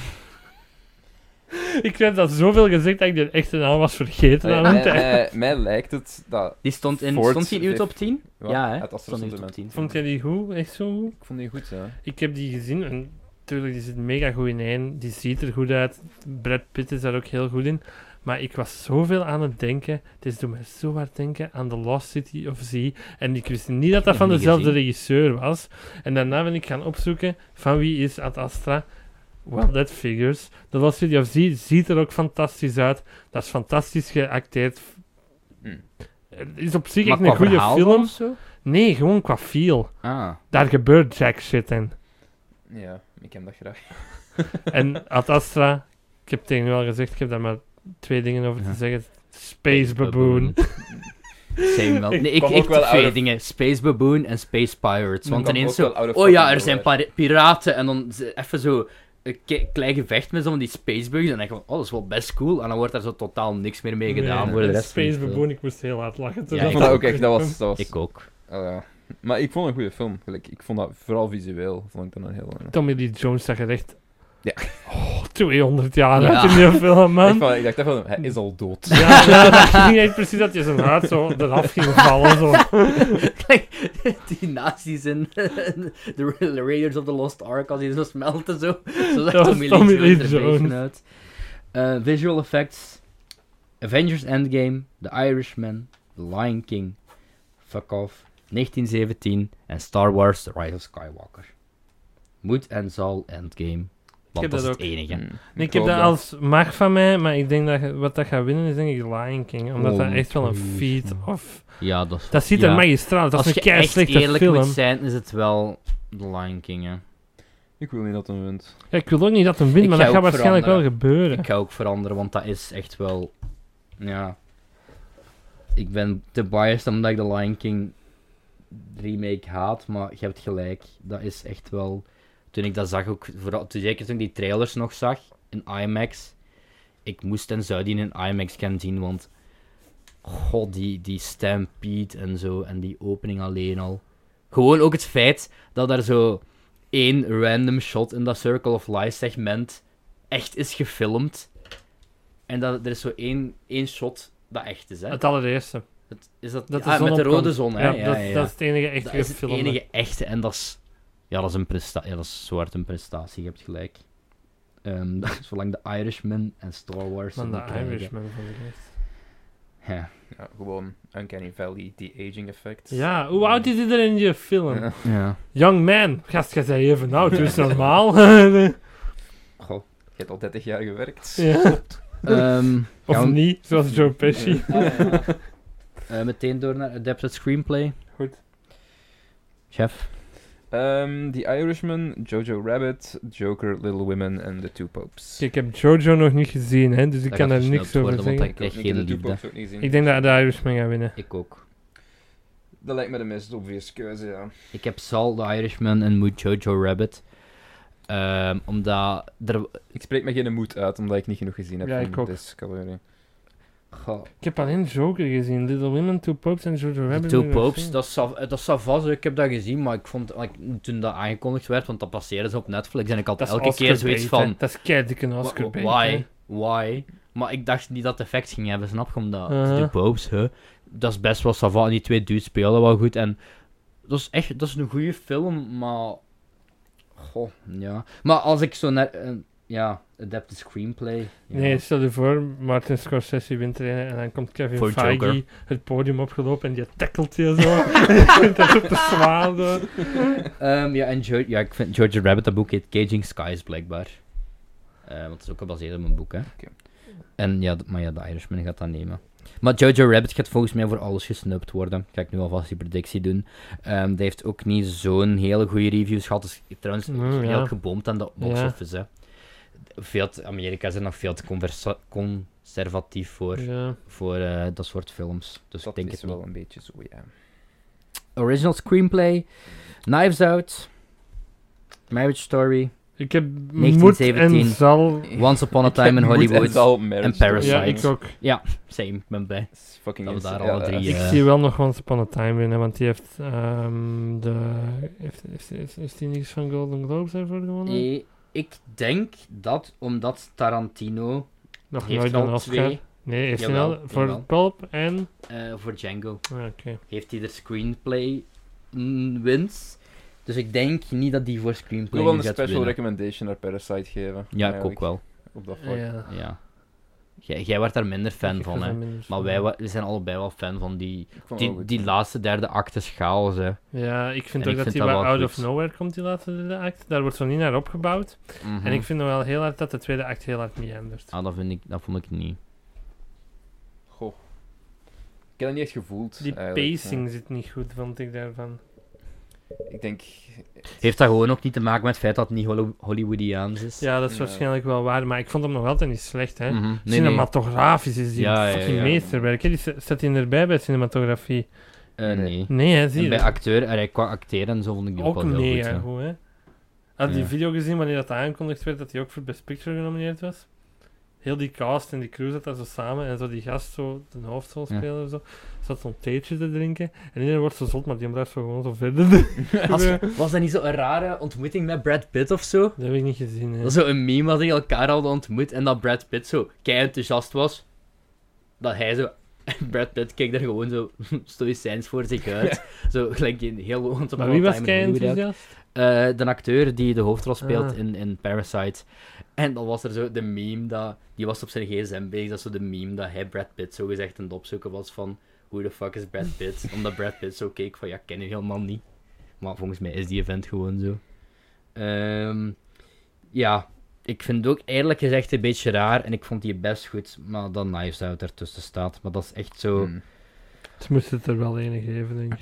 S1: ik heb dat zoveel gezegd dat ik de echte naam was vergeten
S3: Allee,
S1: aan het
S3: Eh, mij,
S1: eind.
S3: mij, mij lijkt het dat...
S2: Die stond in...
S3: Ford
S2: stond die in uw top
S3: heeft-
S2: 10?
S3: Ja,
S2: Ja, hè?
S3: het Astra
S2: Stond in uw
S3: stond
S2: top 10.
S1: Vond jij die goed? Echt zo goed?
S3: Ik vond die goed, hè.
S1: Ik heb die gezien en natuurlijk, die zit mega goed in één. Die ziet er goed uit. Brad Pitt is daar ook heel goed in. Maar ik was zoveel aan het denken. Het is doet mij zo hard denken aan The Lost City of Z. En ik wist niet dat dat
S2: Nog
S1: van
S2: niet
S1: dezelfde
S2: gezien.
S1: regisseur was. En daarna ben ik gaan opzoeken van wie is Ad Astra. Well, that figures. The Lost City of Z ziet er ook fantastisch uit. Dat is fantastisch geacteerd.
S3: Hm.
S1: Het is op zich
S2: Maar
S1: echt een
S2: qua
S1: goede
S2: verhaal dan
S1: film.
S2: of zo?
S1: Nee, gewoon qua feel.
S2: Ah.
S1: Daar gebeurt jack shit in.
S3: Ja, ik heb dat graag.
S1: En Ad Astra, ik heb tegen u al gezegd, ik heb daar maar twee dingen over te
S2: Ja.
S1: zeggen. Space Baboon.
S2: Same wel. Nee, ik,
S3: kwam
S2: ik
S3: ook wel
S2: twee
S3: out of-
S2: dingen. Space Baboon en Space Pirates. Want
S3: kwam
S2: ineens
S3: ook
S2: zo...
S3: wel out of
S2: Oh ja,
S3: fucking
S2: er zijn
S3: nowhere.
S2: pari- piraten. En dan ze- even zo... Een ke- klein gevecht met zo'n van die spacebugs. En dan denk je van, oh, dat is wel best cool. En dan wordt daar zo totaal niks meer mee gedaan
S1: Nee,
S2: voor de
S1: en
S2: rest van de
S1: Space
S2: film.
S1: Baboon, ik moest heel hard lachen. toen
S2: Ja,
S3: ik
S2: ik
S3: vond dat
S2: ook.
S3: ook echt, dat was... Dat was
S2: Ik ook.
S3: oh ja. Maar ik vond het een goede film. gelijk. Ik vond dat vooral visueel, vond ik dat een heel... eh,
S1: Tommy Lee Jones zag er echt
S3: Ja.
S1: oh, 200 jaar
S2: Ja.
S1: uit in die film,
S3: Ik,
S1: man.
S3: wou- ik dacht echt van, hij is al dood.
S1: Ja, ja, dat ging echt precies dat je zijn hart zo eraf ging vallen. Zo.
S2: die nazi's in de Raiders of the Lost Ark, als die zo smelten zo. Zo
S1: Dat
S2: zag
S1: was
S2: Tommy
S1: Tommy
S2: Lee
S1: Lee
S2: Jones er een
S1: Jones.
S2: beetje uit. Eh, visual effects. Avengers Endgame, The Irishman, The Lion King, Fuck Off, 1917 en Star Wars The Rise of Skywalker. Moet en zal Endgame, want
S1: heb
S2: dat is
S1: dat
S2: het enige.
S3: Mm,
S1: Nee, ik heb
S3: geloof
S1: dat als mag van mij, maar ik denk dat wat dat gaat winnen is denk ik Lion King. Omdat dat echt wel een feat of...
S2: Ja, dat is
S1: Dat ziet
S2: Oh, ja.
S1: er magistraal, dat
S2: Als
S1: is
S2: je
S1: een
S2: echt
S1: keislechte
S2: eerlijk
S1: film.
S2: moet zijn, is het wel The Lion King, hè.
S3: Ik wil niet dat hij wint.
S1: Ja, ik wil ook niet dat hem wint,
S2: Ik
S1: maar
S2: ga
S1: dat gaat
S2: ook
S1: waarschijnlijk wel
S2: veranderen.
S1: gebeuren.
S2: Ik ga ook veranderen, want dat is echt wel... Ja... Ik ben te biased omdat ik de Lion King remake haat, maar je hebt gelijk. Dat is echt wel... Toen ik dat zag, ook, vooral, toen, zeker toen ik die trailers nog zag, in IMAX. Ik moest en zou die in IMAX gaan zien, want... God, die, die stampede en zo, en die opening alleen al. Gewoon ook het feit dat er zo één random shot in dat Circle of Life segment echt is gefilmd. En dat, er is zo één, één shot dat echt is, hè?
S1: Het allereerste.
S2: Het- is dat,
S1: dat de
S2: ah,
S1: zon
S2: met de
S1: opkomt.
S2: rode zon, hè?
S1: Ja,
S2: Ja, ja,
S1: dat,
S2: ja.
S1: dat is het enige echt
S2: Dat is het
S1: gefilmde.
S2: enige echte. En dat is... Ja, dat is, een presta ja, dat is zwart een prestatie, je hebt gelijk. Ehm, zolang de Irishman en Star Wars...
S1: Man,
S2: het
S1: de
S2: niet krijgen.
S1: Irishman van de rest.
S2: Ja.
S3: Ja, gewoon Uncanny Valley, die aging effect.
S1: Ja, hoe oud is iedereen in je film?
S3: Ja.
S2: ja.
S1: Young man. Gast, jij zei even oud, dus normaal.
S2: Goh.
S3: Je hebt al 30 jaar gewerkt.
S1: ja.
S2: Ehm,
S1: Of
S2: gaan we-
S1: niet, zoals Joe Pesci.
S2: eh, meteen door naar Adapted Screenplay.
S3: Goed.
S2: Chef.
S3: Ehm, The Irishman, Jojo Rabbit, Joker, Little Women en The Two Popes.
S1: Ik heb Jojo nog niet gezien, hè, dus ik
S2: Dat
S1: kan
S2: gaat
S1: daar niks
S2: versneld
S1: over
S2: worden, want
S1: zeggen.
S2: Ik krijg
S3: heb
S2: geen
S3: The Two
S2: liefde.
S3: Popes ook niet gezien.
S1: Ik denk dat de Irishman gaat winnen.
S2: Ik ook.
S3: Dat lijkt me de meest obvious keuze, ja.
S2: Ik heb Sal, The Irishman en Mood Jojo Rabbit. Ehm, omdat er...
S3: Ik spreek me geen moed uit, omdat ik niet genoeg gezien heb
S1: Ja,
S3: van
S1: ik ook.
S3: deze categorie.
S2: Goh,
S1: Ik heb alleen Joker gezien. Little Women, Two Popes en Jojo
S2: de
S1: Rabbit.
S2: Two
S1: heb ik nog
S2: Popes,
S1: gezien.
S2: dat is sa- dat is sa vast, Ik heb dat gezien, maar ik vond like, toen dat aangekondigd werd, want dat passeerde ze op Netflix, en ik had
S1: Dat is
S2: elke keer
S1: Oscar
S2: zoiets
S1: bait, hè.
S2: van...
S1: Dat is kei dikke
S2: wa-
S1: Oscar bait,
S2: Why?
S1: hè.
S2: Why? Maar ik dacht niet dat het effect ging hebben, snap je? Omdat de
S1: Uh-huh.
S2: Two Popes, hè, dat is best wel sava. En die twee dudes spelen wel goed. En dat is echt dat is een goede film, maar... Goh, ja. Maar als ik zo naar... eh, ja, adapted screenplay... ja.
S1: Nee, stel je voor, Martin Scorsese wint erin en dan komt Kevin
S2: Voor
S1: Feige
S2: Joker.
S1: het podium opgelopen en die tackelt je zo. En dat is op de zwaal. zo.
S2: Ehm, ja, en George, ja, ik vind George Rabbit, dat boek heet Caging Skies, blijkbaar. Eh, want het is ook gebaseerd op een boek, hè.
S3: Oké.
S2: En ja, d- maar ja, de Irishman gaat dat nemen. Maar Jojo Rabbit gaat volgens mij voor alles gesnupt worden. Ga ik nu alvast die predictie doen. Ehm die heeft ook niet zo'n hele goede reviews gehad. Dus trouwens,
S1: Mm,
S2: heel
S1: ja.
S2: geboomd aan de box
S1: Ja.
S2: office, hè. Veel te- Amerika is er nog veel te conversa- conservatief voor,
S1: Ja.
S2: voor eh, dat soort films. Dus
S3: dat
S2: ik denk
S3: is
S2: het wel.
S3: wel een beetje zo, ja.
S2: Original screenplay, Knives Out, Marriage Story,
S1: Ik heb moed
S2: 1917.
S1: en zal...
S2: Once Upon a Time in Hollywood. en
S3: en
S2: Parasite.
S1: Ja, ik ook.
S2: Same, ik ben blij.
S3: Fucking
S2: Dat we daar
S3: insane.
S2: alle
S3: Ja,
S2: drie,
S3: dat
S1: Ik
S3: is-
S2: eh,
S1: zie wel nog Once Upon a Time winnen, want die heeft... ehm de... Heeft, heeft, heeft, heeft die niks van Golden Globes daarvoor gewonnen?
S2: Eh, ik denk dat omdat Tarantino
S1: nog
S2: heeft
S1: nooit een
S2: al
S1: Oscar.
S2: twee
S1: Nee, heeft hij
S2: Jawel,
S1: al voor
S2: jawel.
S1: Pulp en...
S2: eh, voor Django.
S1: Ah, Oké.
S2: Heeft hij de screenplay mm, wins. Dus ik denk niet dat die voor
S3: Ik wil
S2: screenplay
S3: wel een
S2: nu gaat
S3: special
S2: winnen.
S3: recommendation naar Parasite geven.
S2: Ja, ik ook
S3: eigenlijk,
S2: wel.
S3: Op dat vlak.
S1: Ja.
S2: Ja. Jij, jij werd daar minder fan
S1: Ik
S2: van,
S1: was
S2: hè.
S1: daar minder
S2: Maar
S1: van.
S2: wij wa- we zijn allebei wel fan van die,
S3: Ik vond het wel
S2: die,
S3: goed.
S2: die laatste derde acte chaos, hè.
S1: Ja, ik vind
S2: En
S1: ook
S2: ik
S1: dat
S2: vind
S1: die
S2: dat
S1: wat
S2: wel
S1: out
S2: goed.
S1: of nowhere komt, die laatste derde act. Daar wordt zo niet naar opgebouwd.
S2: Mhm.
S1: En ik vind wel heel hard dat de tweede act heel hard meandert.
S2: Ah, dat, vind ik, dat vond ik niet.
S3: Goh. Ik heb dat niet echt gevoeld.
S1: Die
S3: eigenlijk, ja.
S1: pacing zit niet goed, vond ik daarvan.
S3: Ik denk...
S2: Heeft dat gewoon ook niet te maken met het feit dat het niet Hollo- Hollywoodiaans is?
S1: Ja, dat is
S3: Ja.
S1: waarschijnlijk wel waar, maar ik vond hem nog altijd niet slecht, hè.
S2: Mhm. Nee, nee.
S1: Cinematografisch is die
S2: Ja, ja,
S1: fucking
S2: ja.
S1: meesterwerk. hè. Die sta- staat hij erbij bij cinematografie?
S2: Eh,
S3: Nee.
S2: nee.
S1: Nee, hè, zie
S2: En
S1: je.
S2: bij
S1: dat?
S2: acteur, eh, qua acteren en zo vond ik die ook,
S1: Ook
S2: wel heel
S1: nee,
S2: goed.
S1: hè,
S2: ja.
S1: goed, hè. Had die
S2: Ja.
S1: video gezien wanneer dat aangekondigd werd dat hij ook voor Best Picture genomineerd was? heel die cast en die crew zat daar zo samen en zo die gast, zo, de hoofdrolspeler of zo, zat zo'n theetje te drinken. En iedereen wordt zo zot, maar die blijft zo gewoon zo verder.
S2: Als-
S1: dat
S2: was dat niet zo'n rare ontmoeting met Brad Pitt of zo?
S1: heb ik niet gezien. hè.
S2: Dat is zo een meme dat die elkaar hadden ontmoet en dat Brad Pitt zo kei enthousiast was. Dat hij zo. Brad Pitt keek er gewoon zo stoïcijns voor zich uit. Zo gelijk in heel ontempoor
S1: Maar wie was
S2: Time in
S1: kei
S2: Hollywood uit.
S1: enthousiast?
S2: Eh, de acteur die de hoofdrol speelt
S1: Ah.
S2: in, in Parasite. En dan was er zo de meme dat. Die was op zijn gsm bezig. Dat is zo de meme dat hij Brad Pitt zo gezegd aan het opzoeken was van. Hoe de fuck is Brad Pitt? Omdat Brad Pitt zo keek van ja, ik ken u helemaal niet. Maar volgens mij is die event gewoon zo. Ehm, ja, ik vind het ook eerlijk gezegd een beetje raar. En ik vond die best goed. Maar dan Knives Out ertussen staat. Maar dat is echt zo.
S3: Hmm.
S1: Ze moesten het er wel een geven, denk ik.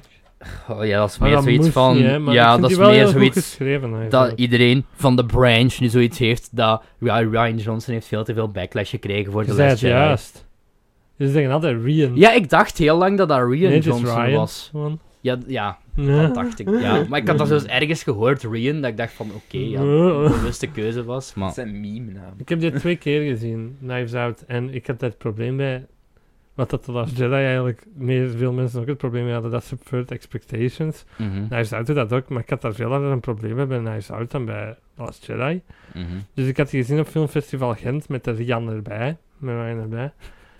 S2: Oh, ja, dat is
S1: Maar
S2: meer
S1: dat
S2: zoiets
S1: moest
S2: van.
S1: niet, hè, maar ik
S2: ja,
S1: vind
S2: dat is
S1: die wel
S2: meer
S1: heel goed
S2: zoiets.
S1: geschreven,
S2: dat
S1: eigenlijk.
S2: iedereen van de branch nu zoiets heeft dat ja, Ryan Johnson heeft veel te veel backlash gekregen voor
S1: Je
S2: de
S1: zei
S2: Last
S1: het
S2: Jedi.
S1: juist. Ze zeggen altijd Rian.
S2: Ja, ik dacht heel lang dat dat Ryan
S1: Nee, het is
S2: Johnson
S1: Ryan,
S2: was.
S1: man.
S2: Ja, d- ja,
S1: Ja.
S2: dat dacht ik. Ja. Maar ik had dat dus ergens gehoord, Ryan, dat ik dacht van oké, ja,
S1: Ja.
S2: een bewuste keuze was. Maar
S3: Dat zijn meme-naam.
S1: Ik heb dit twee keer gezien, Knives Out. En ik had daar het probleem bij. Wat dat de Last Jedi eigenlijk meer veel mensen ook het probleem mee hadden, dat subvert expectations.
S2: mhm,
S1: Knives Out doet dat ook, maar ik had daar veel harder een probleem mee bij Knives Out dan bij Last Jedi.
S2: mhm.
S1: Dus ik had die gezien op Filmfestival Gent met de Rian erbij, met Ryan erbij.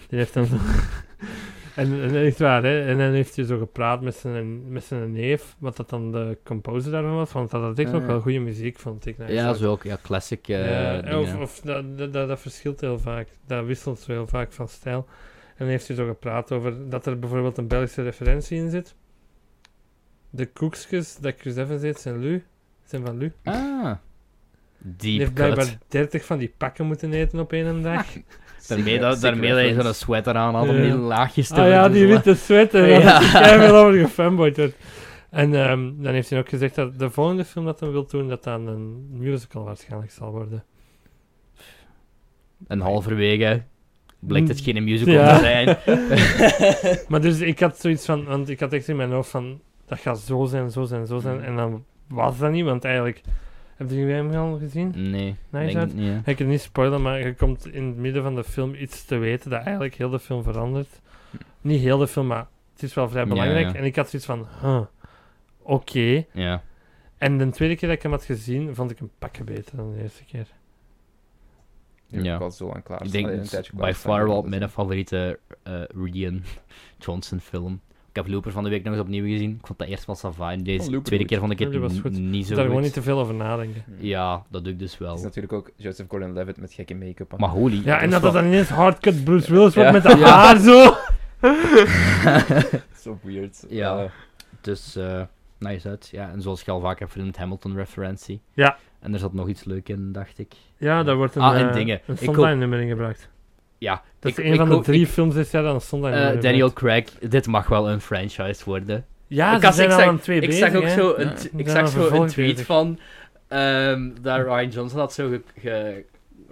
S1: Die heeft dan zo... en, en echt waar, hè. En dan heeft hij zo gepraat met zijn, met zijn neef, wat dat dan de composer daarvan was. Want dat had echt
S3: Ah,
S1: nog
S3: ja.
S1: wel goede muziek, vond ik. Knives
S2: ja,
S1: Out.
S2: dat is ook ja, classic. eh,
S1: Ja,
S2: dingen.
S1: of, of dat, dat, dat, dat verschilt heel vaak. Dat wisselt zo heel vaak van stijl. En dan heeft hij zo gepraat over dat er bijvoorbeeld een Belgische referentie in zit. De koekjes dat Chris Evans eet zijn Lu. Zijn van Lu.
S2: Ah,
S1: Die
S2: deep
S1: heeft
S2: cut.
S1: blijkbaar 30 van die pakken moeten eten op één dag.
S2: Daarmee dat,
S3: Sick
S2: daarmee dat je
S3: reference.
S2: zo'n sweater aan had om
S1: Ja.
S2: die laagjes te
S1: Ah ja, die
S2: verdoezelen.
S1: witte sweater.
S2: Ja.
S1: Ja. Daar heb ik over gefanboyd. werd. En ehm, dan heeft hij ook gezegd dat de volgende film dat hij wil doen, dat dan een musical waarschijnlijk zal worden.
S2: En halverwege blijkt het geen musical
S1: Mm. Ja.
S2: te zijn.
S1: Maar dus ik had zoiets van, want ik had echt in mijn hoofd van, dat gaat zo zijn, zo zijn, zo zijn.
S2: Mm.
S3: Mhm.
S1: En dan was dat niet, want eigenlijk, hebben jullie hem al gezien?
S2: Nee,
S1: Nee,
S2: denk
S1: zou
S2: ik niet. hè.
S1: Ik kan het niet spoilen, maar je komt in het midden van de film iets te weten dat eigenlijk heel de film verandert. Niet heel de film, maar het is wel vrij
S2: Ja,
S1: belangrijk.
S2: ja.
S1: En ik had zoiets van, huh, oké.
S2: Ja.
S1: En de tweede keer dat ik hem had gezien, vond ik hem pakken beter dan de eerste keer.
S3: Die
S2: Ja.
S3: heb Ik was zo lang klaar.
S2: Ik denk
S3: Allee, een
S2: dat
S3: tijdje
S2: by
S3: klaar staan,
S2: far wel
S3: dat is-
S2: mijn favoriete eh Rian Johnson film. Ik heb Looper van de week nog eens opnieuw gezien. Ik vond dat eerst wel sava en deze
S3: Oh, Looper
S2: tweede
S3: goed.
S2: keer vond ik het
S1: Looper was goed.
S2: n- niet
S1: Je moet
S2: zo
S1: daar
S2: goed.
S1: gewoon niet te veel over nadenken.
S2: Ja, dat doe ik dus
S3: Hmm. Het is
S2: wel.
S3: natuurlijk ook Joseph Gordon-Levitt met gekke make-up aan.
S2: Maar holy.
S1: Ja, en dat dat
S2: was
S1: dan ineens hardcut Bruce Willis wordt
S3: Ja.
S1: met dat
S2: Ja.
S1: haar zo.
S3: Zo weird.
S2: Ja.
S3: Eh,
S2: Dus, eh nice uit. Ja, en zoals ik al vaak heb vernoemd, Hamilton-referentie.
S1: Ja.
S2: En er zat nog iets leuk in, dacht ik.
S1: Ja, daar wordt een,
S2: Ah, en
S1: eh,
S2: dingen.
S1: een
S2: Ik
S1: Sondheim-nummer in gebruikt.
S2: Ja.
S1: Dat
S2: ik-
S1: is een
S2: ik
S1: van de
S2: hoop-
S1: drie
S2: ik-
S1: films dit jaar dat een Sondheim-nummer
S2: eh,
S1: heeft.
S2: Daniel Craig, dit mag wel een franchise worden.
S1: Ja,
S2: ik
S1: Ah, ze
S2: had-
S1: zijn
S2: ik
S1: al
S2: zag-
S1: aan twee
S2: Ik
S1: bezig,
S2: zag ook
S1: hè.
S2: zo eh, een,
S3: Ja.
S2: t-
S1: Die
S2: ik
S1: zijn
S2: zag
S1: aan
S2: zo een
S1: vervolg
S2: tweet
S1: bezig.
S2: van ehm, dat Ryan Johnson had zo ge- ge-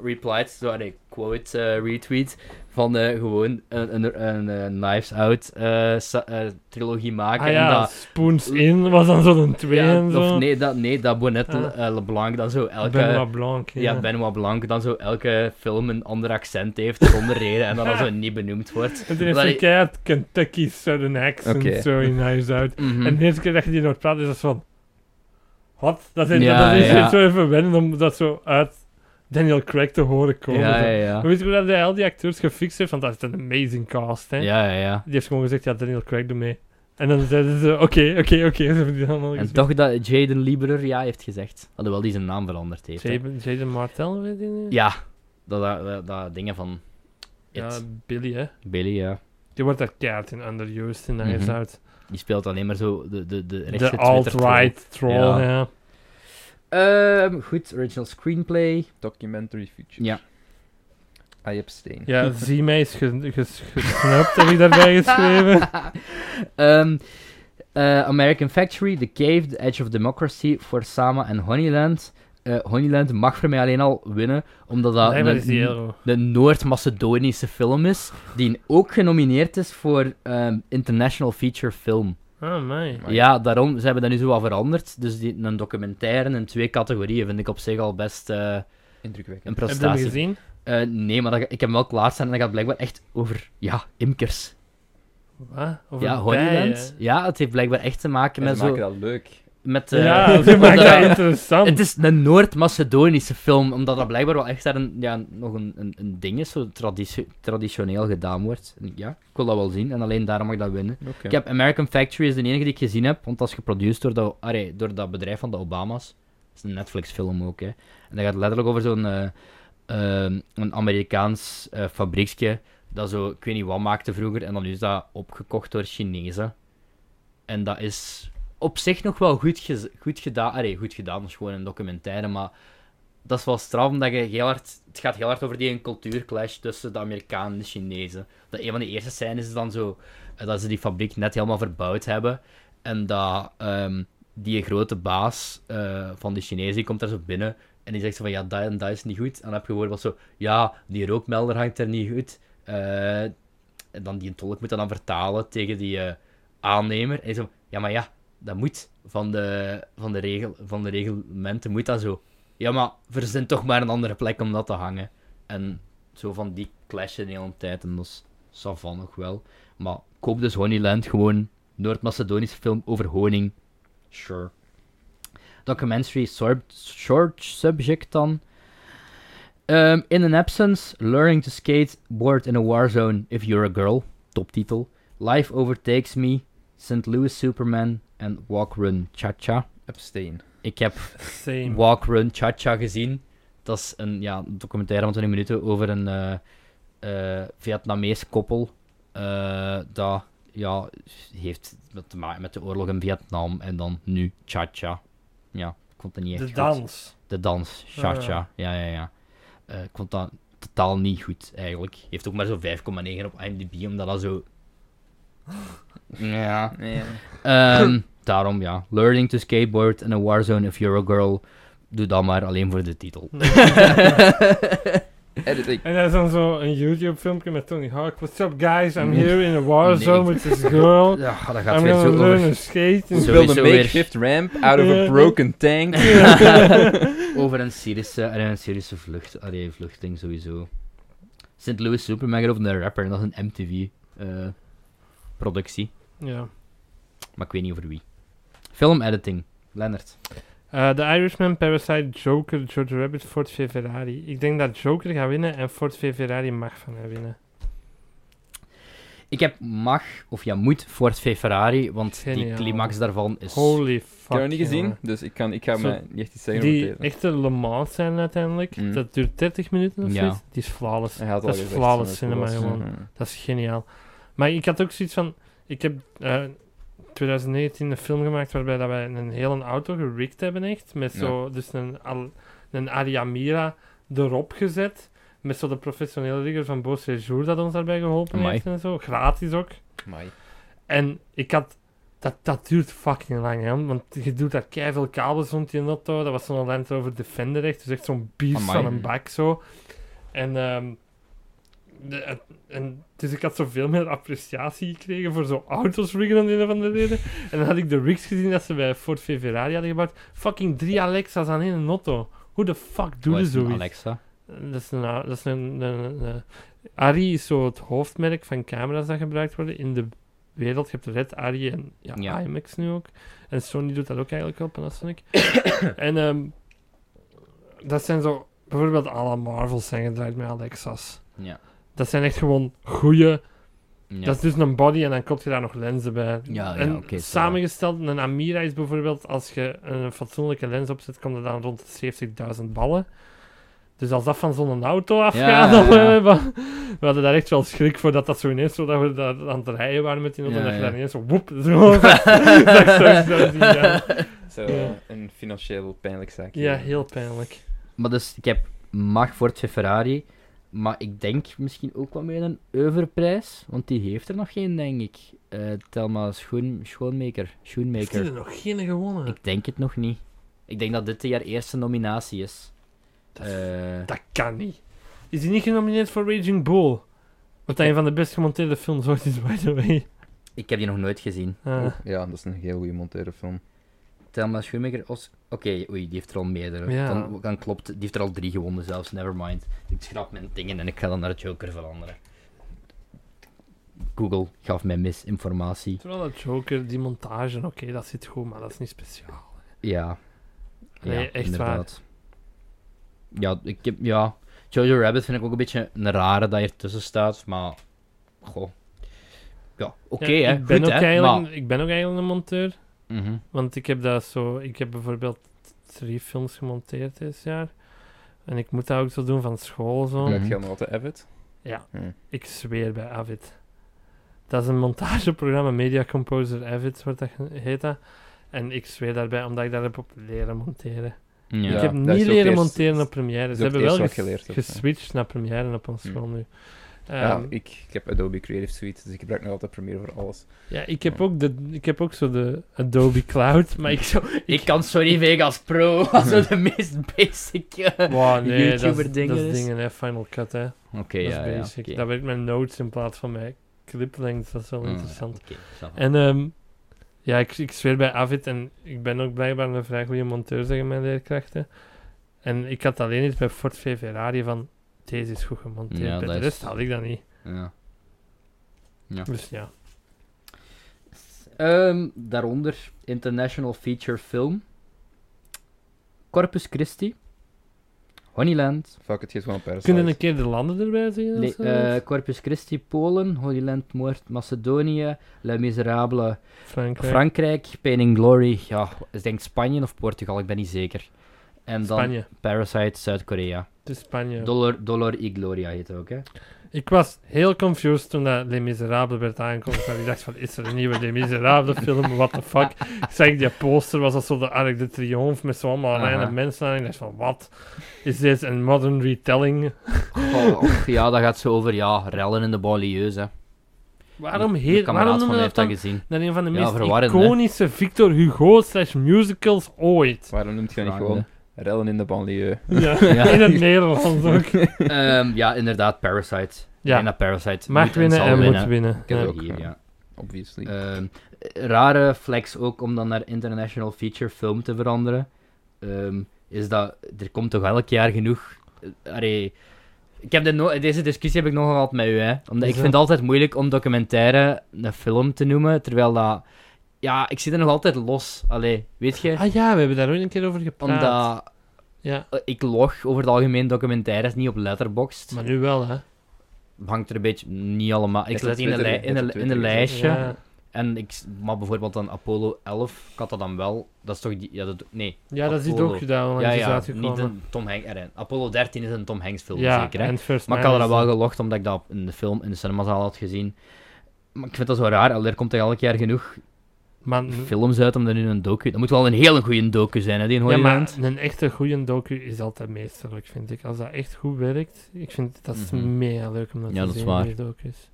S2: replied, zo nee, quote eh, retweet van eh, gewoon een, een, een, eh, Knives Out eh, sa- eh, trilogie maken
S1: Ah ja,
S2: en dat
S1: Spoons in was dan zo'n twee
S2: ja,
S1: en zo.
S2: of nee dat nee dat Bonnet
S1: Ah.
S2: eh, LeBlanc dan zo elke
S1: Benoit Blanc. Ja.
S2: ja, Benoit Blanc dan zo elke film een ander accent heeft zonder reden en dan dan zo niet benoemd wordt.
S1: En toen heeft
S2: Dat
S1: hij
S2: ik-
S1: keihard Kentucky Southern accent
S3: Oké.
S1: zo in huis uit.
S2: Mhm.
S1: En de eerste keer dat je die nog praat, is dat van... Wat? Dat is,
S2: Ja,
S1: dat is
S2: ja.
S1: zo even wennen om dat zo uit Daniel Craig te horen komen.
S2: ja,
S1: zo.
S2: ja, ja.
S1: Maar weet je hoe dat hij al die acteurs gefixt heeft? Want dat is een amazing cast, hè.
S2: Ja, ja, ja.
S1: Die heeft gewoon gezegd, ja, Daniel Craig, doe mee. En dan zeiden ze, oké, oké, oké. Ze hebben die allemaal
S2: En
S1: gezien.
S2: toch dat Jaden Lieberer ja heeft gezegd. Alhoewel die zijn naam veranderd heeft. hè.
S1: Jaden, Jaden Martel, weet je niet?
S2: Ja, dat, dat, dat, dat dingen van
S1: Ja,
S2: It,
S1: Billy, hè.
S2: Billy, ja.
S1: Die wordt daar keihard in underused in de
S2: Mhm.
S1: uit.
S2: Die speelt alleen maar zo de, de, de rechtse
S1: De alt-right troll,
S2: Ja.
S1: ja.
S2: Ehm, goed, original screenplay.
S3: Documentary feature.
S2: Ja.
S3: I abstain.
S1: Ja, zie mij is ge- ges- gesnapt, heb ik daarbij geschreven.
S2: Ehm, eh, American Factory, The Cave, The Edge of Democracy, For Sama en Honeyland. Eh, Honeyland mag voor mij alleen al winnen, omdat dat
S1: Blijkbaar is
S2: een,
S1: die euro.
S2: een Noord-Macedonische film is, die ook genomineerd is voor ehm, International Feature Film.
S1: Ah, mij.
S3: Maar
S2: Ja, daarom, ze hebben dat nu zo wat veranderd. Dus die, een documentaire in twee categorieën vind ik op zich al best, eh, Een
S3: Indrukwekkend.
S1: Heb je hem
S2: prestatie.
S1: gezien?
S2: Eh, nee, maar dat, ik heb hem wel klaarstaan en dat gaat blijkbaar echt over, ja, imkers.
S1: Wat? Over
S2: ja, Honeyland. Ja, het heeft blijkbaar echt te maken
S3: En
S2: met
S3: ze
S2: zo...
S3: maken dat leuk.
S2: Met, eh,
S1: Ja, ze
S2: omdat
S1: maakt dat
S2: dat-
S1: interessant.
S2: Het is een Noord-Macedonische film, omdat dat blijkbaar wel echt daar een, ja, nog een, een, een ding is, zo traditio- traditioneel gedaan wordt. En Ja, ik wil dat wel zien en alleen daarom mag dat winnen. Ik heb American Factory is de enige die ik gezien heb, want dat is geproduceerd door dat, allee, door dat bedrijf van de Obama's. Dat is een Netflix-film ook, hè. En dat gaat letterlijk over zo'n eh, ehm, een Amerikaans eh fabriekje dat zo, ik weet niet wat maakte vroeger, en dan is dat opgekocht door Chinezen. En dat is op zich nog wel goed, gez- goed gedaan. Allee, goed gedaan, dat is gewoon een documentaire, maar dat is wel straf, omdat je heel hard, het gaat heel hard over die cultuurclash tussen de Amerikanen en de Chinezen. Dat een van de eerste scènes is dan zo eh, dat ze die fabriek net helemaal verbouwd hebben. En dat ehm, die grote baas eh, van de Chinezen die komt daar zo binnen. En die zegt zo van ja, dat en dat is niet goed. En dan heb je gewoon wel zo, ja, die rookmelder hangt er niet goed. Eh, en dan die tolk moet dat dan vertalen tegen die eh, aannemer. En die zo, van, ja, maar ja, dat moet. Van de, van de, regel, van de reglementen moet dat zo. Ja, maar verzin toch maar een andere plek om dat te hangen. En zo van die clashen de hele tijd. En dat is savan nog wel. Maar koop dus Honeyland, gewoon Noord-Macedonische film over honing. Sure. Documentary sor- short subject dan. Ehm, in an absence, learning to skateboard in a war zone if you're a girl. Toptitel. Life overtakes me, St. Louis Superman en Walk Run Cha Cha.
S3: Abstain.
S2: Ik heb
S1: Same.
S2: Walk Run Cha Cha gezien. Dat is een ja, een documentaire van 20 minuten over een eh, eh, Vietnamees koppel. eh, dat ja, heeft wat te maken met de oorlog in Vietnam en dan nu Cha Cha. Ja, ik vond het niet echt
S1: De
S2: goed.
S1: dans.
S2: De dans, Cha
S1: Ah,
S2: Cha. Ja, ja, ja. Eh, ik vond dat totaal niet goed eigenlijk. Heeft ook maar zo'n 5,9 op IMDb, omdat dat zo. ja.
S3: Nee.
S2: Ehm, daarom ja. Learning to skateboard in a warzone if you're a girl. Doe dat maar alleen voor de titel.
S3: Editing.
S1: En dat is dan zo een YouTube-filmpje met Tony Hawk. What's up, guys? I'm here in a warzone with this girl.
S2: Ja, dat gaat
S1: I'm
S2: weer zo
S1: gonna learn
S2: over,
S1: to skate.
S2: Zo.
S1: And...
S3: Build
S2: Sowieso
S3: a
S2: weer.
S3: makeshift ramp out of
S1: Ja.
S3: a broken tank.
S2: over een Syrische, en een Syrische vlucht. Allee, vluchting sowieso. St. Louis Superman gaat over een rapper en dat is een MTV-productie.
S1: Ja.
S2: eh, maar ik weet niet over wie. Film editing, Lennart.
S1: Eh, The Irishman, Parasite, Joker, George Rabbit, Ford v Ferrari. Ik denk dat Joker gaat winnen en Ford v Ferrari mag van hem winnen.
S2: Ik heb mag, of ja, moet, Ford v Ferrari, want die
S1: Geniaal.
S2: climax daarvan is...
S1: Holy fuck.
S3: Ik heb het niet gezien,
S1: jongen.
S3: dus ik, kan, ik ga
S1: Zo,
S3: me niet echt iets zeggen over
S1: Die
S3: het eten.
S1: echte Le Mans zijn uiteindelijk.
S3: Mm.
S1: Dat duurt 30 minuten of
S2: Ja.
S1: zoiets. Die is flawless.
S3: Hij had
S1: dat
S3: al
S1: is
S3: gezegd
S1: flawless
S3: van het
S1: cinema,
S3: was.
S1: gewoon.
S3: Ja.
S1: Dat is geniaal. Maar ik had ook zoiets van... Ik heb eh 2019 een film gemaakt waarbij dat wij een hele auto gerikt hebben echt. Met
S3: Ja.
S1: zo... Dus een, al, een Ariamira erop gezet. Met zo de professionele rigger van Beau Séjour dat ons daarbij geholpen
S2: Amai.
S1: heeft en zo. Gratis ook.
S3: Amai.
S1: En ik had... Dat, dat duurt fucking lang, hè. Want je doet daar keiveel kabels rond die auto. Dat was zo'n Land Rover Defender, echt. Dus echt zo'n beest
S2: Amai.
S1: van een bak, zo. En, ehm, de- het- en... Dus ik had zoveel meer appreciatie gekregen voor zo'n auto's riggen om de een of andere reden. En dan had ik de rigs gezien dat ze bij Ford V Ferrari hadden gebouwd. Fucking drie Alexa's aan één auto. Hoe de fuck doen
S2: Wat
S1: ze
S2: is een
S1: zoiets?
S2: Alexa.
S1: Dat is een... a- Dat is een, een, een- een- Arri is zo het hoofdmerk van camera's dat gebruikt worden in de wereld. Je hebt Red, Arri en ja,
S2: Ja.
S1: IMAX nu ook. En Sony doet dat ook eigenlijk wel, Panasonic. en ehm, dat zijn zo... Bijvoorbeeld alle Marvels zijn gedraaid met Alexas.
S2: Ja.
S1: Dat zijn echt gewoon goede.
S2: ja.
S1: Dat is dus een body en dan koop je daar nog lenzen bij.
S2: Ja, ja,
S1: en
S2: oké, zo.
S1: samengesteld, een Amira is bijvoorbeeld, als je een fatsoenlijke lens opzet, komt er dan rond de 70.000 ballen. Dus als dat van zo'n auto afgaat,
S2: ja,
S1: dan,
S2: ja.
S1: eh, wa- we hadden daar echt wel schrik voor dat dat zo ineens zo dat we daar aan het rijden waren met die auto.
S2: Ja,
S1: en dat je
S2: ja.
S1: daar ineens zo woep, zo. dat ik zo- zo zie gaan.
S3: Zo, eh,
S1: Ja.
S3: een financieel pijnlijk zaakje.
S1: Ja, heel pijnlijk.
S2: Maar dus, ik heb mag voor het Ferrari, maar ik denk misschien ook wel meer een overprijs, want die heeft er nog geen, denk ik. Eh Telma schoen, Schoonmaker.
S1: Heeft hij
S2: Schoenmaker.
S1: er nog geen gewonnen?
S2: Ik denk het nog niet. Ik denk dat dit de jaar eerste nominatie is.
S1: Dat is
S2: Eh,
S1: Dat kan niet. Is hij niet genomineerd voor Raging Bull? Wat een van de best gemonteerde films ooit is, by the way.
S2: ik heb die nog nooit gezien.
S1: Ah.
S3: Ja, dat is een heel goede monteerde film.
S2: Het Thelma Schumacher, Os- Oké, oei, die heeft er al meerdere.
S1: Ja.
S2: Dan, dan klopt, die heeft er al drie gewonnen zelfs, nevermind. Ik schrap mijn dingen en ik ga dan naar Joker veranderen. Google gaf mij misinformatie.
S1: Terwijl dat Joker, die montage, oké, dat zit goed, maar dat is niet speciaal.
S2: Ja.
S1: Nee, echt waar.
S2: waar. Ja, ik heb, ja, Jojo Rabbit vind ik ook een beetje een rare dat hier tussen staat, maar... Goh. Ja, oké
S1: Ja,
S2: hè,
S1: ik ben,
S2: goed
S1: ook
S2: hè,
S1: eigenlijk,
S2: maar...
S1: ik ben ook eigenlijk een monteur.
S2: Mhm.
S1: Want ik heb dat zo. Ik heb bijvoorbeeld drie films gemonteerd dit jaar. En ik moet dat ook zo doen van school zo.
S2: Mhm.
S3: Heb je nog altijd Avid?
S1: Ja.
S3: Hmm.
S1: Ik zweer bij Avid. Dat is een montageprogramma, Media Composer Avid wordt dat ge- heet dat. En ik zweer daarbij, omdat ik daarop heb leren monteren.
S2: Ja.
S1: ik
S3: Ja,
S1: heb
S3: dat is
S1: niet
S3: ook
S1: leren
S3: eerst-
S1: monteren op Premiere.
S3: is
S1: Ze
S3: ook
S1: hebben
S3: het
S1: wel
S3: eerste wat
S1: ges-
S3: je leert hebt, ja.
S1: geswitcht naar Premiere op ons
S3: Hmm.
S1: school nu.
S3: ja,
S1: Ehm,
S3: ik, ik heb Adobe Creative Suite, dus ik gebruik nog altijd Premiere voor alles.
S1: ja, ik heb ook de, ik heb ook zo de Adobe Cloud, maar ik zo,
S2: Ik kan Sony Vegas Pro als het de meest basic. eh,
S1: Wow, nee, dat is,
S2: YouTuber-dingen
S1: dat is
S2: is.
S1: dingen, hè. Final Cut, hè.
S2: Oké,
S1: dat
S2: ja,
S1: is
S2: ja.
S1: basic.
S2: oké.
S1: Dat werkt met notes in plaats van met cliplength. Dat is wel
S2: Mm,
S1: interessant.
S2: oké, snap ik.
S1: En ehm, ja, ik, ik zweer bij Avid en ik ben ook blijkbaar een vrij goede monteur, zeggen mijn leerkrachten. En ik had alleen iets bij Ford V Ferrari van, deze is goed gemonteerd.
S2: Ja,
S1: bij de
S2: dat is-
S1: rest had ik dat niet.
S2: Ja.
S1: Dus ja.
S2: Ehm, daaronder International Feature Film. Corpus Christi. Honeyland.
S3: Fuck, het geeft gewoon een paar
S1: Kunnen
S3: slides.
S1: een keer de landen erbij zeggen?
S2: Nee,
S1: als dat
S2: eh, Corpus Christi, Polen. Honeyland, Moord, Macedonië. La Miserable,
S1: is? Frankrijk.
S2: Frankrijk. Pain and Glory. Ja, ik denk Spanje of Portugal, ik ben niet zeker. En dan
S1: Spanje.
S2: Parasite, Zuid-Korea.
S1: Het is Spanje.
S2: Dolor, Dolor y Gloria heet het ook, hè?
S1: Ik was heel confused toen dat Les Miserables werd aangekondigd. want Ik dacht van, is er een nieuwe Les Miserables film? What the fuck? Ik zag die poster, was dat zo de Arc de Triomphe met zo allemaal
S2: Aha.
S1: reine mensen aan. Ik dacht van, wat? Is dit een modern retelling?
S2: Oh, ja, dat gaat zo over ja, rellen in de banlieues. Hè.
S1: Waarom,
S2: Mijn-
S1: heer, waarom
S2: mijn kameraad van
S1: noemen
S2: mij
S1: we
S2: heeft
S1: dat
S2: dat
S1: dan
S2: gezien.
S1: naar een van de
S2: Ja,
S1: meest
S2: verwarrend, hè?
S1: iconische Victor Hugo slash musicals ooit?
S3: Waarom noemt je dat niet
S2: Vragen,
S3: gewoon rellen in de banlieue?
S1: Ja,
S2: Ja.
S1: in het Nederlands ook.
S2: Ehm, ja, inderdaad, Parasite. Ja.
S1: Ja,
S2: Parasite.
S1: mag
S2: moet en
S1: winnen
S2: zal
S1: en moet
S2: winnen.
S1: winnen.
S3: heb
S1: Ja.
S3: ook.
S2: Hier,
S3: ja.
S2: ja.
S3: Obviously.
S2: Ehm, rare flex ook om dan naar International Feature Film te veranderen. Ehm, is dat, er komt toch elk jaar genoeg. eh, Allee, ik heb dit no- deze discussie heb ik nogal gehad met u, hè? Omdat ik
S1: Is
S2: vind het
S1: dat-
S2: altijd moeilijk om documentaire een film te noemen, terwijl dat. Ja, ik zit er nog altijd los. Allee, weet je?
S1: Ah ja, we hebben daar ooit een keer over gepraat.
S2: Omdat.
S1: Ja,
S2: Eh, Ik log over het algemeen documentaires niet op Letterboxd.
S1: maar nu wel, hè.
S2: Hangt er een beetje niet allemaal. Ik
S3: Net
S2: zet
S3: op
S2: die in een,
S3: Twitter,
S2: lij- in
S3: net
S2: een,
S3: op
S2: in een
S3: Twitter
S2: lijstje.
S1: Ja.
S2: En ik, s- maar bijvoorbeeld dan Apollo 11, ik had dat dan wel. Dat is toch die. Ja, dat, nee.
S1: Ja, dat is die
S2: Apollo.
S1: docu daar
S2: ja,
S1: onlangs is
S2: ja,
S1: uitgekomen.
S2: niet een Tom Hanks. erin. Apollo 13 is een Tom Hanks film,
S1: ja,
S2: zeker. Hè?
S1: en First
S2: maar ik
S1: Man
S2: had dat
S1: is
S2: wel
S1: een-
S2: gelogd omdat ik dat in de film in de cinemazaal had gezien. Maar ik vind dat zo raar. allee, Er komt er elk jaar genoeg
S1: Maar,
S2: films uit om er nu een docu. Dat moet wel een hele goede docu zijn, hè, die in
S1: ja,
S2: Hollywood.
S1: maar een echte goede docu is altijd meesterlijk, vind ik. Als dat echt goed werkt, ik vind dat is
S2: Mhm.
S1: mega leuk om dat
S2: Ja,
S1: te
S2: dat is
S1: zien,
S2: waar.
S1: die docu's.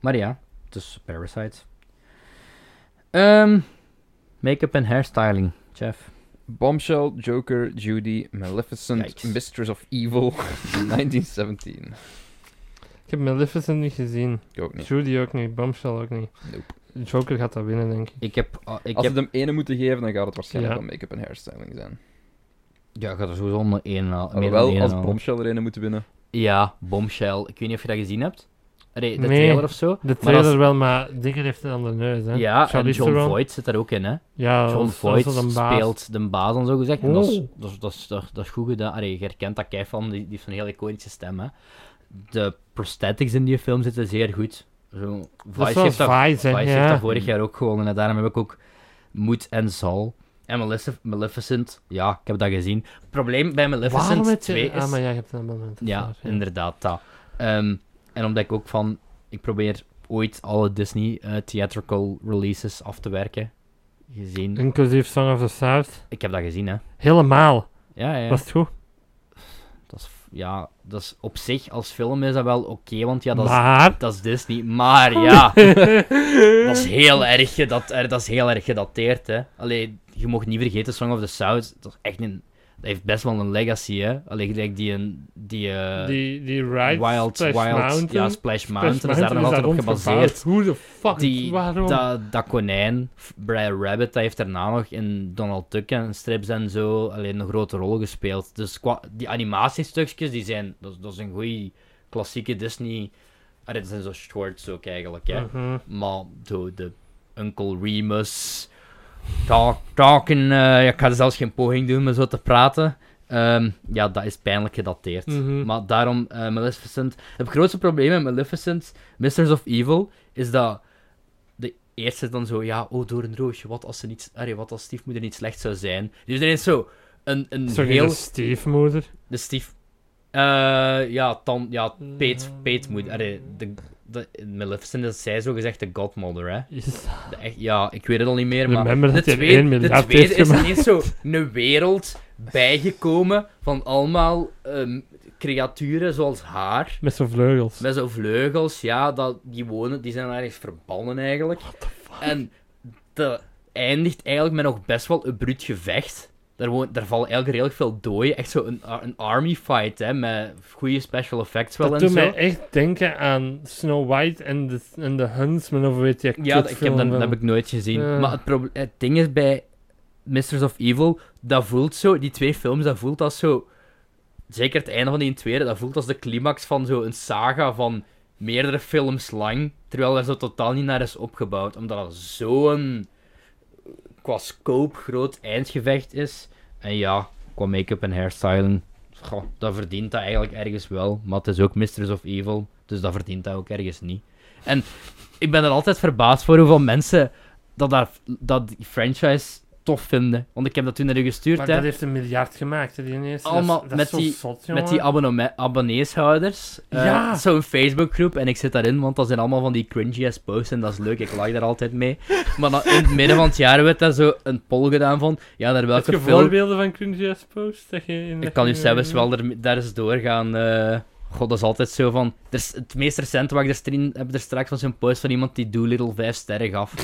S2: Maar ja, het is Parasite. Ehm, Make-up en hairstyling, Jeff.
S3: Bombshell, Joker, Judy, Maleficent,
S2: Yikes.
S3: Mistress of Evil, 1917.
S1: Ik heb Maleficent niet gezien,
S3: Ik ook niet.
S1: Judy ook niet, Bombshell ook niet.
S3: Nope.
S1: Joker gaat dat winnen, denk ik.
S2: Ik heb. ah, ik
S3: Als
S2: heb
S3: ze hem ene moeten geven, dan gaat het waarschijnlijk
S1: Ja.
S3: wel make-up en hairstyling zijn.
S2: ja, ik had er sowieso maar één al. meer dan
S3: Alhoewel,
S2: één
S3: als
S2: al.
S3: Bombshell er ene moeten winnen.
S2: Ja, Bombshell. Ik weet niet of je dat gezien hebt. Allee, de
S1: Nee.
S2: trailer of zo.
S1: De
S2: Maar als-
S1: trailer wel, maar Dikker heeft het aan de neus, hè.
S2: Ja, en
S1: Charlize
S2: John
S1: Theron.
S2: Voight zit daar ook in, hè.
S1: Ja,
S2: John
S1: als- als
S2: Voight
S1: dat een baas.
S2: speelt de baas, dan zo gezegd. En dat, is,
S1: Oh.
S2: dat, is, dat, is, dat, dat is goed gedaan. Allee, je herkent dat kei van, die, die heeft zo'n heel iconische stem, hè. De prosthetics in die film zitten zeer goed. Zo,
S1: Dat is
S2: Vice
S1: wel
S2: heeft dat,
S1: Vice, hè.
S2: Vice heeft dat
S1: Ja.
S2: vorig jaar ook gewonnen. En daarom heb ik ook Moed en Zal. En Malef- Maleficent, ja, ik heb dat gezien. Het probleem bij Maleficent
S1: Waarom het
S2: 2 is...
S1: Ah, maar jij hebt een moment. dat is
S2: Ja,
S1: waar,
S2: inderdaad, dat. Ehm, en omdat ik ook van... Ik probeer ooit alle Disney eh, theatrical releases af te werken. Gezien.
S1: Inclusief Song of the South.
S2: Ik heb dat gezien, hè.
S1: Helemaal.
S2: Ja, ja.
S1: Was het goed?
S2: Dat is, ja, dat is op zich, als film is dat wel oké, want ja, dat is,
S1: maar...
S2: dat is Disney. Maar ja, dat is heel erg, gedat, er- dat is heel erg gedateerd, hè. Allee, je mocht niet vergeten, Song of the South, dat is echt een... dat heeft best wel een legacy, hè. Alleen gelijk die, een- die, eh,
S1: die, die Ride
S2: Wild,
S1: Splash
S2: Wild,
S1: Mountain.
S2: ja, Splash Mountain, is daar nog
S1: Mountain
S2: altijd op
S1: daarop
S2: gebaseerd.
S1: gebouwd. Hoe de fuck?
S2: Die,
S1: waarom?
S2: dat, dat konijn, F- Brad Rabbit, dat heeft daarna nog in Donald Duck en strips en zo alleen een grote rol gespeeld. Dus qua, die animatiestukjes, die zijn, dat, is- dat is een goeie klassieke Disney. Ah, dit zijn zo shorts ook eigenlijk, hè.
S1: Mhm.
S2: Maar zo de Uncle Remus, talk, talking, eh, ja, ik ga zelfs geen poging doen om zo te praten. Ehm, ja, dat is pijnlijk gedateerd.
S1: Mhm.
S2: Maar daarom, eh, Maleficent... Het grootste probleem met Maleficent, Mistress of Evil, is dat... De eerste is dan zo, ja, oh, door een roosje, wat als, ze niet, arre, wat als stiefmoeder niet slecht zou zijn? Dus er is zo een, een
S1: Sorry,
S2: heel...
S1: de stiefmoeder.
S2: De stief... eh, ja, dan, ja, peet,
S1: Mm.
S2: peetmoeder. Arre, de, de, Maleficent is zij zogezegd de godmother, hè.
S1: Is dat-
S2: De echt- ja, ik weet het al niet meer, maar...
S1: Remember
S2: de
S1: dat hij
S2: tweede,
S1: één
S2: de
S1: miljard
S2: tweede
S1: heeft
S2: is
S1: gemaakt.
S2: ineens zo een wereld bijgekomen van allemaal ehm, creaturen zoals haar.
S1: Met zo'n vleugels.
S2: Met zo'n vleugels, ja, dat, die wonen, die zijn ergens verbannen eigenlijk. En dat eindigt eigenlijk met nog best wel een bruut gevecht. Daar, wo- daar vallen eigenlijk redelijk veel dooien. Echt zo'n een army fight, hè, met goede special effects wel
S1: Dat
S2: en
S1: doet
S2: zo.
S1: mij echt denken aan Snow White en de, en de Huntsman of weet je,
S2: Ja, dat- ik heb dat,
S1: kutfilm
S2: dat heb
S1: van-
S2: ik nooit gezien.
S1: Ja.
S2: Maar het, proble- het ding is bij Mistress of Evil, dat voelt zo, die twee films, dat voelt als zo. Zeker het einde van die tweede, dat voelt als de climax van zo'n saga van meerdere films lang. Terwijl er zo totaal niet naar is opgebouwd. Omdat dat zo'n qua scope groot eindgevecht is. En ja, qua make-up en hairstyling. goh, dat verdient dat eigenlijk ergens wel. Maar het is ook Mistress of Evil. Dus dat verdient dat ook ergens niet. En ik ben er altijd verbaasd voor hoeveel mensen dat, daar, dat die franchise tof vinden. Want ik heb dat toen naar u gestuurd,
S1: Maar
S2: hè.
S1: dat heeft een miljard gemaakt, hè, die ineens. Dat is-
S2: Allemaal
S1: dat is,
S2: met
S1: zo
S2: die-
S1: zot,
S2: Met die
S1: jongen.
S2: abonneme- abonneeshouders. Eh,
S1: Ja!
S2: Zo'n Facebookgroep. En ik zit daarin, want dat zijn allemaal van die cringy ass posts. En dat is leuk, ik like daar altijd mee. Maar dan, in het midden van het jaar werd daar zo een poll gedaan van. Ja, naar
S1: Heb
S2: welke
S1: je
S2: film.
S1: voorbeelden van cringy ass posts? dat je in-
S2: Ik kan u
S1: in-
S2: zelfs wel er, daar eens doorgaan. eh. God, dat is altijd zo van. er is- het meest recente wat ik er strin, heb er straks was een post van iemand die Doolittle 5 sterren gaf.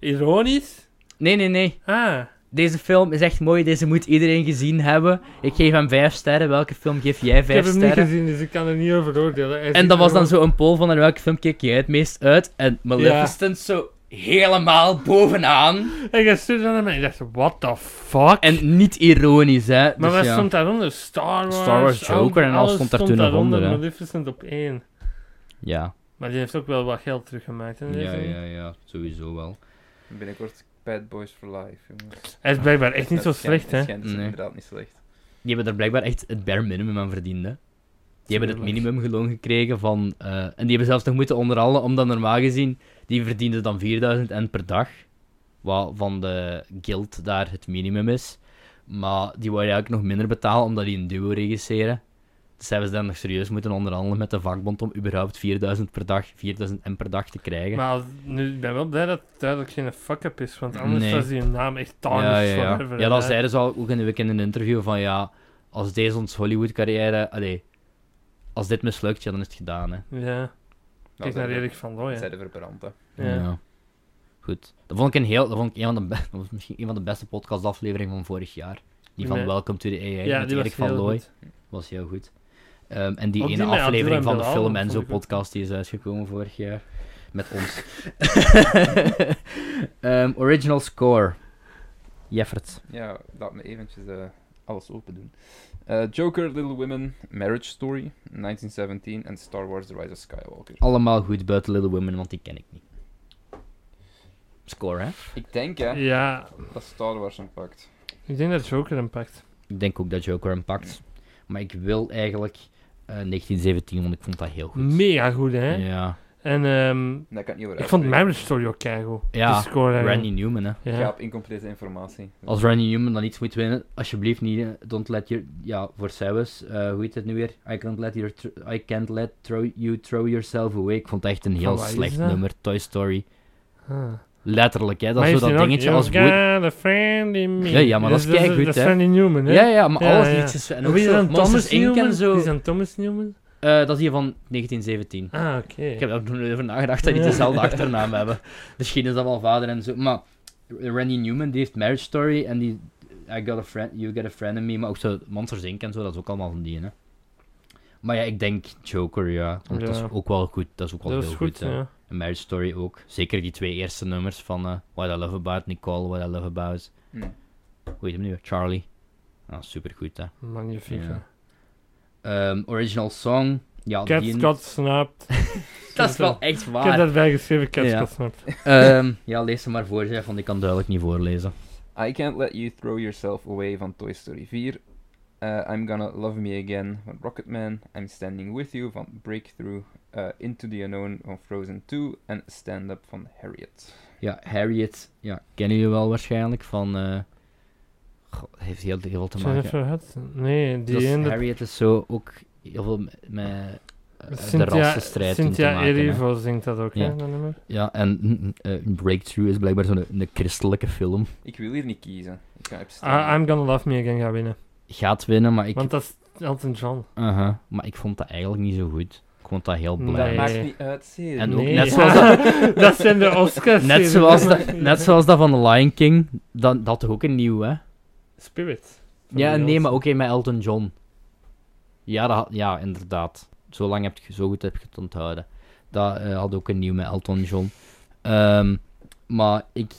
S1: Ironisch?
S2: Nee, nee, nee.
S1: Ah.
S2: Deze film is echt mooi. Deze moet iedereen gezien hebben. Ik geef hem 5 sterren. Welke film geef jij
S1: Ik heb
S2: 5
S1: hem niet
S2: sterren?
S1: gezien, dus ik kan er niet over oordelen. Hij
S2: En
S1: ziet
S2: dat was
S1: er
S2: dan
S1: wel-
S2: zo een poll van naar welke film keek jij het meest uit? En Maleficent zo helemaal bovenaan.
S1: En jij stuurde dat naar mij en ik dacht, what the fuck?
S2: En niet ironisch, hè.
S1: maar
S2: dus
S1: wat
S2: ja.
S1: stond daaronder? Star Wars,
S2: Star Wars, Joker en alles stond daar toen nog
S1: daaronder,
S2: onder, hè.
S1: Maleficent op één.
S2: ja.
S1: Maar die heeft ook wel wat geld teruggemaakt. Hè, deze.
S2: ja, sowieso wel.
S3: Binnenkort Bad Boys for Life. jongens.
S1: Hij is blijkbaar echt niet zo
S3: Dat schijnt-
S1: slecht, hè?
S3: Het schijnt dus
S2: Nee.
S3: inderdaad niet slecht.
S2: Die hebben er blijkbaar echt het bare minimum aan verdiend, hè. Die hebben het
S1: Tuurlijk.
S2: minimumgeloon gekregen van... eh, en die hebben zelfs nog moeten onderhandelen, omdat normaal gezien... Die verdienden dan 4000 en per dag. Wat van de guild daar het minimum is. Maar die wouden eigenlijk nog minder betalen, omdat die een duo regisseren. Dus hebben ze dan nog serieus moeten onderhandelen met de vakbond om überhaupt 4000 per dag, 4000 en per dag te krijgen.
S1: Maar als- nu, ik ben wel blij dat het duidelijk geen fuck-up is, want anders
S2: Nee.
S1: was die naam echt tarnished
S2: ja, ja, ja.
S1: forever,
S2: ja,
S1: hè.
S2: dat zeiden ze al ook in de week in een interview van ja, als deze ons Hollywood-carrière, allee, als dit mislukt, ja, dan is het gedaan, hè.
S1: Ja,
S3: Nou,
S1: kijk naar
S3: dat-
S1: Erik van
S3: Dat
S1: Looy.
S3: zijn de verbranden.
S1: Ja.
S2: Goed. Dat vond ik een heel, dat vond ik een van de, be- dat was misschien een van de beste podcastafleveringen van vorig jaar. Die van
S1: Nee.
S2: Welcome to the AI
S1: Ja,
S2: met
S1: die was
S2: Erik van
S1: heel
S2: Looy.
S1: goed.
S2: Was heel goed. Ehm, en die
S1: Ook die
S2: ene
S1: met Abdul en
S2: aflevering van de
S1: Bilal,
S2: Film
S1: dat
S2: en
S1: vond
S2: zo
S1: ik ook-
S2: podcast die is uitgekomen vorig jaar. Met ons. Ehm, original score. Jeffert.
S3: Ja, laat me eventjes eh, alles open doen. Eh, Joker, Little Women, Marriage Story, 1917 en Star Wars The Rise of Skywalker.
S2: Allemaal goed buiten Little Women, want die ken ik niet. Score, hè?
S3: Ik denk hè,
S1: Ja,
S3: dat Star Wars hem pakt.
S1: ik denk dat Joker hem pakt.
S2: Ik denk ook dat Joker hem pakt. Maar ik wil eigenlijk eh, 1917, want ik vond dat heel goed.
S1: Mega goed, hè?
S2: Ja.
S1: En ehm,
S3: Dat kan ik niet over
S1: ik vond
S3: uitspreken.
S1: Marriage Story ook keigoed.
S2: Ja,
S1: Die score, hè.
S2: Randy Newman, hè.
S1: Ja.
S3: Ik ga op incomplete informatie.
S2: Als Randy Newman dan iets moet winnen, alsjeblieft niet, eh, don't let your... Ja, voor Cyrus, eh, hoe heet het nu weer? I can't let, your tr- I can't let throw you throw yourself away. Ik vond het echt een heel
S1: Van waar is
S2: slecht
S1: dat?
S2: nummer, Toy Story.
S1: Ah.
S2: Letterlijk, hè. Dat
S1: Maar
S2: is
S1: heeft
S2: zo
S1: hij
S2: dat
S1: nog
S2: dingetje
S1: You've
S2: als... Woody-
S1: got a friend in me.
S2: Ja, ja, maar dat is keigoed,
S1: Dat
S2: hè.
S1: is Randy Newman, hè?
S2: Ja, ja, maar
S1: Ja,
S2: alles
S1: ja.
S2: liedjes en ook
S1: Wie is
S2: zo,
S1: dan
S2: Monsters
S1: Thomas
S2: Inc.
S1: Newman?
S2: en zo.
S1: Wie is dan Thomas Newman?
S2: Eh, dat is hier van 1917.
S1: Ah, oké.
S2: Ik heb er nog nooit over nagedacht dat die dezelfde achternaam hebben. Misschien is dat wel vader en zo. Maar Randy Newman, die heeft Marriage Story en die I got a friend, You Got a Friend in Me, maar ook zo Monsters Inc. en zo, dat is ook allemaal van die, hè. Maar ja, ik denk Joker, ja. Want dat is
S1: Ja.
S2: ook wel goed, dat is ook wel
S1: dat
S2: heel
S1: is
S2: goed,
S1: goed,
S2: hè.
S1: ja.
S2: En Marriage Story ook. Zeker die twee eerste nummers van eh, What I Love About Nicole, What I Love About...
S3: Hm.
S2: Hoe heet hem nu weer? Charlie. Ah, supergoed, hè.
S1: Magnifiek,
S2: Ja.
S1: hè.
S2: Ehm, original Song. Ja,
S1: Cat
S2: die-
S1: Scott snapt.
S2: Dat is wel echt
S1: Ik heb
S2: waar.
S1: daarbij geschreven, Cat
S2: Ja.
S1: Scott snapt.
S2: Ehm, ja, lees ze maar voor, chef, want ik kan duidelijk niet voorlezen.
S3: I Can't Let You Throw Yourself Away van Toy Story 4. Eh, I'm Gonna Love Me Again van Rocketman. I'm Standing With You van Breakthrough. eh, Into the Unknown van Frozen 2. En Stand Up van Harriet.
S2: Ja, Harriet, ja, kennen jullie wel waarschijnlijk van... eh, goh, dat heeft heel, heel veel te maken.
S1: Jennifer Hudson? Nee,
S2: Dat
S1: die
S2: is-
S1: ene...
S2: Harriet is zo ook heel veel met, met eh, de
S1: Cynthia,
S2: rassenstrijd in te
S1: Cynthia
S2: maken. hè.
S1: Erivo zingt dat ook,
S2: Ja.
S1: hè, dat nummer?
S2: Ja, en mm, eh, Breakthrough is blijkbaar zo'n een christelijke film.
S3: Ik wil hier niet kiezen. Ik ga
S2: Ah,
S3: abstainen.
S1: I- Ah, I'm Gonna Love Me Again gaan winnen.
S2: Gaat winnen, maar ik,
S1: Want dat is Elton John.
S2: aha, maar ik vond dat eigenlijk niet zo goed. Ik vond dat heel
S1: Nee.
S2: blij.
S3: Dat maakt
S1: Nee.
S3: niet uit. Zie je.
S2: Eh, En ook
S1: Nee.
S2: net zoals dat,
S1: dat zijn de Oscars.
S2: net
S1: die-
S2: zoals dat, net zoals dat van The Lion King, dat, dat toch ook een nieuw, hè?
S1: Spirit. Van
S2: Ja,
S1: Beyoncé.
S2: nee, maar ook een met Elton John. Ja, dat, had- ja inderdaad. Zo lang heb je, zo goed heb je het onthouden. Dat eh, had ook een nieuw met Elton John. Ehm, maar ik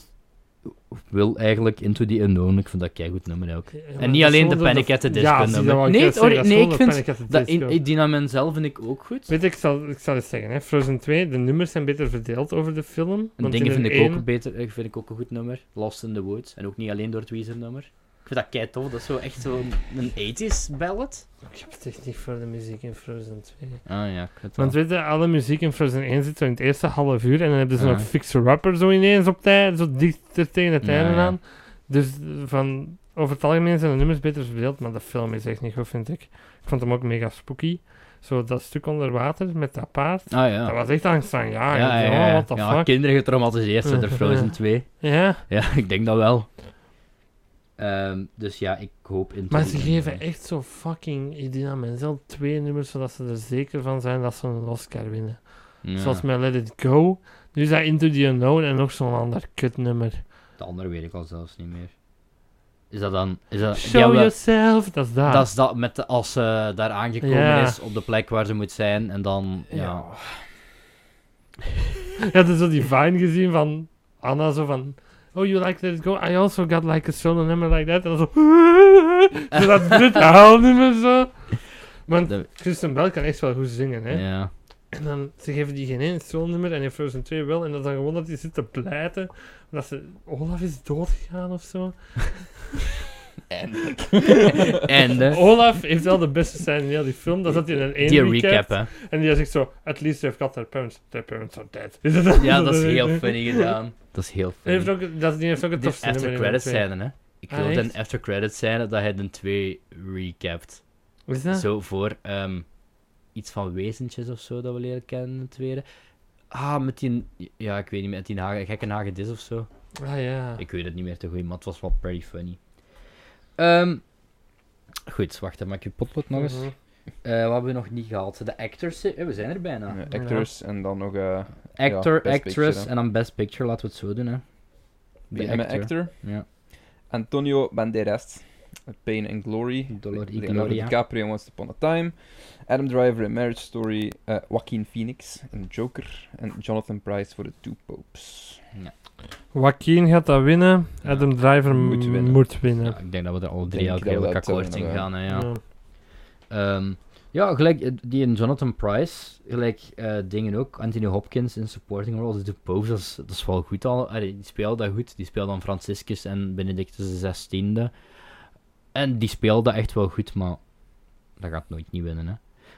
S2: wil eigenlijk Into the Unknown. Ik vind dat een goed nummer ook.
S1: Ja, maar
S2: En niet
S1: dat is
S2: alleen de
S1: gewoon
S2: Panic at the
S1: ja,
S2: Disco
S1: zie, dat
S2: nummer.
S1: wou
S2: Nee,
S1: ik,
S2: het
S1: zeggen,
S2: ori-
S1: dat is
S2: nee,
S1: gewoon
S2: ik
S1: de
S2: vind
S1: Panic at the
S2: Dat
S1: Disco.
S2: in, in Dynamen zelf vind ik ook goed.
S1: Weet je, ik, zal, ik zal eens zeggen, hè. Frozen 2, de nummers zijn beter verdeeld over de film.
S2: En
S1: want
S2: dingen
S1: in
S2: vind ik
S1: een
S2: ook beter. eh, Vind ik ook een goed nummer. Lost in the Woods. En ook niet alleen door het Weezer nummer. Ik vind dat kei tof. Dat is zo echt zo'n een 80s ballad.
S1: Ik heb het echt niet voor de muziek in Frozen 2.
S2: Ah ja, ik weet
S1: Want weet je, alle muziek in Frozen 1 zit zo in het eerste half uur. En dan hebben ze
S2: Ja.
S1: nog Fixer Rapper zo ineens op tijd, zo dichter tegen het
S2: Ja,
S1: einde
S2: ja.
S1: aan. Dus eh, van, over het algemeen zijn de nummers beter verdeeld, maar de film is echt niet goed, vind ik. Ik vond hem ook mega spooky. Zo dat stuk onder water met dat paard.
S2: Ah ja.
S1: Dat was echt angstaanjagend.
S2: ja,
S1: Ah, Ja,
S2: ja, ja.
S1: what the
S2: Ja,
S1: fuck.
S2: kinderen getraumatiseerd zijn door Frozen
S1: Ja.
S2: 2.
S1: Ja,
S2: Ja, ik denk dat wel. Ehm, dus ja, ik hoop in.
S1: maar ze geven echt zo fucking Idina Menzel twee nummers, zodat ze er zeker van zijn dat ze een Oscar winnen.
S2: Ja,
S1: Zoals met Let It Go. Nu is dat Into the Unknown en nog zo'n ander kutnummer.
S2: De andere weet ik al zelfs niet meer. Is dat dan. Is dat, Eh, die
S1: Show
S2: hebben-
S1: yourself, dat is dat.
S2: Dat is dat met de, als ze daar aangekomen
S1: Ja.
S2: is op de plek waar ze moet zijn en dan. Ja.
S1: Ja. Je had dus zo die vine gezien van Anna, zo van... Oh, you like Let It Go? I also got like a solo number like that. En dan zo... zo dat dit huilnummer zo. Want
S2: De-
S1: Kristen Bell kan echt wel goed zingen, hè.
S2: ja.
S1: En dan, ze geven die geen één solo-nummer en in Frozen 2 wel. En dat is dan gewoon dat die zit te pleiten. Omdat ze... Olaf is doodgegaan of zo.
S2: En de.
S1: Olaf heeft wel de beste scène in heel die film. Dat zat hij Oh, in een één
S2: Eh. Die recap, hè.
S1: En die zegt zo... At least they've got their parents. Their parents are dead. Is dat
S2: Ja, dat is
S1: zo-
S2: heel funny gedaan. Dat is heel
S1: Die heeft
S2: funny.
S1: ook, dat, die heeft ook het
S2: De
S1: tofste nummer
S2: after
S1: in
S2: credits
S1: de twee.
S2: scène, hè. Ik
S1: Ah,
S2: wilde een
S1: echt?
S2: after credits scène dat hij de twee recapt.
S1: Is dat?
S2: Zo voor ehm, iets van wezentjes of zo dat we leren kennen in het tweede. Ah, met die... Ja, ik weet niet, met die nage, gekke nagedis of zo.
S1: Ah ja.
S2: Ik weet het niet meer te goed, maar het was wel pretty funny. Ehm, goed, wacht, dan maak ik je potlood nog eens.
S1: Mhm.
S2: Eh, wat hebben we nog niet gehad? De actors... eh, we zijn er bijna.
S3: Eh, actors en dan nog... eh
S2: Actor,
S3: Best
S2: actress
S3: Picture, hè.
S2: en dan best picture. Laten we het zo doen, hè.
S3: die ene actor.
S2: Ja.
S3: Antonio Banderas. Pain and Glory.
S2: Dolor y
S3: Leonardo
S2: Gloria.
S3: DiCaprio in Once Upon a Time. Adam Driver in Marriage Story. eh, Joaquin Phoenix in Joker. En Jonathan Price voor The Two Popes.
S1: Joaquin gaat dat winnen.
S2: Ja.
S1: Adam Driver
S3: Moet
S1: moet
S3: winnen.
S1: winnen.
S2: Ja, ik denk dat we er alle drie
S3: Denk
S2: ook
S3: dat we
S2: redelijk
S3: dat, eh,
S2: akkoord in
S3: inderdaad.
S2: gaan, hè, ja.
S1: ja.
S2: Ehm, ja, gelijk eh, die in Jonathan Price, gelijk eh, dingen ook. Anthony Hopkins in supporting roles, de Pope, dat is, dat is wel goed al. Allee, die speelde dat goed. Die speelde dan Franciscus en Benedictus XVI. En die speelde echt wel goed, maar dat gaat nooit niet winnen. Hè.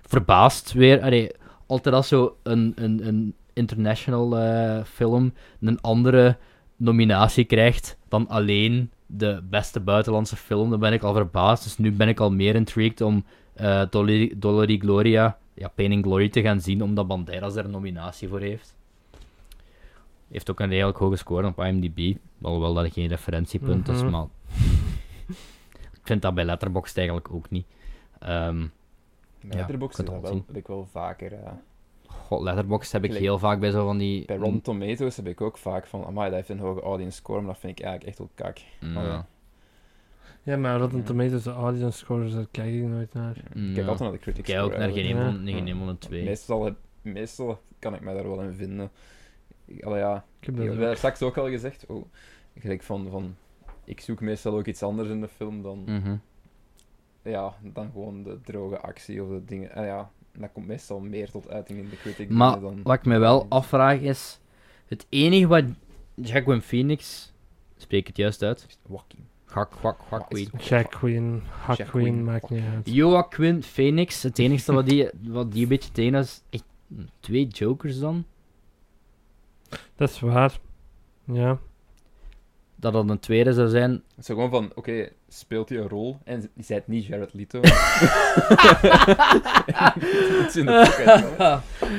S2: Verbaasd weer, allee, altijd als zo een, een, een international eh, film een andere nominatie krijgt dan alleen de beste buitenlandse film, dan ben ik al verbaasd. Dus nu ben ik al meer intrigued om eh Dolor Dolor y Gloria, ja, Pain and Glory te gaan zien, omdat Banderas er een nominatie voor heeft. Heeft ook een redelijk hoge score op IMDb, alhoewel dat geen referentiepunt is,
S1: Mhm.
S2: maar... ik vind dat bij Letterboxd eigenlijk ook niet. Ehm Ja,
S3: Letterboxd
S2: ik
S3: is
S2: kan
S3: dat
S2: het
S3: wel,
S2: zien.
S3: heb ik wel vaker. eh,
S2: god, Letterboxd heb ik
S3: Gelijk-
S2: heel vaak bij zo van die...
S3: bij Rotten Tomatoes heb ik ook vaak van... Amai, dat heeft een hoge audience score, maar dat vind ik eigenlijk echt wel kak.
S2: Mm,
S3: Oh,
S2: ja.
S3: ja.
S1: Ja, maar Rotten
S3: Ja.
S1: Tomatoes, de audience scores, daar kijk ik nooit naar.
S3: Ik kijk
S2: Ja.
S3: altijd naar de critics.
S2: Kijk ook
S3: score
S2: naar geen
S3: eigenlijk.
S2: een van,
S1: Ja.
S2: geen een van de
S3: Want
S2: twee.
S3: Meestal, heb- meestal kan ik mij daar wel in vinden. Ik- Allee, ja,
S1: Ik heb
S3: we
S1: dat
S3: hebben
S1: ook.
S3: daar straks ook al gezegd. Oh, gelijk van, van, ik zoek meestal ook iets anders in de film dan,
S2: Mhm.
S3: ja, dan gewoon de droge actie of de dingen. En ja, dat komt meestal meer tot uiting in de critic
S2: Maar
S3: dingen dan...
S2: Wat ik me wel afvraag is, het enige wat Jacqueline Phoenix, spreek ik het juist uit,
S3: Joaquin.
S2: Gak, gak, gak,
S3: Maar is-
S1: Jack Queen, Hack
S3: Jack
S1: Queen,
S3: Queen,
S1: maakt niet uit.
S2: Joaquin Phoenix, het enige wat die, wat die een beetje tegen is, echt twee jokers dan.
S1: Dat is waar. Ja.
S2: Dat dat een tweede zou zijn.
S3: Zo gewoon van, oké, speelt hij een rol en z- zijt niet Jared Leto. is in de pocket, hè.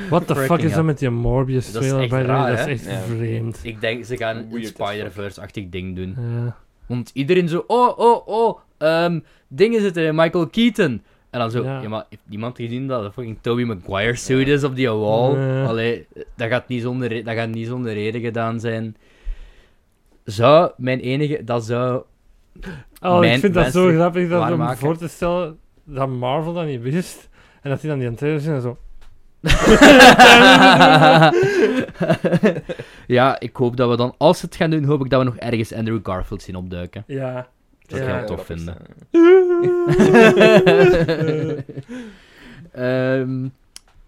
S1: What the fuck
S2: Freaking
S1: is dat
S2: hell.
S1: met die Morbius
S2: Dat is
S1: trailer?
S2: echt
S1: by the way?
S2: raar,
S1: dat
S2: hè?
S1: is echt
S3: Ja.
S1: vreemd.
S2: Ik denk, ze gaan een
S3: Weird as
S2: Spider-Verse-achtig ding doen.
S1: Ja.
S2: Want iedereen zo, oh, oh, oh, ehm, dingen zitten in Michael Keaton. En dan zo,
S1: Ja.
S2: ja, maar heeft iemand gezien dat de fucking Tobey Maguire suit is op die wall?
S1: Nee.
S2: Allee, dat gaat, niet zonder, re- dat gaat niet zonder reden gedaan zijn. Zou mijn enige, dat zou...
S1: Oh, ik
S2: Mijn-
S1: vind dat zo
S2: mensen
S1: grappig dat om
S2: waarmaken.
S1: voor te stellen dat Marvel dat niet wist. En dat hij dan die trailer ziet en zo.
S2: ja, ik hoop dat we dan, als ze het gaan doen, hoop ik dat we nog ergens Andrew Garfield zien opduiken.
S1: Ja.
S2: Dat
S1: ja.
S2: kan
S3: zou
S2: tof
S3: grappig
S2: vinden.
S3: zijn.
S2: Ehm,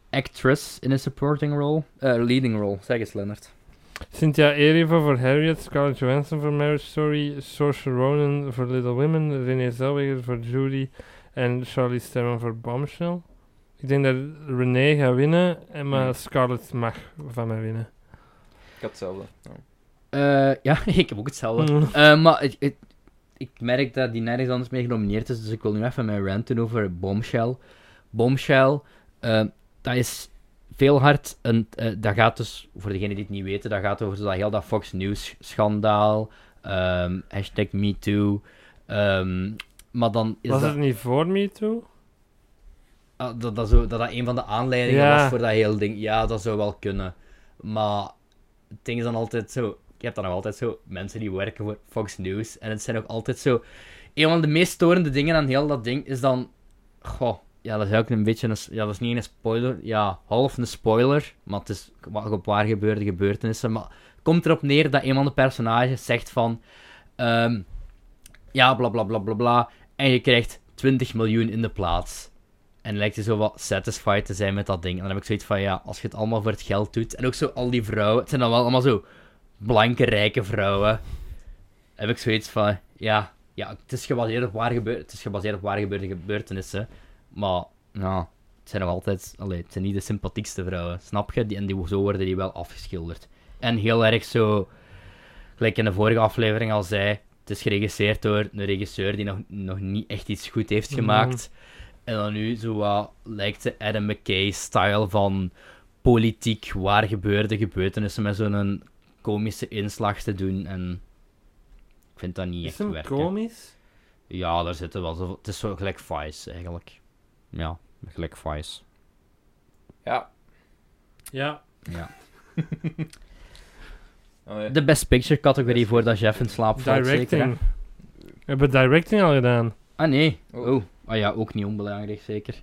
S2: actress in a supporting role. Eh, leading role, zeg eens Leonard.
S1: Cynthia Erivo voor Harriet, Scarlett Johansson voor Marriage Story, Saoirse Ronan voor Little Women, Renee Zellweger voor Judy en Charlize Theron voor Bombshell. Ik denk dat Renee gaat winnen, en maar
S3: Mm.
S1: Scarlett mag van mij winnen.
S3: Ik had hetzelfde. ja.
S2: Eh, ja, ik heb ook hetzelfde.
S1: Mm.
S2: Eh, maar het- het- ik merk dat die nergens anders mee genomineerd is, dus ik wil nu even mijn rant doen over Bombshell. Bombshell, eh, dat is veel hard. En, eh, dat gaat dus, voor degenen die het niet weten, dat gaat over zo dat heel dat Fox News schandaal, ehm hashtag MeToo. ehm, maar dan is
S1: Was
S2: dat...
S1: het niet voor Me Too?
S2: Ah, dat, dat, zo, dat dat een van de aanleidingen
S1: Ja.
S2: was voor dat hele ding. Ja, dat zou wel kunnen. Maar het ding is dan altijd zo... Ik heb dan nog altijd zo mensen die werken voor Fox News. En het zijn ook altijd zo... Een van de meest storende dingen aan heel dat ding is dan... Goh, ja, dat is ook een beetje een... s- Ja, dat is niet een spoiler. Ja, half een spoiler. Maar het is wa- op waar gebeurde gebeurtenissen. Maar het komt erop neer dat een van de personages zegt van... ehm, ja, bla bla bla bla bla. En je krijgt 20 miljoen in de plaats. En lijkt hij zo wat satisfied te zijn met dat ding. En dan heb ik zoiets van, ja, als je het allemaal voor het geld doet. En ook zo al die vrouwen. Het zijn dan wel allemaal zo blanke, rijke vrouwen. Heb ik zoiets van, ja, ja het, is gebaseerd op waar gebeur, het is gebaseerd op waar gebeurde gebeurtenissen. Maar, nou, het zijn nog altijd... Allee, het zijn niet de sympathiekste vrouwen, snap je? Die, en die, zo worden die wel afgeschilderd. En heel erg zo... Gelijk in de vorige aflevering al zei... Het is geregisseerd door een regisseur die nog, nog niet echt iets goed heeft
S1: Mhm.
S2: gemaakt. En dan nu zo wat lijkt de Adam McKay-style van politiek waar gebeurde gebeurtenissen met zo'n komische inslag te doen. En ik vind dat niet
S1: Is
S2: echt
S1: hem
S2: werken.
S1: komisch?
S2: Ja, daar zitten wel zo... Het is zo gelijk Vice, eigenlijk. Ja, gelijk Vice.
S3: Ja.
S1: Ja.
S2: Ja.
S3: Allee.
S2: De Best Picture-categorie voor dat Jeff in slaap valt, zeker, hè?
S1: Directing. We hebben directing al gedaan.
S2: Ah, nee.
S3: Oh.
S2: Oh. Ah ja, ook niet onbelangrijk, zeker.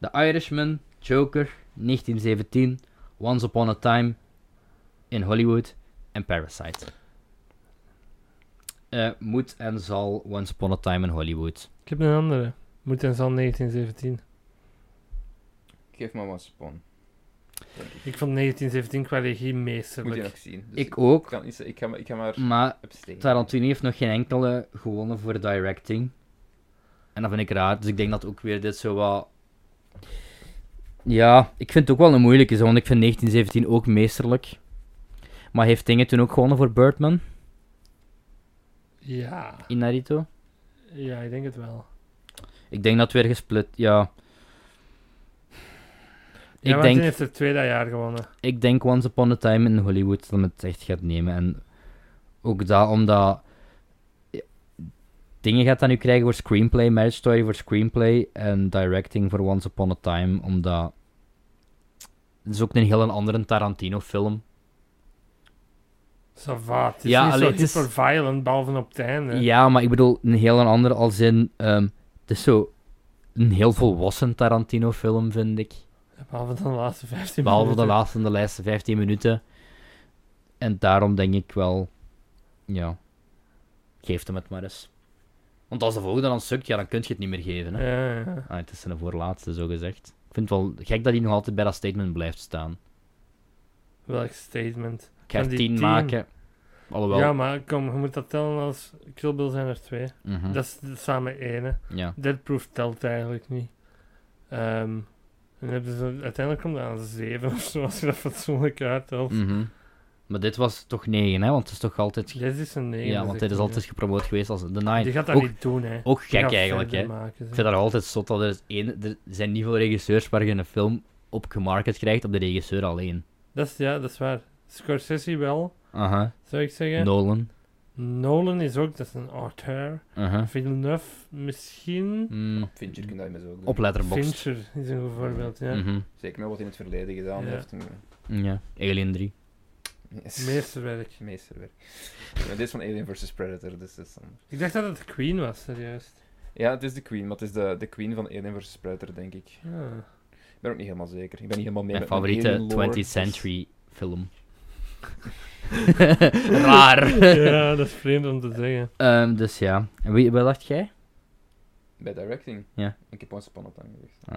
S2: The Irishman, Joker, 1917, Once Upon a Time in Hollywood en Parasite. Eh, moet en zal Once Upon a Time in Hollywood.
S1: Ik heb een andere. Moet en zal 1917.
S3: Geef me wat spawn.
S1: Ik vond 1917 qua regie
S3: Moet je
S1: meesterlijk.
S3: nog zien. Dus
S2: Ik ook, Mm.
S3: Ik kan, het niet, zeggen. ik, ga, maar- ik ga maar
S2: maar
S3: abstain.
S2: Tarantino heeft nog geen enkele gewonnen voor directing. En dat vind ik raar, dus ik denk dat ook weer dit zo wat... Ja, ik vind het ook wel een moeilijke, zo, want ik vind 1917 ook meesterlijk. Maar heeft dingen toen ook gewonnen voor Birdman
S1: Ja.
S2: in Naruto?
S1: Ja, ik denk het wel.
S2: Ik denk dat het weer gesplit, ja.
S1: Ja,
S2: ik,
S1: want die
S2: denk,
S1: heeft er twee dat jaar gewonnen.
S2: ik denk Once Upon a Time in Hollywood dat men het echt gaat nemen. En ook dat, omdat... Dingen gaat dat nu krijgen voor screenplay, Marriage Story voor screenplay en directing voor Once Upon a Time, omdat... Het is ook een heel een andere Tarantino-film.
S1: Sava, het is
S2: Ja,
S1: niet
S2: allee,
S1: zo
S2: het is-
S1: hyper violent, behalve op het einde.
S2: Ja, maar ik bedoel een heel een ander als in... ehm, het is zo een heel volwassen Tarantino-film, vind ik.
S1: Behalve de laatste 15
S2: Behalve de
S1: minuten.
S2: laatste en de laatste 15 minuten. En daarom denk ik wel... Ja. Geef hem het maar eens. Want als de volgende dan sukt, ja, dan kun je het niet meer geven. Hè?
S1: Ja, ja.
S2: Ah, het is zijn voorlaatste, zo gezegd. Ik vind het wel gek dat hij nog altijd bij dat statement blijft staan.
S1: Welk statement.
S2: Ik ga er
S1: Van die
S2: 10
S1: tien.
S2: maken. Alhoewel.
S1: Ja, maar kom, je moet dat tellen als... Kill Bill zijn er twee.
S2: mhm,
S1: Dat is de- samen één, hè.
S2: ja.
S1: Deadproof telt eigenlijk niet. Ehm, en dan hebben ze, uiteindelijk komt het aan zeven of zo, als je dat fatsoenlijk uittelt.
S2: mhm. Maar dit was toch 9, hè? Want het is toch altijd. ge-
S1: Dit is een negen. dus
S2: ja, want dit is altijd gepromoot geweest als de 9.
S1: Die gaat dat
S2: ook,
S1: niet doen, hè.
S2: ook
S1: Die
S2: gek
S1: gaat
S2: eigenlijk, hè?
S1: verder
S2: Ik
S1: maken, zo.
S2: vind dat altijd zot dat er, is één, er zijn niet veel regisseurs waar je een film op gemarket krijgt op de regisseur alleen.
S1: Dat is, ja, dat is waar. Scorsese wel,
S2: Aha.
S1: zou ik zeggen.
S2: Nolan.
S1: Nolan is ook, dat is een auteur.
S2: Aha.
S1: Villeneuve misschien.
S2: Mm,
S3: Fincher kan dat immers ook doen.
S2: op Letterboxd.
S1: Fincher is een goed voorbeeld, ja.
S2: Mhm,
S3: Zeker met wat hij in het verleden gedaan
S1: Ja.
S3: heeft.
S2: Ja, Alien 3.
S3: Yes.
S1: Meesterwerk.
S3: Meesterwerk. Ja, dit is van Alien vs Predator, dus dat is dan...
S1: Ik dacht dat het Queen was, serieus.
S3: Ja, het is de Queen, maar het is de, de Queen van Alien vs Predator, denk ik.
S1: Ah.
S3: Ik ben ook niet helemaal zeker. Ik ben niet helemaal mee
S2: Mijn
S3: met mijn
S2: favoriete
S3: alien lore,
S2: 20th
S3: dus-
S2: century film. Raar.
S1: Ah. ja, dat is vreemd om te zeggen.
S2: Ehm, dus ja. En wie, wat dacht jij?
S3: Bij directing?
S2: Ja.
S3: Ik heb ons pan op aangelegd.
S2: Ah.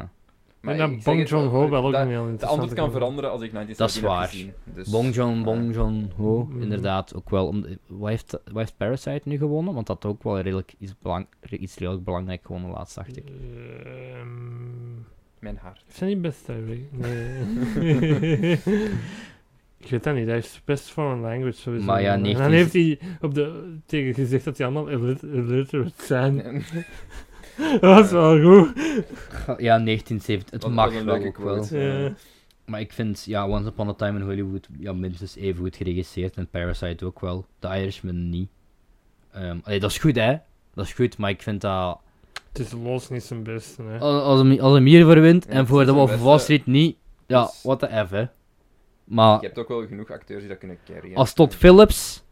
S1: en
S3: ik-
S1: dan
S3: ik
S1: Bong
S3: zeg het,
S1: Joon-ho
S3: dat-
S1: wel ook
S3: dat-
S1: een heel
S3: De antwoord
S1: interessante
S3: kan
S1: kant.
S3: veranderen als ik 19
S2: Dat is waar.
S3: heb gezien. Dus...
S2: Bong Joon, Bong Joon Ho,
S1: Mhm.
S2: inderdaad ook wel. Om, wat, heeft, wat heeft Parasite nu gewonnen? Want dat ook wel redelijk iets, belang, iets redelijk belangrijk gewonnen laatst, dacht ik.
S1: Ehm,
S3: Mijn haar.
S1: Heeft hij niet best direct? Nee. Ik weet dat niet, hij heeft best foreign language sowieso.
S2: Maar ja,
S1: En
S2: 19
S1: dan heeft hij op de, tegen gezegd dat hij allemaal illit- illiterate zijn. dat was wel goed.
S2: Ja, 1970. Het
S3: Wat- wat
S2: mag
S3: een
S2: wel
S3: leuke
S2: ook wel.
S3: quote.
S1: Ja.
S2: Maar ik vind ja, Once Upon a Time in Hollywood ja, minstens even goed geregisseerd. En Parasite ook wel. The Irishman niet. Ehm, allee, dat is goed, hè? Dat is goed, maar ik vind dat...
S1: Het is los niet zijn beste. Hè.
S2: Als, als, hem, als hem hiervoor wint
S3: Ja,
S2: en
S3: het
S2: voor
S3: is
S2: de
S3: eh, de
S2: Wolf of
S3: beste.
S2: Wall Street niet... Ja,
S3: Dus-
S2: what the F, hè. Maar
S3: Je hebt ook wel genoeg acteurs die dat kunnen carryen.
S2: Ah. als Todd Phillips...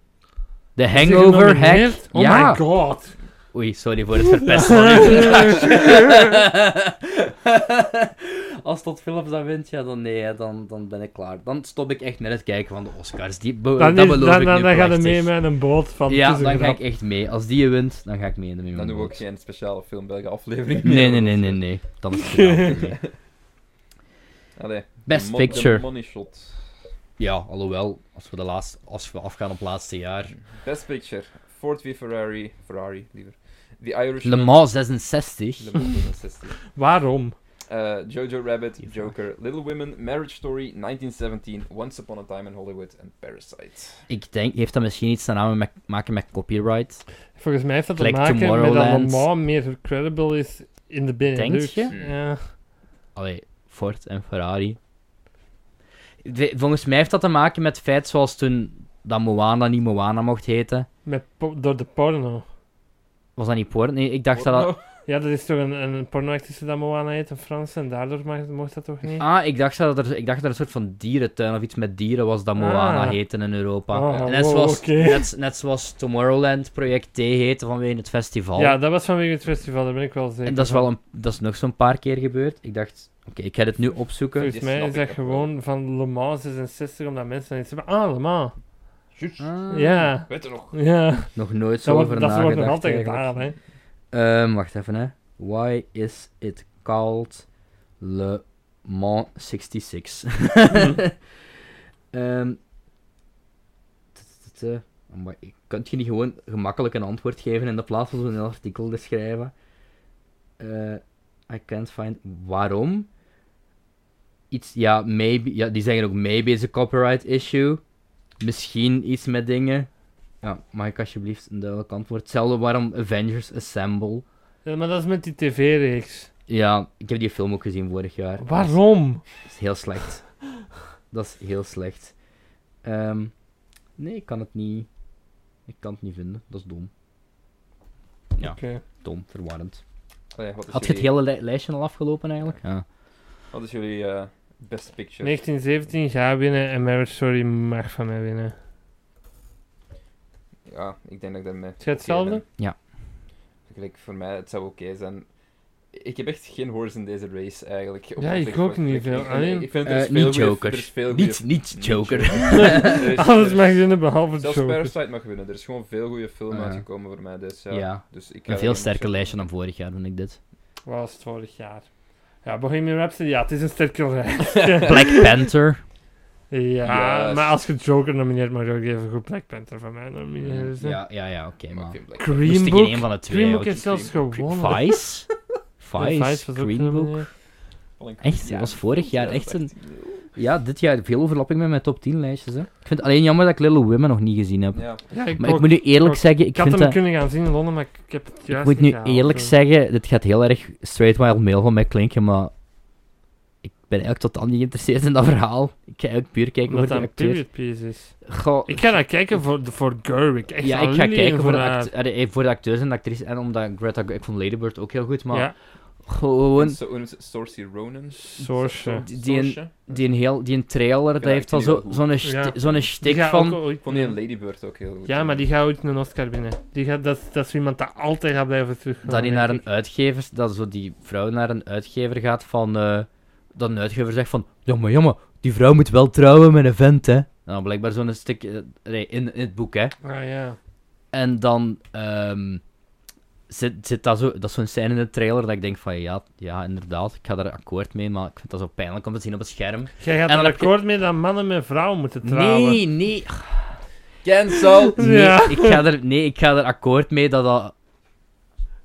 S2: The
S1: Is hij
S2: Hangover
S1: genomineerd?
S2: Hack...
S1: Oh
S2: ja.
S1: my god.
S2: Oei, sorry voor het verpesten van uw vraag. Als Todd Phillips dat wint, ja, dan nee, hè, dan, dan ben ik klaar. Dan stop ik echt met het kijken van de Oscars. Die, be-
S1: Dan,
S2: dat
S1: is,
S2: beloof
S1: dan,
S2: ik
S1: dan,
S2: nu
S1: dan gaat hij
S2: plechtig.
S1: mee met een boot van het
S2: Ja,
S1: is een
S2: dan ga
S1: grap.
S2: ik echt mee. Als die wint, dan ga ik mee. Dan,
S3: Dan doen we ook geen speciale filmbelgen aflevering.
S2: Nee, nee, nee, nee, nee. Dan is het gedaan voor mij.
S3: Allee,
S2: Best
S3: de mo-
S2: Picture.
S3: De money shot.
S2: Ja, alhoewel, als we, de laatste, als we afgaan op het laatste jaar.
S3: Best Picture. Ford v Ferrari. Ferrari, liever. The Irishman.
S2: Le Mans 66.
S3: Le Mans 66.
S1: Waarom?
S3: Eh, Jojo Rabbit,
S2: Die vraag.
S3: Joker, Little Women, Marriage Story, 1917, Once Upon a Time in Hollywood en Parasite.
S2: Ik denk, heeft dat misschien iets te namen met- maken met copyright?
S1: Volgens mij heeft dat
S2: Like
S1: te maken met dat
S2: Tomorrowland.
S1: Lamar meer credible is in de Benelux.
S2: Denk
S3: je?
S1: Ja.
S2: Allee, Ford en Ferrari. De- volgens mij heeft dat te maken met het feit zoals toen dat Moana niet Moana mocht heten.
S1: Met po- door de porno.
S2: Was dat niet Port? Nee, ik dacht dat dat...
S3: Porno?
S1: Ja, dat is toch een, een pornoactrice dat Moana heet, een Frans, en daardoor mag, mocht dat toch niet?
S2: Ah, ik dacht dat er, ik dacht dat er een soort van dierentuin of iets met dieren was dat Moana
S1: Ah.
S2: heette in Europa.
S1: Ah,
S2: En net,
S1: wow,
S2: zoals,
S1: oké.
S2: net, net zoals Tomorrowland Project T heette vanwege het festival.
S1: Ja, dat was vanwege het festival, daar ben ik wel zeker
S2: en dat is,
S1: van.
S2: wel een, dat is nog zo'n paar keer gebeurd. Ik dacht, oké, ik ga dit nu opzoeken.
S1: Volgens
S3: Dit
S1: mij
S3: snap
S1: is
S3: ik
S1: dat
S3: ook wel.
S1: gewoon van Le Mans 66, omdat mensen dan iets hebben. Ah, Le Mans.
S3: Juist.
S2: Ah,
S1: Ja.
S3: Weet je nog?
S1: Ja,
S2: Nog nooit zo
S1: dat wordt,
S2: over
S1: dat wordt nog
S2: nagedacht
S1: altijd
S2: eigenlijk.
S1: gedaan, hè.
S2: Ehm, wacht even, hè. Why is it called Le Mans 66? Ehm, t- t- t- eh, amai, ik- Kunt je niet gewoon gemakkelijk een antwoord geven in de plaats van zo'n heel artikel te schrijven? Eh, I can't find... Waarom? Iets... Ja, maybe... Ja, die zeggen ook maybe is a copyright issue. Misschien iets met dingen. Ja, mag ik alsjeblieft een duidelijk antwoord? Hetzelfde waarom Avengers Assemble.
S1: Ja, Eh, maar dat is met die tv-reeks.
S2: Ja, ik heb die film ook gezien vorig jaar.
S1: Waarom?
S2: Dat is heel slecht. Dat is heel slecht. Ehm, nee, ik kan het niet. Ik kan het niet vinden. Dat is dom. Ja.
S1: Oké.
S2: Dom, verwarrend.
S3: Allee, wat is
S2: Had je het
S3: jullie-
S2: hele li- lijstje al afgelopen eigenlijk? Ja.
S3: Wat is jullie eh, Best Picture?
S1: 1917 ga winnen en Marriage Story mag van mij winnen.
S3: ja, ik denk dat ik daarmee.
S1: jij hetzelfde?
S3: oké ben.
S2: Ja.
S3: Gelijk, voor mij, het zou oké zijn. Ik heb echt geen horse in deze race eigenlijk.
S1: Ja, ik
S3: zich-
S1: ook
S3: op-
S1: niet,
S3: ik- ik-
S1: alleen-
S3: Ik vind er
S2: Eh,
S3: is veel
S2: niet
S3: goeie-
S2: Joker.
S3: Er is veel goeie-
S2: Niet, niet
S3: niet
S2: Joker.
S3: Er is-
S1: Alles
S3: er-
S1: mag zinnen behalve
S3: Zelfs
S1: Joker.
S3: Parasite mag winnen. Er is gewoon veel goede film
S2: Ah, ja.
S3: uitgekomen voor mij. Dus, ja.
S2: Ja.
S3: Dus ik ga
S2: Een
S3: er
S2: veel
S3: geen
S2: sterker
S3: motion-
S2: lijstje dan vorig jaar, vind ik dit.
S1: Wat was het vorig jaar? Ja, Bohemian Rhapsody, ja, het is een sterke rij.
S2: Black Panther.
S1: Ja,
S3: Juist.
S1: maar als je Joker nomineert, mag je ook even goed Black Panther van mij nomineren. dus, hè.
S2: Ja, ja, ja, oké,
S3: Maar
S2: maar...
S3: ik vind Black
S1: Green
S2: Moest ik in
S1: Book.
S2: één van de twee...
S1: Green Book
S2: ook-
S1: heeft zelfs
S3: Green
S1: gewonnen.
S2: Vice?
S1: Ja,
S2: Vice?
S1: was ook
S2: Green Book?
S1: genomineerd.
S3: Panther-
S2: Echt? Dat was vorig jaar
S3: ja,
S2: echt
S3: dat
S2: een-
S3: is
S2: Ja, dit jaar veel overlapping met mijn top 10 lijstjes, hè. Ik vind het alleen jammer dat ik Little Women nog niet gezien heb.
S3: Ja.
S1: Ja, ik,
S2: Maar ik
S1: ook.
S2: moet nu eerlijk
S1: ik-
S2: zeggen, ik
S1: Ik had
S2: vind
S1: hem
S2: dat...
S1: kunnen gaan zien in Londen, maar ik ik heb het
S2: Ik
S1: juist
S2: moet
S1: niet
S2: nu
S1: gehaald,
S2: eerlijk
S1: dus.
S2: zeggen, dit gaat heel erg straight wild mail van mij klinken, maar... Ik ben eigenlijk totaal niet geïnteresseerd in dat verhaal. Ik ga eigenlijk puur kijken
S1: Omdat dat
S2: over de
S1: een
S2: acteur.
S1: period piece is.
S2: Goh,
S1: Ik ga naar kijken voor, de- voor Gerwig. Echt
S2: ja, ik ga
S1: alleen
S2: kijken voor de,
S1: haar.
S2: act- eh, eh, voor de acteurs en de actrices en omdat Greta... Ik vond Lady Bird ook heel goed, maar...
S1: Ja,
S2: Gewoon...
S3: En zo- hoe noemt ze- Saoirse Ronan.
S1: Source.
S2: Die- die-
S3: Saoirse?
S2: Die, een heel, die een trailer, dat
S3: Ja,
S2: heeft
S3: ik
S2: wel
S3: vind die
S2: zo-
S3: wel goed.
S2: zo'n zo
S1: Ja.
S2: zo'n
S1: Die
S2: shtick
S1: gaat
S2: van...
S1: ook ooit-
S3: Ik vond die een Ladybird ook heel goed.
S1: Ja, maar die gaat ooit een Oscar binnen. Die gaat, dat, dat is iemand dat altijd gaat blijven terugkomen.
S2: dat hij
S1: denk
S2: naar een
S1: ik.
S2: uitgever, dat zo die vrouw naar een uitgever gaat van, eh, dat een uitgever zegt van, ja maar, ja maar, die vrouw moet wel trouwen met een vent, hè. Nou, blijkbaar zo'n stuk, eh, nee, in, in het boek, hè.
S1: Ah ja.
S2: En dan ehm, zit, zit dat zo, dat is zo'n scène in de trailer dat ik denk van, ja, ja, inderdaad, ik ga daar akkoord mee, maar ik vind dat zo pijnlijk om te zien op het scherm.
S1: Jij gaat
S2: En dan
S1: er
S2: heb je-
S1: akkoord mee dat mannen met vrouwen moeten trouwen.
S2: Nee, nee,
S3: Cancel!
S2: Nee,
S1: Ja.
S2: ik ga er, nee, ik ga er akkoord mee dat dat...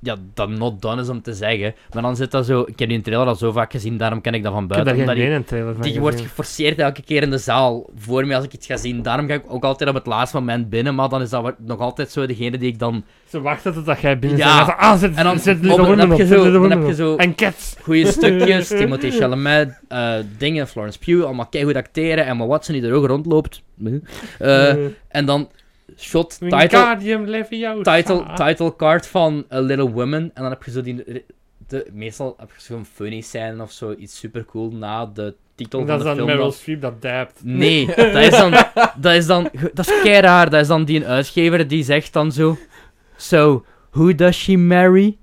S2: Ja, dat not done is om te zeggen. Maar dan zit dat zo... Ik heb die trailer al zo vaak gezien, daarom ken ik dat van
S1: Ik heb
S2: buiten.
S1: daar geen
S2: omdat die,
S1: ene trailer van
S2: die wordt
S1: gezien.
S2: geforceerd elke keer in de zaal voor me als ik iets ga zien. Daarom ga ik ook altijd op het laatste moment binnen, maar dan is dat wat- nog altijd zo degene die ik dan...
S1: Ze wachten tot dat jij binnen
S2: Ja.
S1: bent. Ah, zet,
S2: En dan-
S1: zet
S2: op-
S1: Little
S2: dan
S1: Women
S2: heb
S1: op.
S2: je
S1: zet
S2: zo-
S1: Little
S2: dan heb
S1: Women
S2: je
S1: op.
S2: zo-
S1: En Cats.
S2: Goeie stukjes, Timothée Chalamet, eh, dingen, Florence Pugh, allemaal keigoed acteren. Emma Watson die er ook rondloopt. Eh,
S1: Eh,
S2: en dan shot, title,
S1: Wingardium Leviosa.
S2: title, title card van A Little Women. En dan heb je zo die. De, meestal heb je zo'n funny scène of zo. Iets supercool na de titel
S1: Dat is
S2: van
S1: dan
S2: de film.
S1: Meryl
S2: dan-
S1: Streep dat dabt.
S2: Nee, dat is dan. Dat is dan. Dat is kei raar. Dat is dan die een uitgever die zegt dan zo. So, who does she marry?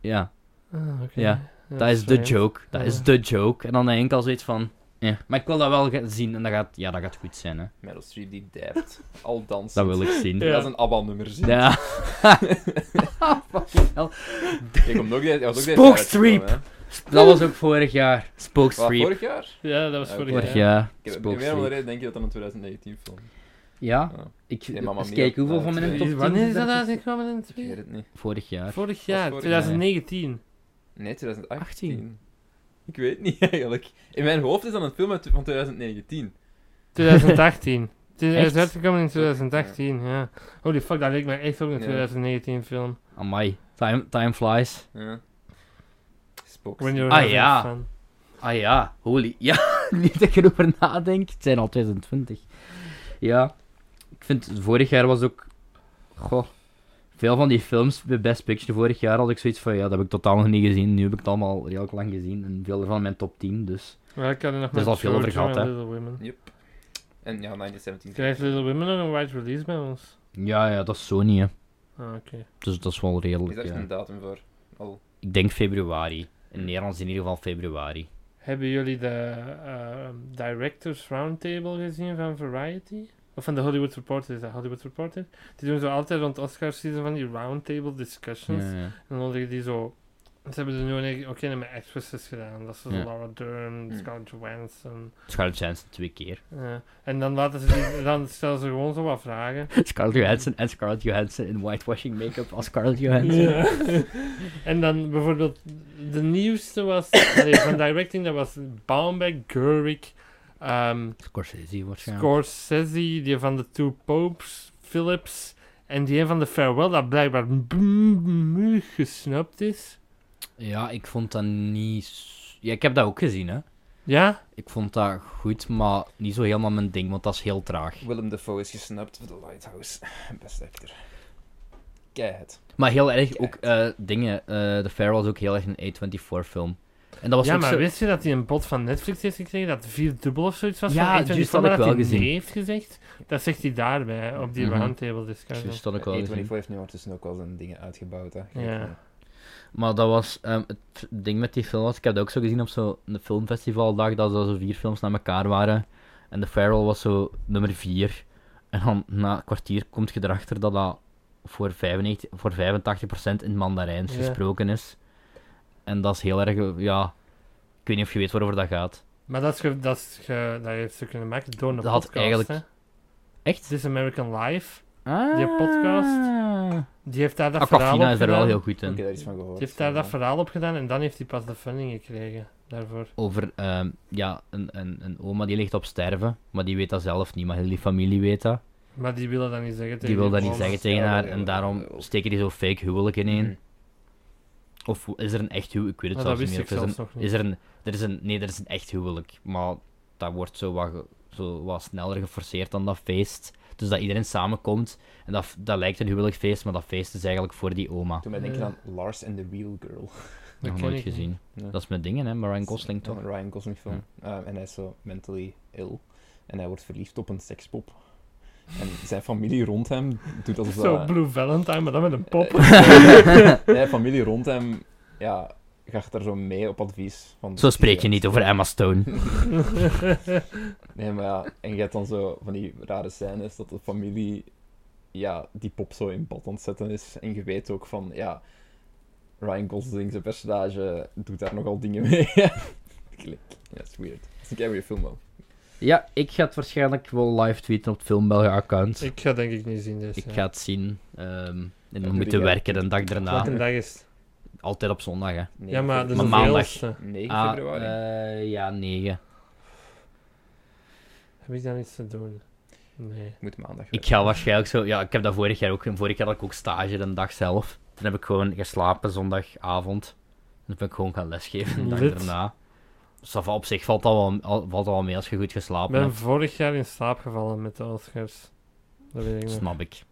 S2: Ja,
S1: Ah, oké.
S2: Ja, dat is de
S1: sorry.
S2: joke. Dat is
S1: Ja.
S2: de joke. En dan denk ik al zoiets van. Ja. Maar ik wil dat wel ge- zien en dat gaat, ja, dat gaat goed zijn. Hè.
S3: Meryl Streep die dapt. Al dansen.
S2: Dat wil ik zien.
S1: Ja.
S3: Dat is een ABBA-nummer. zien.
S2: Ja.
S3: Ik kom nog deze- dat was ook deze
S2: Spook
S3: jaar uitgekomen,
S2: Streep.
S3: hè.
S2: Dat was ook vorig jaar. Spoke
S3: Was dat
S2: Streep.
S3: vorig jaar?
S1: Ja, dat was
S3: Ja,
S1: vorig
S2: Vorig
S1: jaar.
S2: jaar.
S3: Ik heb
S2: Spoke
S3: meer
S2: Streep.
S3: dan reden denk je dat dat een 2019 film is.
S2: Ja,
S3: Ja.
S2: ik
S3: Nee, Mamma
S2: eens
S3: Mia.
S2: kijken hoeveel
S3: Ja,
S2: van mijn
S3: twee.
S2: top 10
S1: Wanneer is dat
S2: er tussen-
S1: uitgekomen in het
S3: Ik weet het niet.
S2: Vorig jaar.
S1: Vorig
S3: jaar,
S1: jaar,
S3: vorig
S1: 2019.
S3: Nee, 2018. Ik weet niet eigenlijk. In mijn hoofd is dat een film uit, van 2019.
S1: 2018. Het is- Hij is
S2: Echt?
S1: uitgekomen in 2018, ja. Holy fuck, dat leek mij echt ook een
S3: Ja.
S1: 2019 film.
S2: Amai, time, time flies.
S3: Ja. Spook
S1: When you're
S3: Streep.
S2: Ah,
S1: having
S2: ja.
S1: fun.
S2: Ah ja, holy. Ja, niet dat ik erover nadenk. Het zijn al 2020. Ja, ik vind vorig jaar was ook. Goh. Veel van die films bij Best Picture vorig jaar had ik zoiets van ja, dat heb ik totaal nog niet gezien. Nu heb ik het allemaal redelijk lang gezien en veel van mijn top 10. Dus
S1: Ja, ik had er nog
S2: is
S1: met
S2: al veel over
S1: Jojo
S2: gehad,
S1: en
S2: hè.
S1: Little Women.
S3: En ja, 1917.
S1: Krijgt Little Women nog een wide release bij ons?
S2: ja, ja, dat is Sony. Hè.
S1: Ah, oké.
S2: Dus dat is wel
S3: Is
S2: redelijk.
S3: daar echt
S2: ja.
S3: een datum voor? Al.
S2: Ik denk februari. In Nederland in ieder geval februari.
S1: Hebben jullie de eh, Directors Roundtable gezien van Variety? Of van de Hollywood Reporter, is dat Hollywood Reporter? Die doen zo altijd rond Oscar season van die roundtable discussions. En dan liggen die zo... Ze hebben er nu een keer- ook een met actresses gedaan. Dat is zo
S2: Ja.
S1: Laura Dern,
S3: Hm.
S1: Scarlett Johansson.
S2: Scarlett Johansson twee keer.
S1: eh, en dan, laten ze die, dan stellen ze gewoon zo wat vragen.
S2: Scarlett Johansson en Scarlett Johansson in whitewashing make-up als Scarlett Johansson.
S1: Ja. en dan bijvoorbeeld, de nieuwste was, allee, van directing, dat was Baumbach, Gerwig, ehm,
S2: Scorsese waarschijnlijk.
S1: Scorsese, die van de Two Popes, Phillips, en die een van de Farewell, dat blijkbaar muur gesnapt is.
S2: ja, ik vond dat niet... s- Ja, ik heb dat ook gezien, hè.
S1: Ja?
S2: Ik vond dat goed, maar niet zo helemaal mijn ding, want dat is heel traag.
S3: Willem Dafoe is gesnapt voor The Lighthouse. Best actor. Kijk het.
S2: Maar heel erg ook eh, dingen. eh The Farewell is ook heel erg een A24-film. En dat was
S1: ja,
S2: ook
S1: maar
S2: zo...
S1: wist je dat hij een bod van Netflix heeft gekregen? Dat vier dubbel of zoiets was?
S2: Ja,
S1: van A24,
S2: juist had ik
S1: maar dat
S2: wel
S1: hij
S2: gezien.
S1: Nee heeft gezegd. Dat zegt hij daarbij, op die
S2: Mhm.
S1: roundtable discussion.
S2: Juist, dat had ik wel
S3: A24
S2: gezien.
S3: E heeft nu ondertussen ook wel zijn dingen uitgebouwd. Hè. Kijk,
S1: Ja.
S3: eh,
S2: Maar dat was ehm, het ding met die film. Was, ik heb dat ook zo gezien op zo'n filmfestivaldag. Dat er zo vier films naar elkaar waren. En The Feral was zo nummer vier. En dan na een kwartier komt je erachter dat dat voor, 95, voor 85% in Mandarijns
S1: Ja.
S2: gesproken is. En dat is heel erg. eh, Ja, ik weet niet of je weet waarover dat gaat.
S1: Maar dat, is ge- dat, is ge- dat heeft ze kunnen maken door een
S2: Dat had
S1: podcast.
S2: eigenlijk-
S1: hè.
S2: Echt?
S1: This American Life,
S2: Ah,
S1: Die podcast. die heeft daar dat verhaal
S2: Aquafina
S1: op
S2: is daar wel
S1: gedaan.
S2: heel goed in.
S3: Ik heb daar iets van gehoord.
S1: Die heeft daar
S3: ja.
S1: dat verhaal op gedaan en dan heeft hij pas de funding gekregen daarvoor.
S2: over ehm, ja, een, een, een oma die ligt op sterven, maar die weet dat zelf niet, maar heel die familie weet dat.
S1: Maar die willen dat niet zeggen tegen
S2: Die wil dat
S1: die
S2: niet
S1: bomen.
S2: zeggen tegen
S3: Ja,
S2: haar
S3: ja,
S2: en
S3: ja.
S2: daarom steken die zo fake huwelijken in.
S3: Mhm.
S2: Of hoe- is er een echt huwelijk? Ik weet het
S1: Maar dat
S2: zelfs
S1: wist
S2: niet.
S1: ik
S2: meer. Of
S1: zelfs
S2: is,
S1: nog
S2: een,
S1: niet.
S2: is er een, er is een... Nee, er is een echt huwelijk, maar dat wordt zo wat, ge- zo wat sneller geforceerd dan dat feest. Dus dat iedereen samenkomt en dat, dat lijkt een huwelijkfeest, maar dat feest is eigenlijk voor die oma.
S3: Toen ben ik aan Lars and the Real Girl.
S1: Dat
S2: Nog
S1: ken
S2: nooit
S1: ik niet.
S2: gezien.
S3: Ja.
S2: Dat is met dingen, hè? Ryan Gosling toch?
S3: Een Ryan Gosling film. Ehm, en hij is zo mentally ill. En hij wordt verliefd op een sekspop. En zijn familie rond hem doet alsof
S1: Zo
S3: dat...
S1: Blue Valentine, maar dan met een pop.
S3: Eh, nee, familie rond hem ja, gaat er zo mee op advies. Van
S2: Zo spreek je niet over Emma Stone.
S3: Nee, maar ja, en je hebt dan zo van die rare scènes dat de familie ja, die pop zo in bad aan het zetten is. En je weet ook van, ja, Ryan Gosling, zijn personage, doet daar nogal dingen mee. Klik. ja, is weird. Dat is een keer weer film wel.
S2: Ja, ik ga het waarschijnlijk wel live tweeten op het Filmbelgen-account. Ik,
S1: ik ga denk ik niet zien dus. ja.
S2: ga het zien. ehm, en dan
S3: doe
S2: moeten
S3: je.
S2: werken de dag daarna.
S1: Welke dag is het?
S2: Altijd op zondag, hè.
S1: Ja, maar de
S2: Maar maandag.
S1: zoveelste.
S3: 9
S2: Ah,
S3: februari.
S2: eh, ja, 9.
S1: Heb ik daar iets te doen? Nee.
S3: Ik moet maandag
S2: Ik ga waarschijnlijk zo... Ja, ik heb dat vorig jaar ook... Vorig jaar had ik ook stage de dag zelf. Toen heb ik gewoon geslapen zondagavond. En toen ben ik gewoon gaan lesgeven de dag
S1: Lid.
S2: daarna. Dus dat va- op zich valt dat, wel, al- valt dat wel mee als je goed
S1: Ik
S2: geslapen
S1: ben
S2: hebt.
S1: vorig jaar in slaap gevallen met de Oscars. Dat weet ik nog.
S2: Snap ik.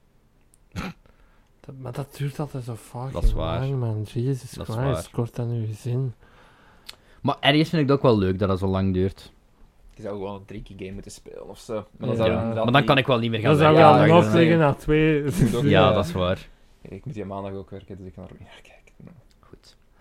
S1: Dat- maar dat duurt altijd zo vaak.
S2: Dat is waar.
S1: Lang, man. Jesus
S2: Dat is
S1: Christ,
S2: waar.
S1: kort aan uw gezin.
S2: Maar ergens vind ik het ook wel leuk dat dat zo lang duurt.
S3: Je zou gewoon een tricky game moeten spelen of zo. Maar
S1: Ja.
S3: dan, zou
S1: Ja.
S3: je inderdaad
S2: Maar dan kan
S3: niet-
S2: ik wel niet meer gaan
S1: Dan zou je
S3: ja,
S1: al
S2: werken.
S1: een
S3: ja,
S1: hoofd
S3: ja.
S1: liggen na twee.
S3: moet ook-
S2: Ja,
S3: Ja.
S2: dat is waar.
S3: Ik moet hier maandag ook werken, dus ik kan er niet naar kijken.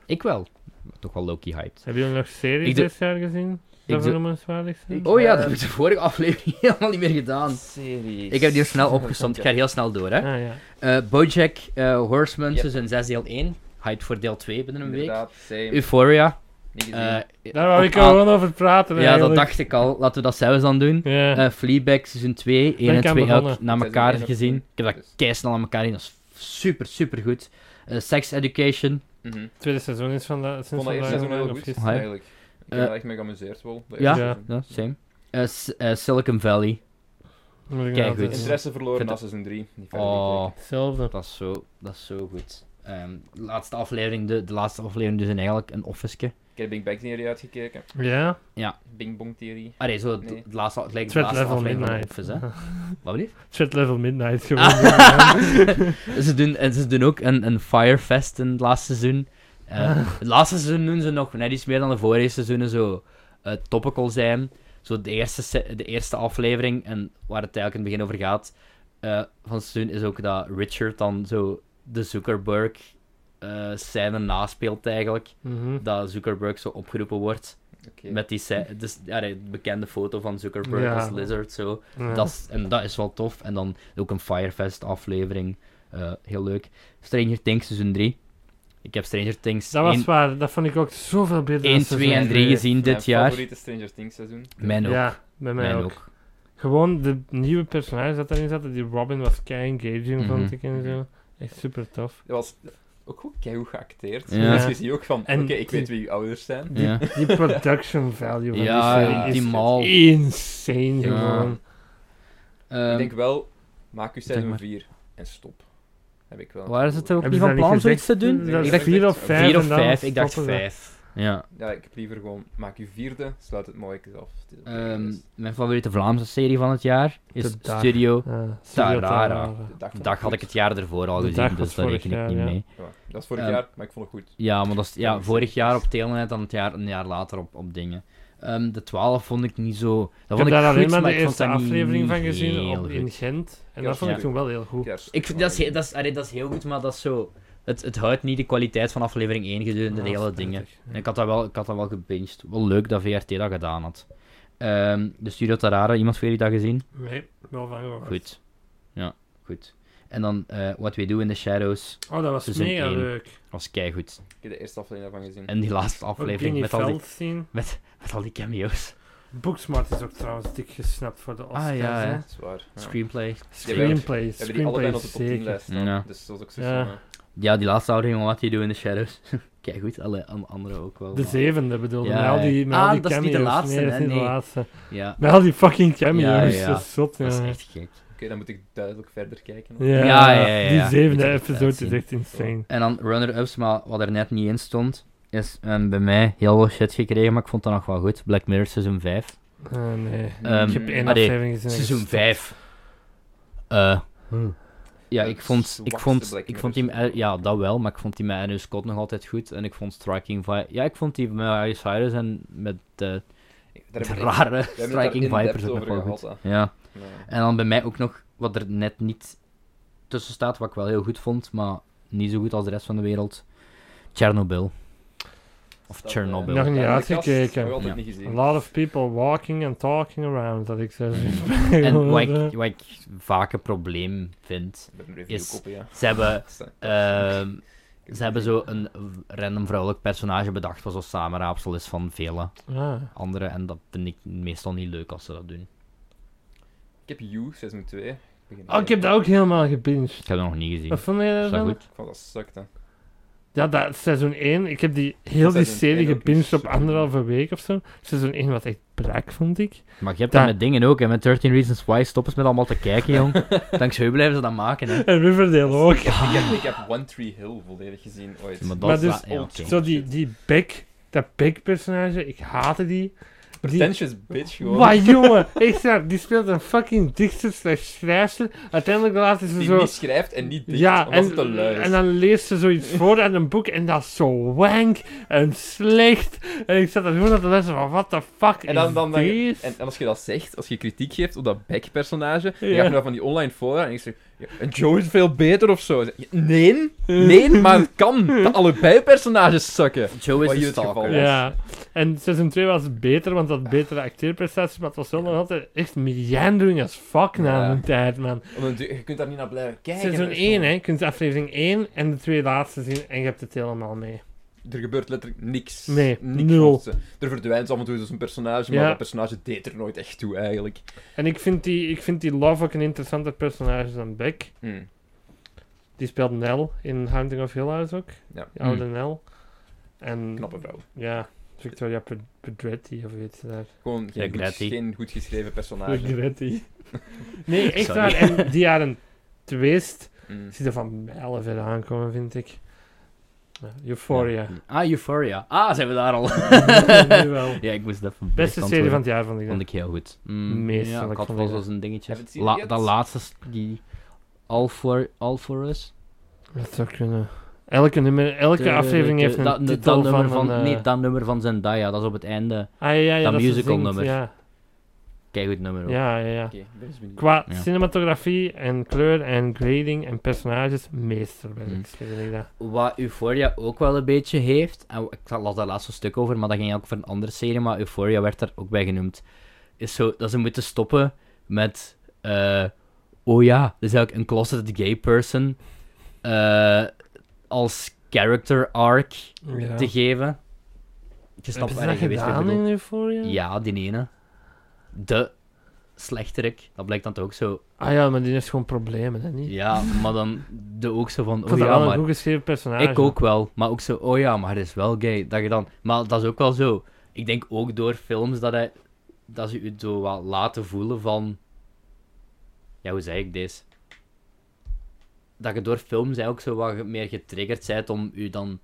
S2: Ik wel. Maar toch wel Loki hyped.
S1: Hebben jullie nog series
S2: Ik doe-
S1: dit jaar gezien?
S2: doe-
S1: Dat vernoemenswaardig zijn?
S3: Ik-
S2: Oh ja, dat
S3: eh,
S2: heb ik de vorige aflevering helemaal niet meer gedaan.
S3: Series.
S2: Ik heb die er snel opgestomd. Ik ga heel snel door, hè.
S1: Ah, ja.
S2: Eh, Bojack eh, Horseman,
S3: Yep.
S2: seizoen 6 deel 1. Hyped voor deel 2 binnen een week.
S3: Inderdaad, same.
S2: Euphoria.
S3: Niet gezien.
S2: eh,
S1: Daar wou
S2: op
S1: ik
S2: aan-
S1: gewoon over praten.
S2: Ja, dat
S1: eigenlijk.
S2: dacht ik al. Laten we dat zelfs dan doen.
S1: Ja.
S2: Eh Fleabag seizoen 2, 1
S1: Ben
S2: en
S1: ik aan
S2: 2 elk
S1: begonnen.
S2: na
S3: Seizoen
S2: elkaar
S3: één op
S2: gezien. Ik heb dat
S3: Dus-
S2: keisnel aan elkaar in. Dat is super, super goed. Eh, Sex Education.
S3: Mhm.
S1: tweede seizoen is van de,
S3: Ik
S1: sinds
S3: vond dat eerste
S1: vandaag
S3: seizoen heel
S1: online, of
S3: goed,
S1: gisteren.
S2: Hi.
S3: eigenlijk. Ik heb
S2: Eh,
S3: er echt mee geamuseerd wel. dat
S2: ja.
S3: eerste
S1: Ja.
S3: seizoen.
S2: Ja, same. Eh, S- eh, Silicon Valley.
S1: Moet ik
S2: Kijk,
S1: altijd-
S2: goed.
S3: Interesse verloren
S2: Vind-
S3: na seizoen 3.
S2: Oh.
S1: Hetzelfde.
S2: Dat is zo, dat is zo goed. Ehm, de laatste aflevering, de, de laatste aflevering dus in eigenlijk een officeje.
S3: Ik heb Big Bang Theory uitgekeken.
S1: Ja?
S3: Bing Bong Theory.
S2: Allee, zo het,
S3: Nee.
S2: het laatste, het lijkt de
S1: Threat
S2: laatste
S1: Level
S2: aflevering
S1: Midnight.
S2: van Office, hè? Wat bedoel je?
S1: Shit level midnight gewoon.
S2: Ah. ze, doen, en ze doen ook een, een Firefest in het laatste seizoen. Eh, Het laatste seizoen doen ze nog net iets meer dan de vorige seizoenen zo eh, topical zijn. Zo de eerste, se- de eerste aflevering, en waar het eigenlijk in het begin over gaat, eh, van het seizoen, is ook dat Richard dan zo de Zuckerberg eh scène naspeelt eigenlijk.
S1: Mhm.
S2: dat Zuckerberg zo opgeroepen wordt.
S3: Oké.
S2: Met die se- dus, ja, de bekende foto van Zuckerberg
S1: Ja.
S2: als lizard. Zo.
S1: Ja.
S2: Dat is, en dat is wel tof. En dan ook een Firefest aflevering. Eh, heel leuk. Stranger Things seizoen 3. Ik heb Stranger Things
S1: Dat was
S2: 1,
S1: waar, dat vond ik ook zoveel beter. dan
S2: 1,
S1: seizoen
S2: 2 en 3
S1: twee.
S2: gezien
S3: Mijn
S2: dit jaar.
S3: favoriete Stranger Things seizoen.
S2: Mijn ook.
S1: Ja, bij mij
S2: Mijn
S1: ook. Gewoon de nieuwe personages dat erin zaten, die Robin was kei engaging, vond
S2: Mhm.
S1: ik en zo. Echt super tof.
S3: Dat was ook goed keihard geacteerd.
S2: Ja.
S3: Dus je ziet ook van, oké,
S1: En
S3: ik
S1: die-
S3: weet wie uw ouders zijn.
S2: Ja.
S1: Die production value van
S2: Ja,
S1: die serie
S2: die
S1: is
S2: mall.
S1: insane
S2: Ja.
S1: gewoon.
S2: Ehm,
S3: Ik denk wel, maak uw
S2: Zeg
S3: seizoen
S2: maar.
S3: 4 en stop. Heb ik wel.
S2: waar is het ook
S1: Hebben
S2: niet
S1: ze
S2: van
S1: dat
S2: plan
S1: niet
S2: zoiets te
S1: gezegd?
S2: doen?
S1: Dat
S2: Ik
S1: is
S2: dacht
S1: vier of
S3: 4
S1: vijf.
S2: 4 of
S1: en dan
S2: 5. Ik dacht
S1: stoppen ze.
S2: 5. Ja.
S3: Ja, ik heb liever gewoon, maak je vierde, sluit het mooi af. Het is dus op de
S2: Ehm,
S3: rest.
S2: mijn favoriete Vlaamse serie van het jaar is
S1: De Dag.
S2: Studio.
S1: Uh,
S2: Tarara.
S3: De dag, van
S2: Dag
S3: de
S2: had ik
S3: goed.
S2: het jaar ervoor al
S1: De Dag
S2: gezien,
S1: was
S2: dus daar
S1: vorig
S2: reken ik
S1: jaar,
S2: niet
S1: ja.
S2: mee.
S3: Ja, dat is vorig
S2: Ehm,
S3: jaar, maar ik vond het goed.
S2: Ja, maar dat is
S3: Dat
S2: ja,
S3: is-
S2: vorig jaar op Telenet en het jaar, een jaar later op, op dingen. Ehm, de 12 vond ik niet zo. Dat
S1: Ik heb
S2: vond ik
S1: daar
S2: goed,
S1: alleen maar
S2: maar
S1: de
S2: ik vond
S1: eerste
S2: dat niet-
S1: aflevering
S2: niet
S1: van gezien
S2: heel
S1: op, in
S2: goed.
S1: Gent. En
S3: Ja,
S1: dat vond ik
S3: ja.
S1: toen wel heel goed.
S3: Kerst.
S2: Ik, dat, is, he- dat, is, allee, dat is heel goed, maar dat is zo. Het, het houdt niet de kwaliteit van aflevering 1 gedurende de
S1: Ja, dat
S2: hele
S1: is
S2: dingen.
S1: prettig.
S2: En ik had dat wel, ik had dat wel gebinged. Wel leuk dat VRT dat gedaan had. Ehm, de Studio Tarara, iemand van jullie dat gezien?
S1: Nee, wel van gehoord.
S2: Goed. Ja, goed. En dan eh, What We Do in the Shadows
S1: Oh, dat was
S2: Seizoen
S1: mega
S2: één.
S1: leuk.
S2: was keigoed.
S3: Ik heb de eerste aflevering daarvan gezien.
S2: En die laatste
S1: Ook
S2: aflevering
S1: Guinea
S2: met al, die,
S1: Veldstein.
S2: met al die cameo's.
S1: Booksmart is ook trouwens dik gesnapt voor de Oscars.
S2: Ah, ja,
S1: hè.
S2: hè.
S3: Dat is waar. Ja.
S2: Screenplay.
S1: Screenplay,
S3: We hebben die
S1: screenplay
S3: allebei op de top 10
S1: zeker.
S3: lijst staan.
S2: Ja.
S3: Dus dat is ook zo
S1: Ja.
S3: van, eh,
S2: Ja, die laatste oude jongen, What We Do in the Shadows. Keigoed, alle an- andere ook wel.
S1: De
S2: maar-
S1: zevende bedoelde,
S2: Ja,
S1: met al die, met
S2: ja.
S1: al
S2: Ah,
S1: die
S2: dat is
S1: cameo's.
S2: niet de laatste,
S1: nee, dat is
S2: hè,
S1: niet de
S2: nee.
S1: laatste.
S2: Ja,
S1: Met al die fucking cameo's,
S2: Ja, ja.
S1: dat is zot,
S2: dat is
S1: ja.
S2: echt gek.
S3: Oké, dan moet ik duidelijk verder kijken.
S1: Ja,
S2: Ja, ja, ja, ja.
S1: die zevende
S2: Moet je
S1: episode is
S2: uitzien.
S1: echt insane.
S2: En dan runner-ups, maar wat er net niet in stond, is ehm, bij mij heel veel shit gekregen, maar ik vond dat nog wel goed. Black Mirror seizoen 5.
S1: Ah, nee.
S2: Ehm,
S1: Ik heb één
S2: allee,
S1: aflevering gezien. en
S2: Seizoen
S1: gestopt. Hmm.
S2: 5. Eh, ja,
S3: Het
S2: ik vond, ik
S3: zwakste
S2: vond,
S3: Black
S2: ik vond die,
S3: Mirror
S2: met- ja, dat wel, maar ik vond die met Andrew Scott nog altijd goed. En ik vond Striking Vi Ja, ik vond die met Harry Cyrus en met eh,
S3: Daar
S2: de
S3: hebben we-
S2: rare
S3: we hebben het daar
S2: Striking
S3: in-depth
S2: Vipers ook nog
S3: over
S2: wel goed.
S3: gehad, hè.
S2: Ja.
S3: Ja.
S2: En dan bij mij ook nog wat er net niet tussen staat, wat ik wel heel goed vond, maar niet zo goed als de rest van de wereld. Chernobyl. Of
S3: Staat, eh,
S2: Chernobyl.
S1: Nog niet
S3: aan de
S1: uitgekeken.
S3: kast. Nog altijd
S2: Ja.
S3: niet
S1: A
S3: gezien.
S1: lot of people walking and talking around, dat ik zo
S2: Hmm. En wat ik, wat ik vaak een probleem vind,
S3: Ik heb een review
S2: Is-
S3: koppen, ja.
S2: ze hebben,
S3: Sta-
S2: ehm,
S3: Ik
S2: ze hebben
S3: heb
S2: zo een random vrouwelijk personage bedacht wat zo'n samenraapsel is van vele
S1: Ah,
S2: anderen. En dat vind ik meestal niet leuk als ze dat doen.
S3: Ik heb You, seizoen 2. Ik begin
S1: Oh, ik heb dat ook helemaal gebinged.
S2: Ik heb dat nog niet gezien.
S1: Wat vond jij
S2: Is dat
S1: daarvan?
S2: goed?
S3: Ik vond dat sukt, hè.
S1: Ja, dat, seizoen 1. Ik heb die, heel die
S3: Seizoen
S1: serie
S3: één ook
S1: gebinged
S3: niet
S1: op
S3: zo
S1: anderhalve week of zo. Seizoen 1 was echt brak, vond ik.
S2: Maar je hebt dat
S1: Ja.
S2: met dingen ook. En met 13 Reasons Why stoppen ze met allemaal te kijken, jong. Dankzij u blijven ze dat maken, hè.
S1: En Riverdale ook.
S3: Ik heb, ik, heb, ik heb One Tree Hill volledig gezien ooit.
S2: Maar dat
S1: Maar
S2: is
S1: dus
S2: wa- ja,
S3: old
S2: oké.
S1: Zo die, die Beck, dat Beck-personage, ik haatte die. die
S3: Pretentious bitch, gewoon.
S1: maar jongen, echt waar, die speelt een fucking dichter slash schrijfster. Uiteindelijk laat ze
S3: Die
S1: zo...
S3: niet schrijft en niet dikt,
S1: ja,
S3: omdat
S1: en,
S3: het te lui is.
S1: en dan leest ze zoiets voor uit een boek en dat is zo wank en slecht. En ik zat dan gewoon aan te lezen van, what the fuck
S3: En dan-
S1: is
S3: dan- dan-
S1: this?
S3: En, en als je dat zegt, als je kritiek geeft op dat Beck-personage, dan
S1: Ja.
S3: ga je naar van die online fora en ik zeg, ja, en Joe is veel beter of zo. Ja, Nee, nee, maar het kan. Dat allebei personages sukken.
S2: Joe
S3: Wat
S2: is
S3: hier
S2: een
S3: het geval
S2: stalker.
S3: was.
S1: Ja, en seizoen 2 was beter, want dat betere acteerprestaties, maar het was wel nog altijd echt meandering as fuck na
S3: Ja.
S1: een tijd, man.
S3: Omdat je je kunt daar niet naar blijven kijken.
S1: Seizoen
S3: Dus
S1: 1,
S3: dan-
S1: hè, je kunt aflevering 1 en de twee laatste zien en je hebt het helemaal mee.
S3: Er gebeurt letterlijk niks.
S1: Nee,
S3: niks
S1: nul.
S3: van ze. Er verdwijnt af en toe dus een personage, maar
S1: Ja.
S3: dat personage deed er nooit echt toe, eigenlijk.
S1: En ik vind die, ik vind die Love ook een interessanter personage dan Beck.
S3: Hm.
S1: Die speelt Nell in Haunting of Hill House ook.
S3: Ja.
S1: Die oude Nell. En
S3: Knappe vrouw.
S1: ja, Victoria Ped- Pedretti of iets daar.
S3: Gewoon geen, goed,
S2: Gretti.
S3: geen goed geschreven personage.
S1: Pedretti. nee, echt
S2: Sorry.
S1: waar. En die jaren twist
S3: Hm.
S1: ziet er van mijlen ver aankomen, vind ik. Ja, Euphoria.
S2: Ah, Euphoria. Ah, zijn we daar al.
S1: nu wel.
S2: ja, ik moest dat even
S1: Beste
S2: bestand
S1: serie van
S2: worden.
S1: het jaar, vond ik.
S2: Vond
S1: dat.
S2: ik heel goed. Mm,
S1: Meesterlijk
S2: ja, ik had
S1: vond
S2: wel
S1: ik dat.
S2: zo'n dingetje.
S3: Heb je het zien
S2: La,
S3: yet?
S2: dat laatste, s- die... All for, all for Us?
S1: Dat zou kunnen. Elke, nummer, elke
S2: De-
S1: aflevering
S2: de-
S1: heeft een
S2: dat- dat
S1: titel
S2: nummer
S1: van, een, eh,
S2: Nee, dat nummer van Zendaya, dat is op het einde.
S1: ah, ja, ja,
S2: dat
S1: ze
S2: musical
S1: zingt,
S2: nummer.
S1: Ja,
S2: Kijk goed nummer ook.
S1: ja, ja. ja.
S3: Oké, ik ben eens benieuwd.
S1: Qua
S2: Ja.
S1: cinematografie en kleur en grading en personages, meesterwerk,
S2: Mm.
S1: vind ik dat.
S2: Wat Euphoria ook wel een beetje heeft, en ik las daar laatst een stuk over, maar dat ging ook over een andere serie, maar Euphoria werd daar ook bij genoemd, is zo dat ze moeten stoppen met, eh, oh ja, dat is eigenlijk een closeted gay person eh, als character arc
S1: Ja.
S2: te geven. Je snapt
S1: Hebben ze
S2: waar
S1: dat
S2: je weet wat ik
S1: gedaan
S2: bedoel.
S1: in Euphoria?
S2: Ja, die ene. De slechterik, dat blijkt dan toch ook zo.
S1: Ah ja, maar die heeft gewoon problemen, hè, niet?
S2: Ja, maar dan de ook zo van,
S1: Ik
S2: oh
S1: vond dat
S2: ja,
S1: wel een
S2: maar
S1: goed geschreven personage.
S2: ik ook wel. Maar ook zo, oh ja, maar hij is wel gay. Dat je dan... Maar dat is ook wel zo. Ik denk ook door films dat, hij, dat ze u zo wat laten voelen van... Ja, hoe zeg ik deze? Dat je door films eigenlijk zo wat ge- meer getriggerd bent om u dan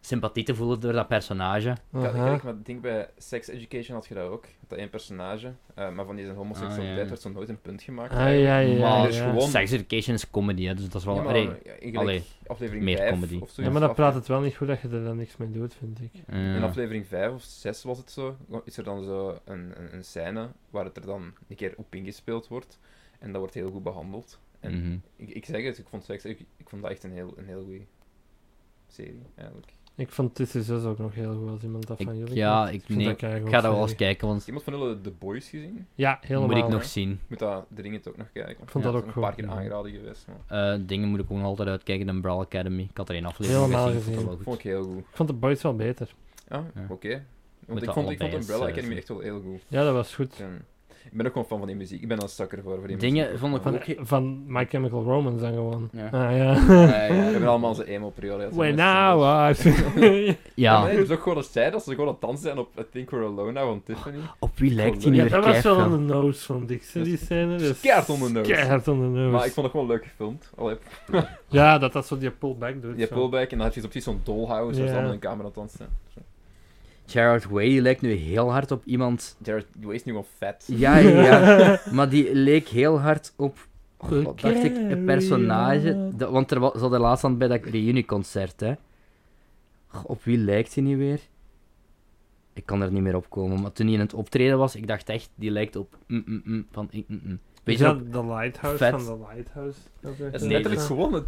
S2: sympathie te voelen door dat personage.
S3: Ik had-
S1: Aha.
S3: kijk, maar ik denk bij Sex Education had je dat ook. Dat één personage, eh, maar van die zijn homoseksualiteit
S2: Ah, ja.
S3: werd zo nooit een punt gemaakt.
S1: Ah, ja, ja,
S2: maar
S1: ja.
S3: dus gewoon-
S2: Sex Education is comedy, hè, dus dat is wel...
S3: Ja, maar,
S2: allee,
S3: ja, in gelijk
S2: allee,
S3: aflevering
S2: meer
S3: 5
S2: comedy.
S3: of zo.
S1: Ja, maar dan praat het wel niet goed dat je er dan niks mee doet, vind ik.
S2: ja.
S3: In aflevering 5 of 6 was het zo, is er dan zo een, een, een scène waar het er dan een keer op ingespeeld wordt. En dat wordt heel goed behandeld. En
S2: Mhm.
S3: ik, ik zeg het, ik vond, seks, ik, ik vond dat echt een heel, een heel goede serie, eigenlijk.
S1: Ik vond Tussen 6 ook nog heel goed als iemand dat
S2: Ik-
S1: van jullie
S2: ja,
S1: vond.
S2: ik,
S1: vond
S2: nee,
S1: dat
S2: ik
S1: keigoed
S2: ga dat wel eens
S1: serie.
S2: kijken, want
S3: Heeft iemand van jullie The Boys gezien?
S1: Ja, helemaal.
S2: moet ik nog
S1: hè.
S2: zien.
S3: Ik moet dat dringend ook nog kijken.
S1: Ik vond
S2: Ja,
S1: dat
S3: Dat
S1: ook
S3: is
S1: goed.
S3: een paar keer
S1: ja.
S3: aangeraden geweest, maar
S2: Eh, dingen moet ik ook nog altijd uitkijken, de Umbrella Academy. Ik had er één aflevering
S1: Helemaal
S2: gezien, vond dat
S1: gezien.
S2: wel goed.
S3: vond ik heel goed.
S1: Ik vond de Boys wel beter.
S3: Ah,
S2: Ja.
S3: oké.
S2: Moet
S3: Want
S2: dat
S3: ik vond, ik vond
S2: allebei eens,
S3: Umbrella
S2: eh,
S3: Academy
S2: zien.
S3: echt wel heel goed.
S1: Ja, dat was goed.
S3: En ik ben ook gewoon fan van die muziek. Ik ben een sucker voor, voor die
S2: Dingen
S3: muziek.
S2: vond ik
S3: Maar
S1: Van,
S2: ook- Oké.
S1: van My Chemical Romance dan gewoon.
S2: Ja.
S1: Ah ja.
S2: Eh,
S3: We hebben allemaal onze emo-periode. gehad,
S1: When
S3: dus dat
S1: I
S3: is-
S1: was...
S3: Ja. maar
S2: Ja,
S3: nee, dus ook gewoon dat zij, dat ze gewoon aan het dansen zijn op I Think We're Alone Now van Tiffany.
S2: op wie lijkt die nu
S1: ja,
S2: weer
S1: dat was wel
S2: keiveel?
S1: on the nose, vond ik. Zo, Die scène. dat is
S3: Keihard on the nose.
S1: keihard on the nose.
S3: Maar ik vond het gewoon leuk gefilmd. Allee,
S1: Ja, dat dat zo die pullback doet.
S3: je hebt
S1: zo.
S3: pullback en dan heb je zo precies zo'n dollhouse waar
S1: Ja.
S3: ze allemaal in camera aan het dansen zijn.
S2: Gerard Way die lijkt nu heel hard op iemand.
S3: Jared Way is nu gewoon vet.
S2: Ja, ja, ja. maar die leek heel hard op. Oh,
S1: De
S2: wat dacht ik? Een personage. Dat- want er was, ze hadden laatst aan bij dat reunieconcert, hè? Goh, op wie lijkt hij nu weer? Ik kan er niet meer op komen. Maar toen hij in het optreden was, ik dacht echt, die lijkt op. mm, mm, mm, van mm, mm, mm. Weet
S1: Is
S2: je,
S1: dat
S2: op
S1: de Lighthouse
S2: vet.
S1: van de Lighthouse? Dat
S3: Dat is
S2: Nee.
S3: letterlijk gewoon een,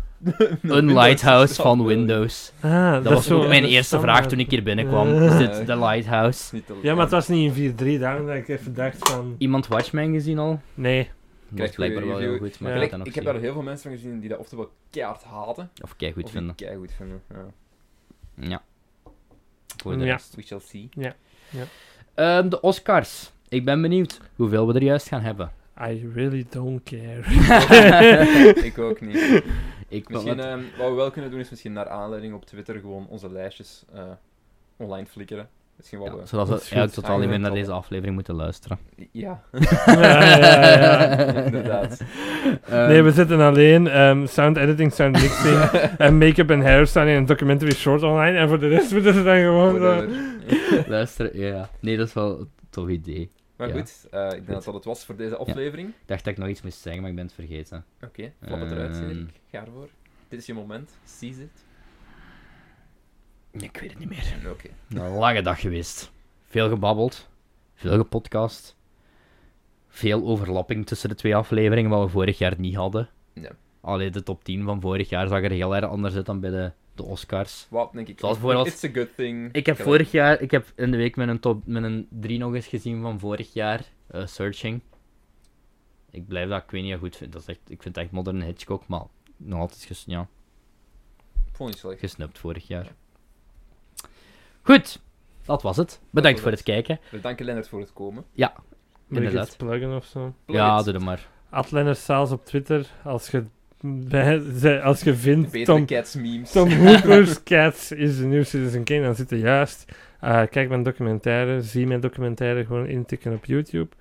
S2: een lighthouse van Windows.
S1: Ah,
S2: Dat was
S1: zo
S2: ook mijn
S1: een
S2: eerste vraag
S1: standaard.
S2: toen ik hier binnenkwam.
S1: Ja.
S2: Is dit de lighthouse?
S1: Ja, maar het was niet in 4-3, daarom dat ik even dacht van...
S2: Iemand Watchmen gezien al?
S1: Nee.
S2: Dat is
S3: Krijgt
S2: blijkbaar wel
S3: goede
S2: heel
S3: review.
S2: goed,
S1: Ja.
S2: maar ik
S1: Kijk,
S2: ga
S3: ik,
S2: dat nog
S3: heb
S2: zien.
S3: daar heel veel mensen van gezien die dat oftewel keihard haten.
S2: Of kei goed
S3: of die
S2: vinden.
S3: keihard vinden. Ja.
S2: Ja. Voor de
S1: Ja.
S2: rest.
S3: We shall see.
S2: Ehm, de Oscars. Ik ben benieuwd hoeveel we er juist gaan hebben.
S1: I really don't care.
S3: ik ook niet.
S2: Ik wil
S3: Misschien,
S2: wat-
S3: ehm, wat we wel kunnen doen is misschien naar aanleiding op Twitter gewoon onze lijstjes eh, online flikkeren. Misschien wel.
S2: ja,
S3: we-
S2: zodat we
S1: dat is goed.
S2: eigenlijk totaal niet meer naar
S3: Ah, ja.
S2: deze aflevering moeten luisteren.
S3: Ja,
S1: Ja, ja, ja.
S3: inderdaad.
S2: Ehm,
S1: Nee, we zitten alleen. ehm, sound editing, sound mixing en make-up en hair staan in een documentary short online. En voor de rest moeten ze dan gewoon... eh,
S3: Whatever.
S2: Luisteren, ja. Nee, dat is wel een tof idee.
S3: Maar
S2: Ja.
S3: goed, eh, ik denk dat dat het was voor deze aflevering.
S2: Ik dacht dat ik nog iets moest zeggen, maar ik ben het vergeten.
S3: Oké, flap het eruit,
S2: Ehm.
S3: Cedric. Ga ervoor. Dit is je moment. Seize it.
S2: Ik weet het niet meer.
S3: Oké.
S2: Een lange dag geweest. Veel gebabbeld. Veel gepodcast. Veel overlapping tussen de twee afleveringen, wat we vorig jaar niet hadden.
S3: Ja.
S2: Allee, de top 10 van vorig jaar zag er heel erg anders uit dan bij de, de Oscars.
S3: Wat denk ik?
S2: Zoals bijvoorbeeld-
S3: It's a good thing.
S2: Ik heb
S3: Gelijk.
S2: vorig jaar, ik heb in de week mijn, top, mijn 3 nog eens gezien van vorig jaar, eh, Searching. Ik blijf dat, ik weet niet, ja, goed vind. Dat is echt, ik vind het echt modern Hitchcock, maar nog altijd ges, ja,
S3: Ik Vond je slecht.
S2: gesnupt vorig jaar. Goed, dat was het. Bedankt voor het kijken.
S3: We danken Lennart voor het komen.
S1: Moet ik
S2: Inderdaad.
S1: iets pluggen of zo?
S3: Plug
S2: Ja,
S3: it.
S2: doe dat maar.
S1: At Lennart Staals op Twitter. Als je, bij, ze- als je
S3: De
S1: vindt...
S3: betere
S1: Tom,
S3: cats memes.
S1: Tom Hooper's Cats is de nieuw Citizen Kane. Dan zit er juist. Eh, kijk mijn documentaire. Zie mijn documentaire gewoon intikken op YouTube.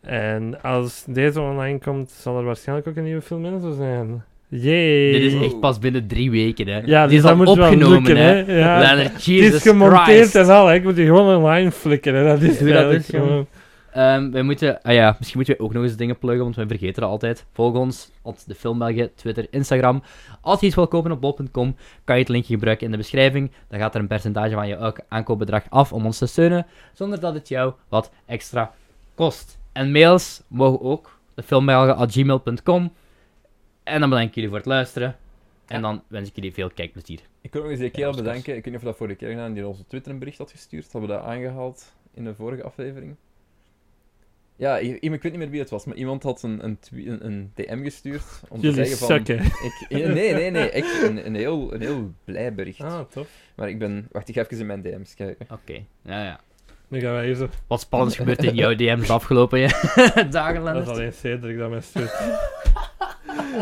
S1: En als deze online komt, zal er waarschijnlijk ook een nieuwe film in zo zijn. Yay!
S2: Dit is
S3: Hey.
S2: echt pas binnen drie weken, hè.
S1: ja, dus
S2: Dit is
S1: dat
S2: al
S1: moet wel
S2: opgenomen,
S1: lukken,
S2: hè.
S1: hè? Ja.
S2: Leonard,
S1: Het is
S2: Jesus
S1: gemonteerd
S2: Christ.
S1: en al, hè. ik moet die gewoon online flikkeren. Dat is
S2: Doe dat
S1: eigenlijk
S2: eens, jongen.
S1: gewoon-
S2: Ehm, wij moeten... Ah ja, misschien moeten we ook nog eens dingen pluggen, want wij vergeten dat altijd. Volg ons op de Filmbelgen, Twitter, Instagram. Als je iets wil kopen op bol.com, kan je het linkje gebruiken in de beschrijving. Dan gaat er een percentage van je elk aankoopbedrag af om ons te steunen, zonder dat het jou wat extra kost. En mails mogen ook, defilmbelgen.gmail.com. En dan bedank ik jullie voor het luisteren. En dan wens ik jullie veel kijkplezier.
S3: Ik wil nog eens die kerel
S2: dat is
S3: bedanken. Ik weet niet of we dat vorige keer gedaan die ons op Twitter een bericht had gestuurd. Hadden we dat aangehaald in de vorige aflevering? Ja, i- iemand- ik weet niet meer wie het was, maar iemand had een, een, twe- een, een DM gestuurd om te
S1: Jullie
S3: zeggen van...
S1: sukken.
S3: Ik, nee, nee, nee. Echt een, een, heel, een heel blij bericht.
S1: Ah, tof.
S3: Maar ik ben... Wacht, ik ga even in mijn DM's kijken.
S2: Oké, ja ja.
S1: Nu gaan wij hier zo.
S2: Wat spannends gebeurt in jouw DM's de afgelopen ja- dagen,
S1: Dat is
S2: Lennart?
S1: alleen Cedric dat mij stuurt.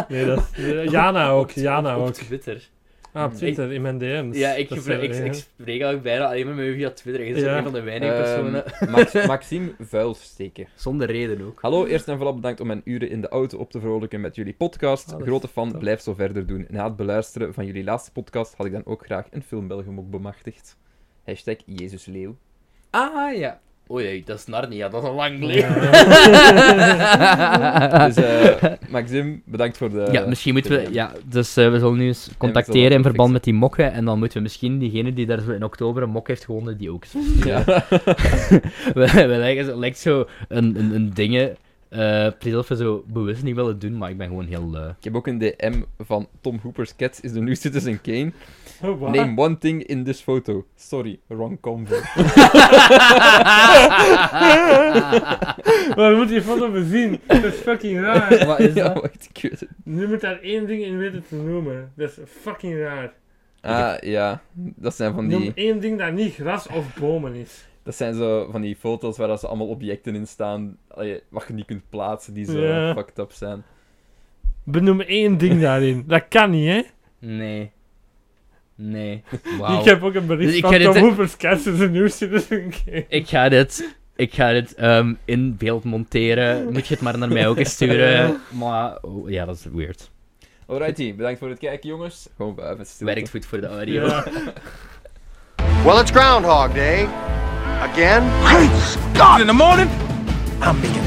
S1: nee, dat is... eh, Jana ook, Jana ook.
S2: Twitter.
S1: Ah, Ah, op Twitter, in mijn DM's.
S2: Hmm. Ja, ik,
S1: Dat is
S2: gebruik, ik,
S1: wel,
S2: ik
S1: ja.
S2: spreek eigenlijk bijna alleen maar met u via Twitter. Je bent
S1: Ja.
S2: een van de weinige personen.
S3: Ehm, Max- Maxime Vuilsteker.
S2: Zonder reden ook.
S3: Hallo, eerst en vooral bedankt om mijn uren in de auto op te vrolijken met jullie podcast.
S1: Ah, dat is
S3: Grote fan,
S1: top.
S3: blijf zo verder doen. Na het beluisteren van jullie laatste podcast had ik dan ook graag een filmbelgem ook bemachtigd. Hashtag Jezus Leeuw.
S2: Ah, ja. Oei, dat is Narnia, dat is al lang geleden.
S3: Dus eh Maxime, bedankt voor de...
S2: Ah. ja, misschien moeten we...
S3: de-
S2: Ja, dus eh, we zullen nu eens
S3: dat
S2: contacteren in
S3: fixen.
S2: verband met die mokken. En dan moeten we misschien diegene die daar zo in oktober een mok heeft gewonnen, die ook... eens-
S3: Ja.
S2: we, we lijken zo, lijkt zo een, een, een dingen... eh precies alsof we zo bewust niet willen doen, maar ik ben gewoon heel eh. lui.
S3: Ik heb ook een DM van Tom Hooper's Cats is the new Citizen Kane.
S1: Oh, wat?
S3: Name one thing in this photo. Sorry, wrong combo.
S1: Maar we moeten die foto bezien. Dat is fucking raar.
S2: Wat is
S3: ja,
S2: dat?
S3: wacht, ik weet het.
S1: Nu moet daar één ding in weten te noemen. Dat is fucking raar.
S3: Ah, ja. Dat zijn van
S1: Noem
S3: die...
S1: één ding dat niet gras of bomen is.
S3: Dat zijn zo van die foto's waar dat ze allemaal objecten in staan, allee, wat je niet kunt plaatsen, die zo
S1: Ja.
S3: fucked up zijn.
S1: Benoem één ding daarin. Dat kan niet, hè?
S2: Nee. Nee. Wauw.
S1: Ik heb ook een bericht
S2: Dus ik
S1: van
S2: ga dit-
S1: Tom Hooper's Cats is een nieuw Citizen Kane.
S2: Ik ga dit, ik ga dit ehm, in beeld monteren. Moet je het maar naar mij ook eens sturen. Maar oh, ja, dat is weird.
S3: Alrighty, bedankt voor het kijken jongens. Gewoon blijven stil.
S2: Werkt goed voor de audio.
S1: Ja.
S5: Well, it's Groundhog Day. Again? Great Scott! In the morning, I'm making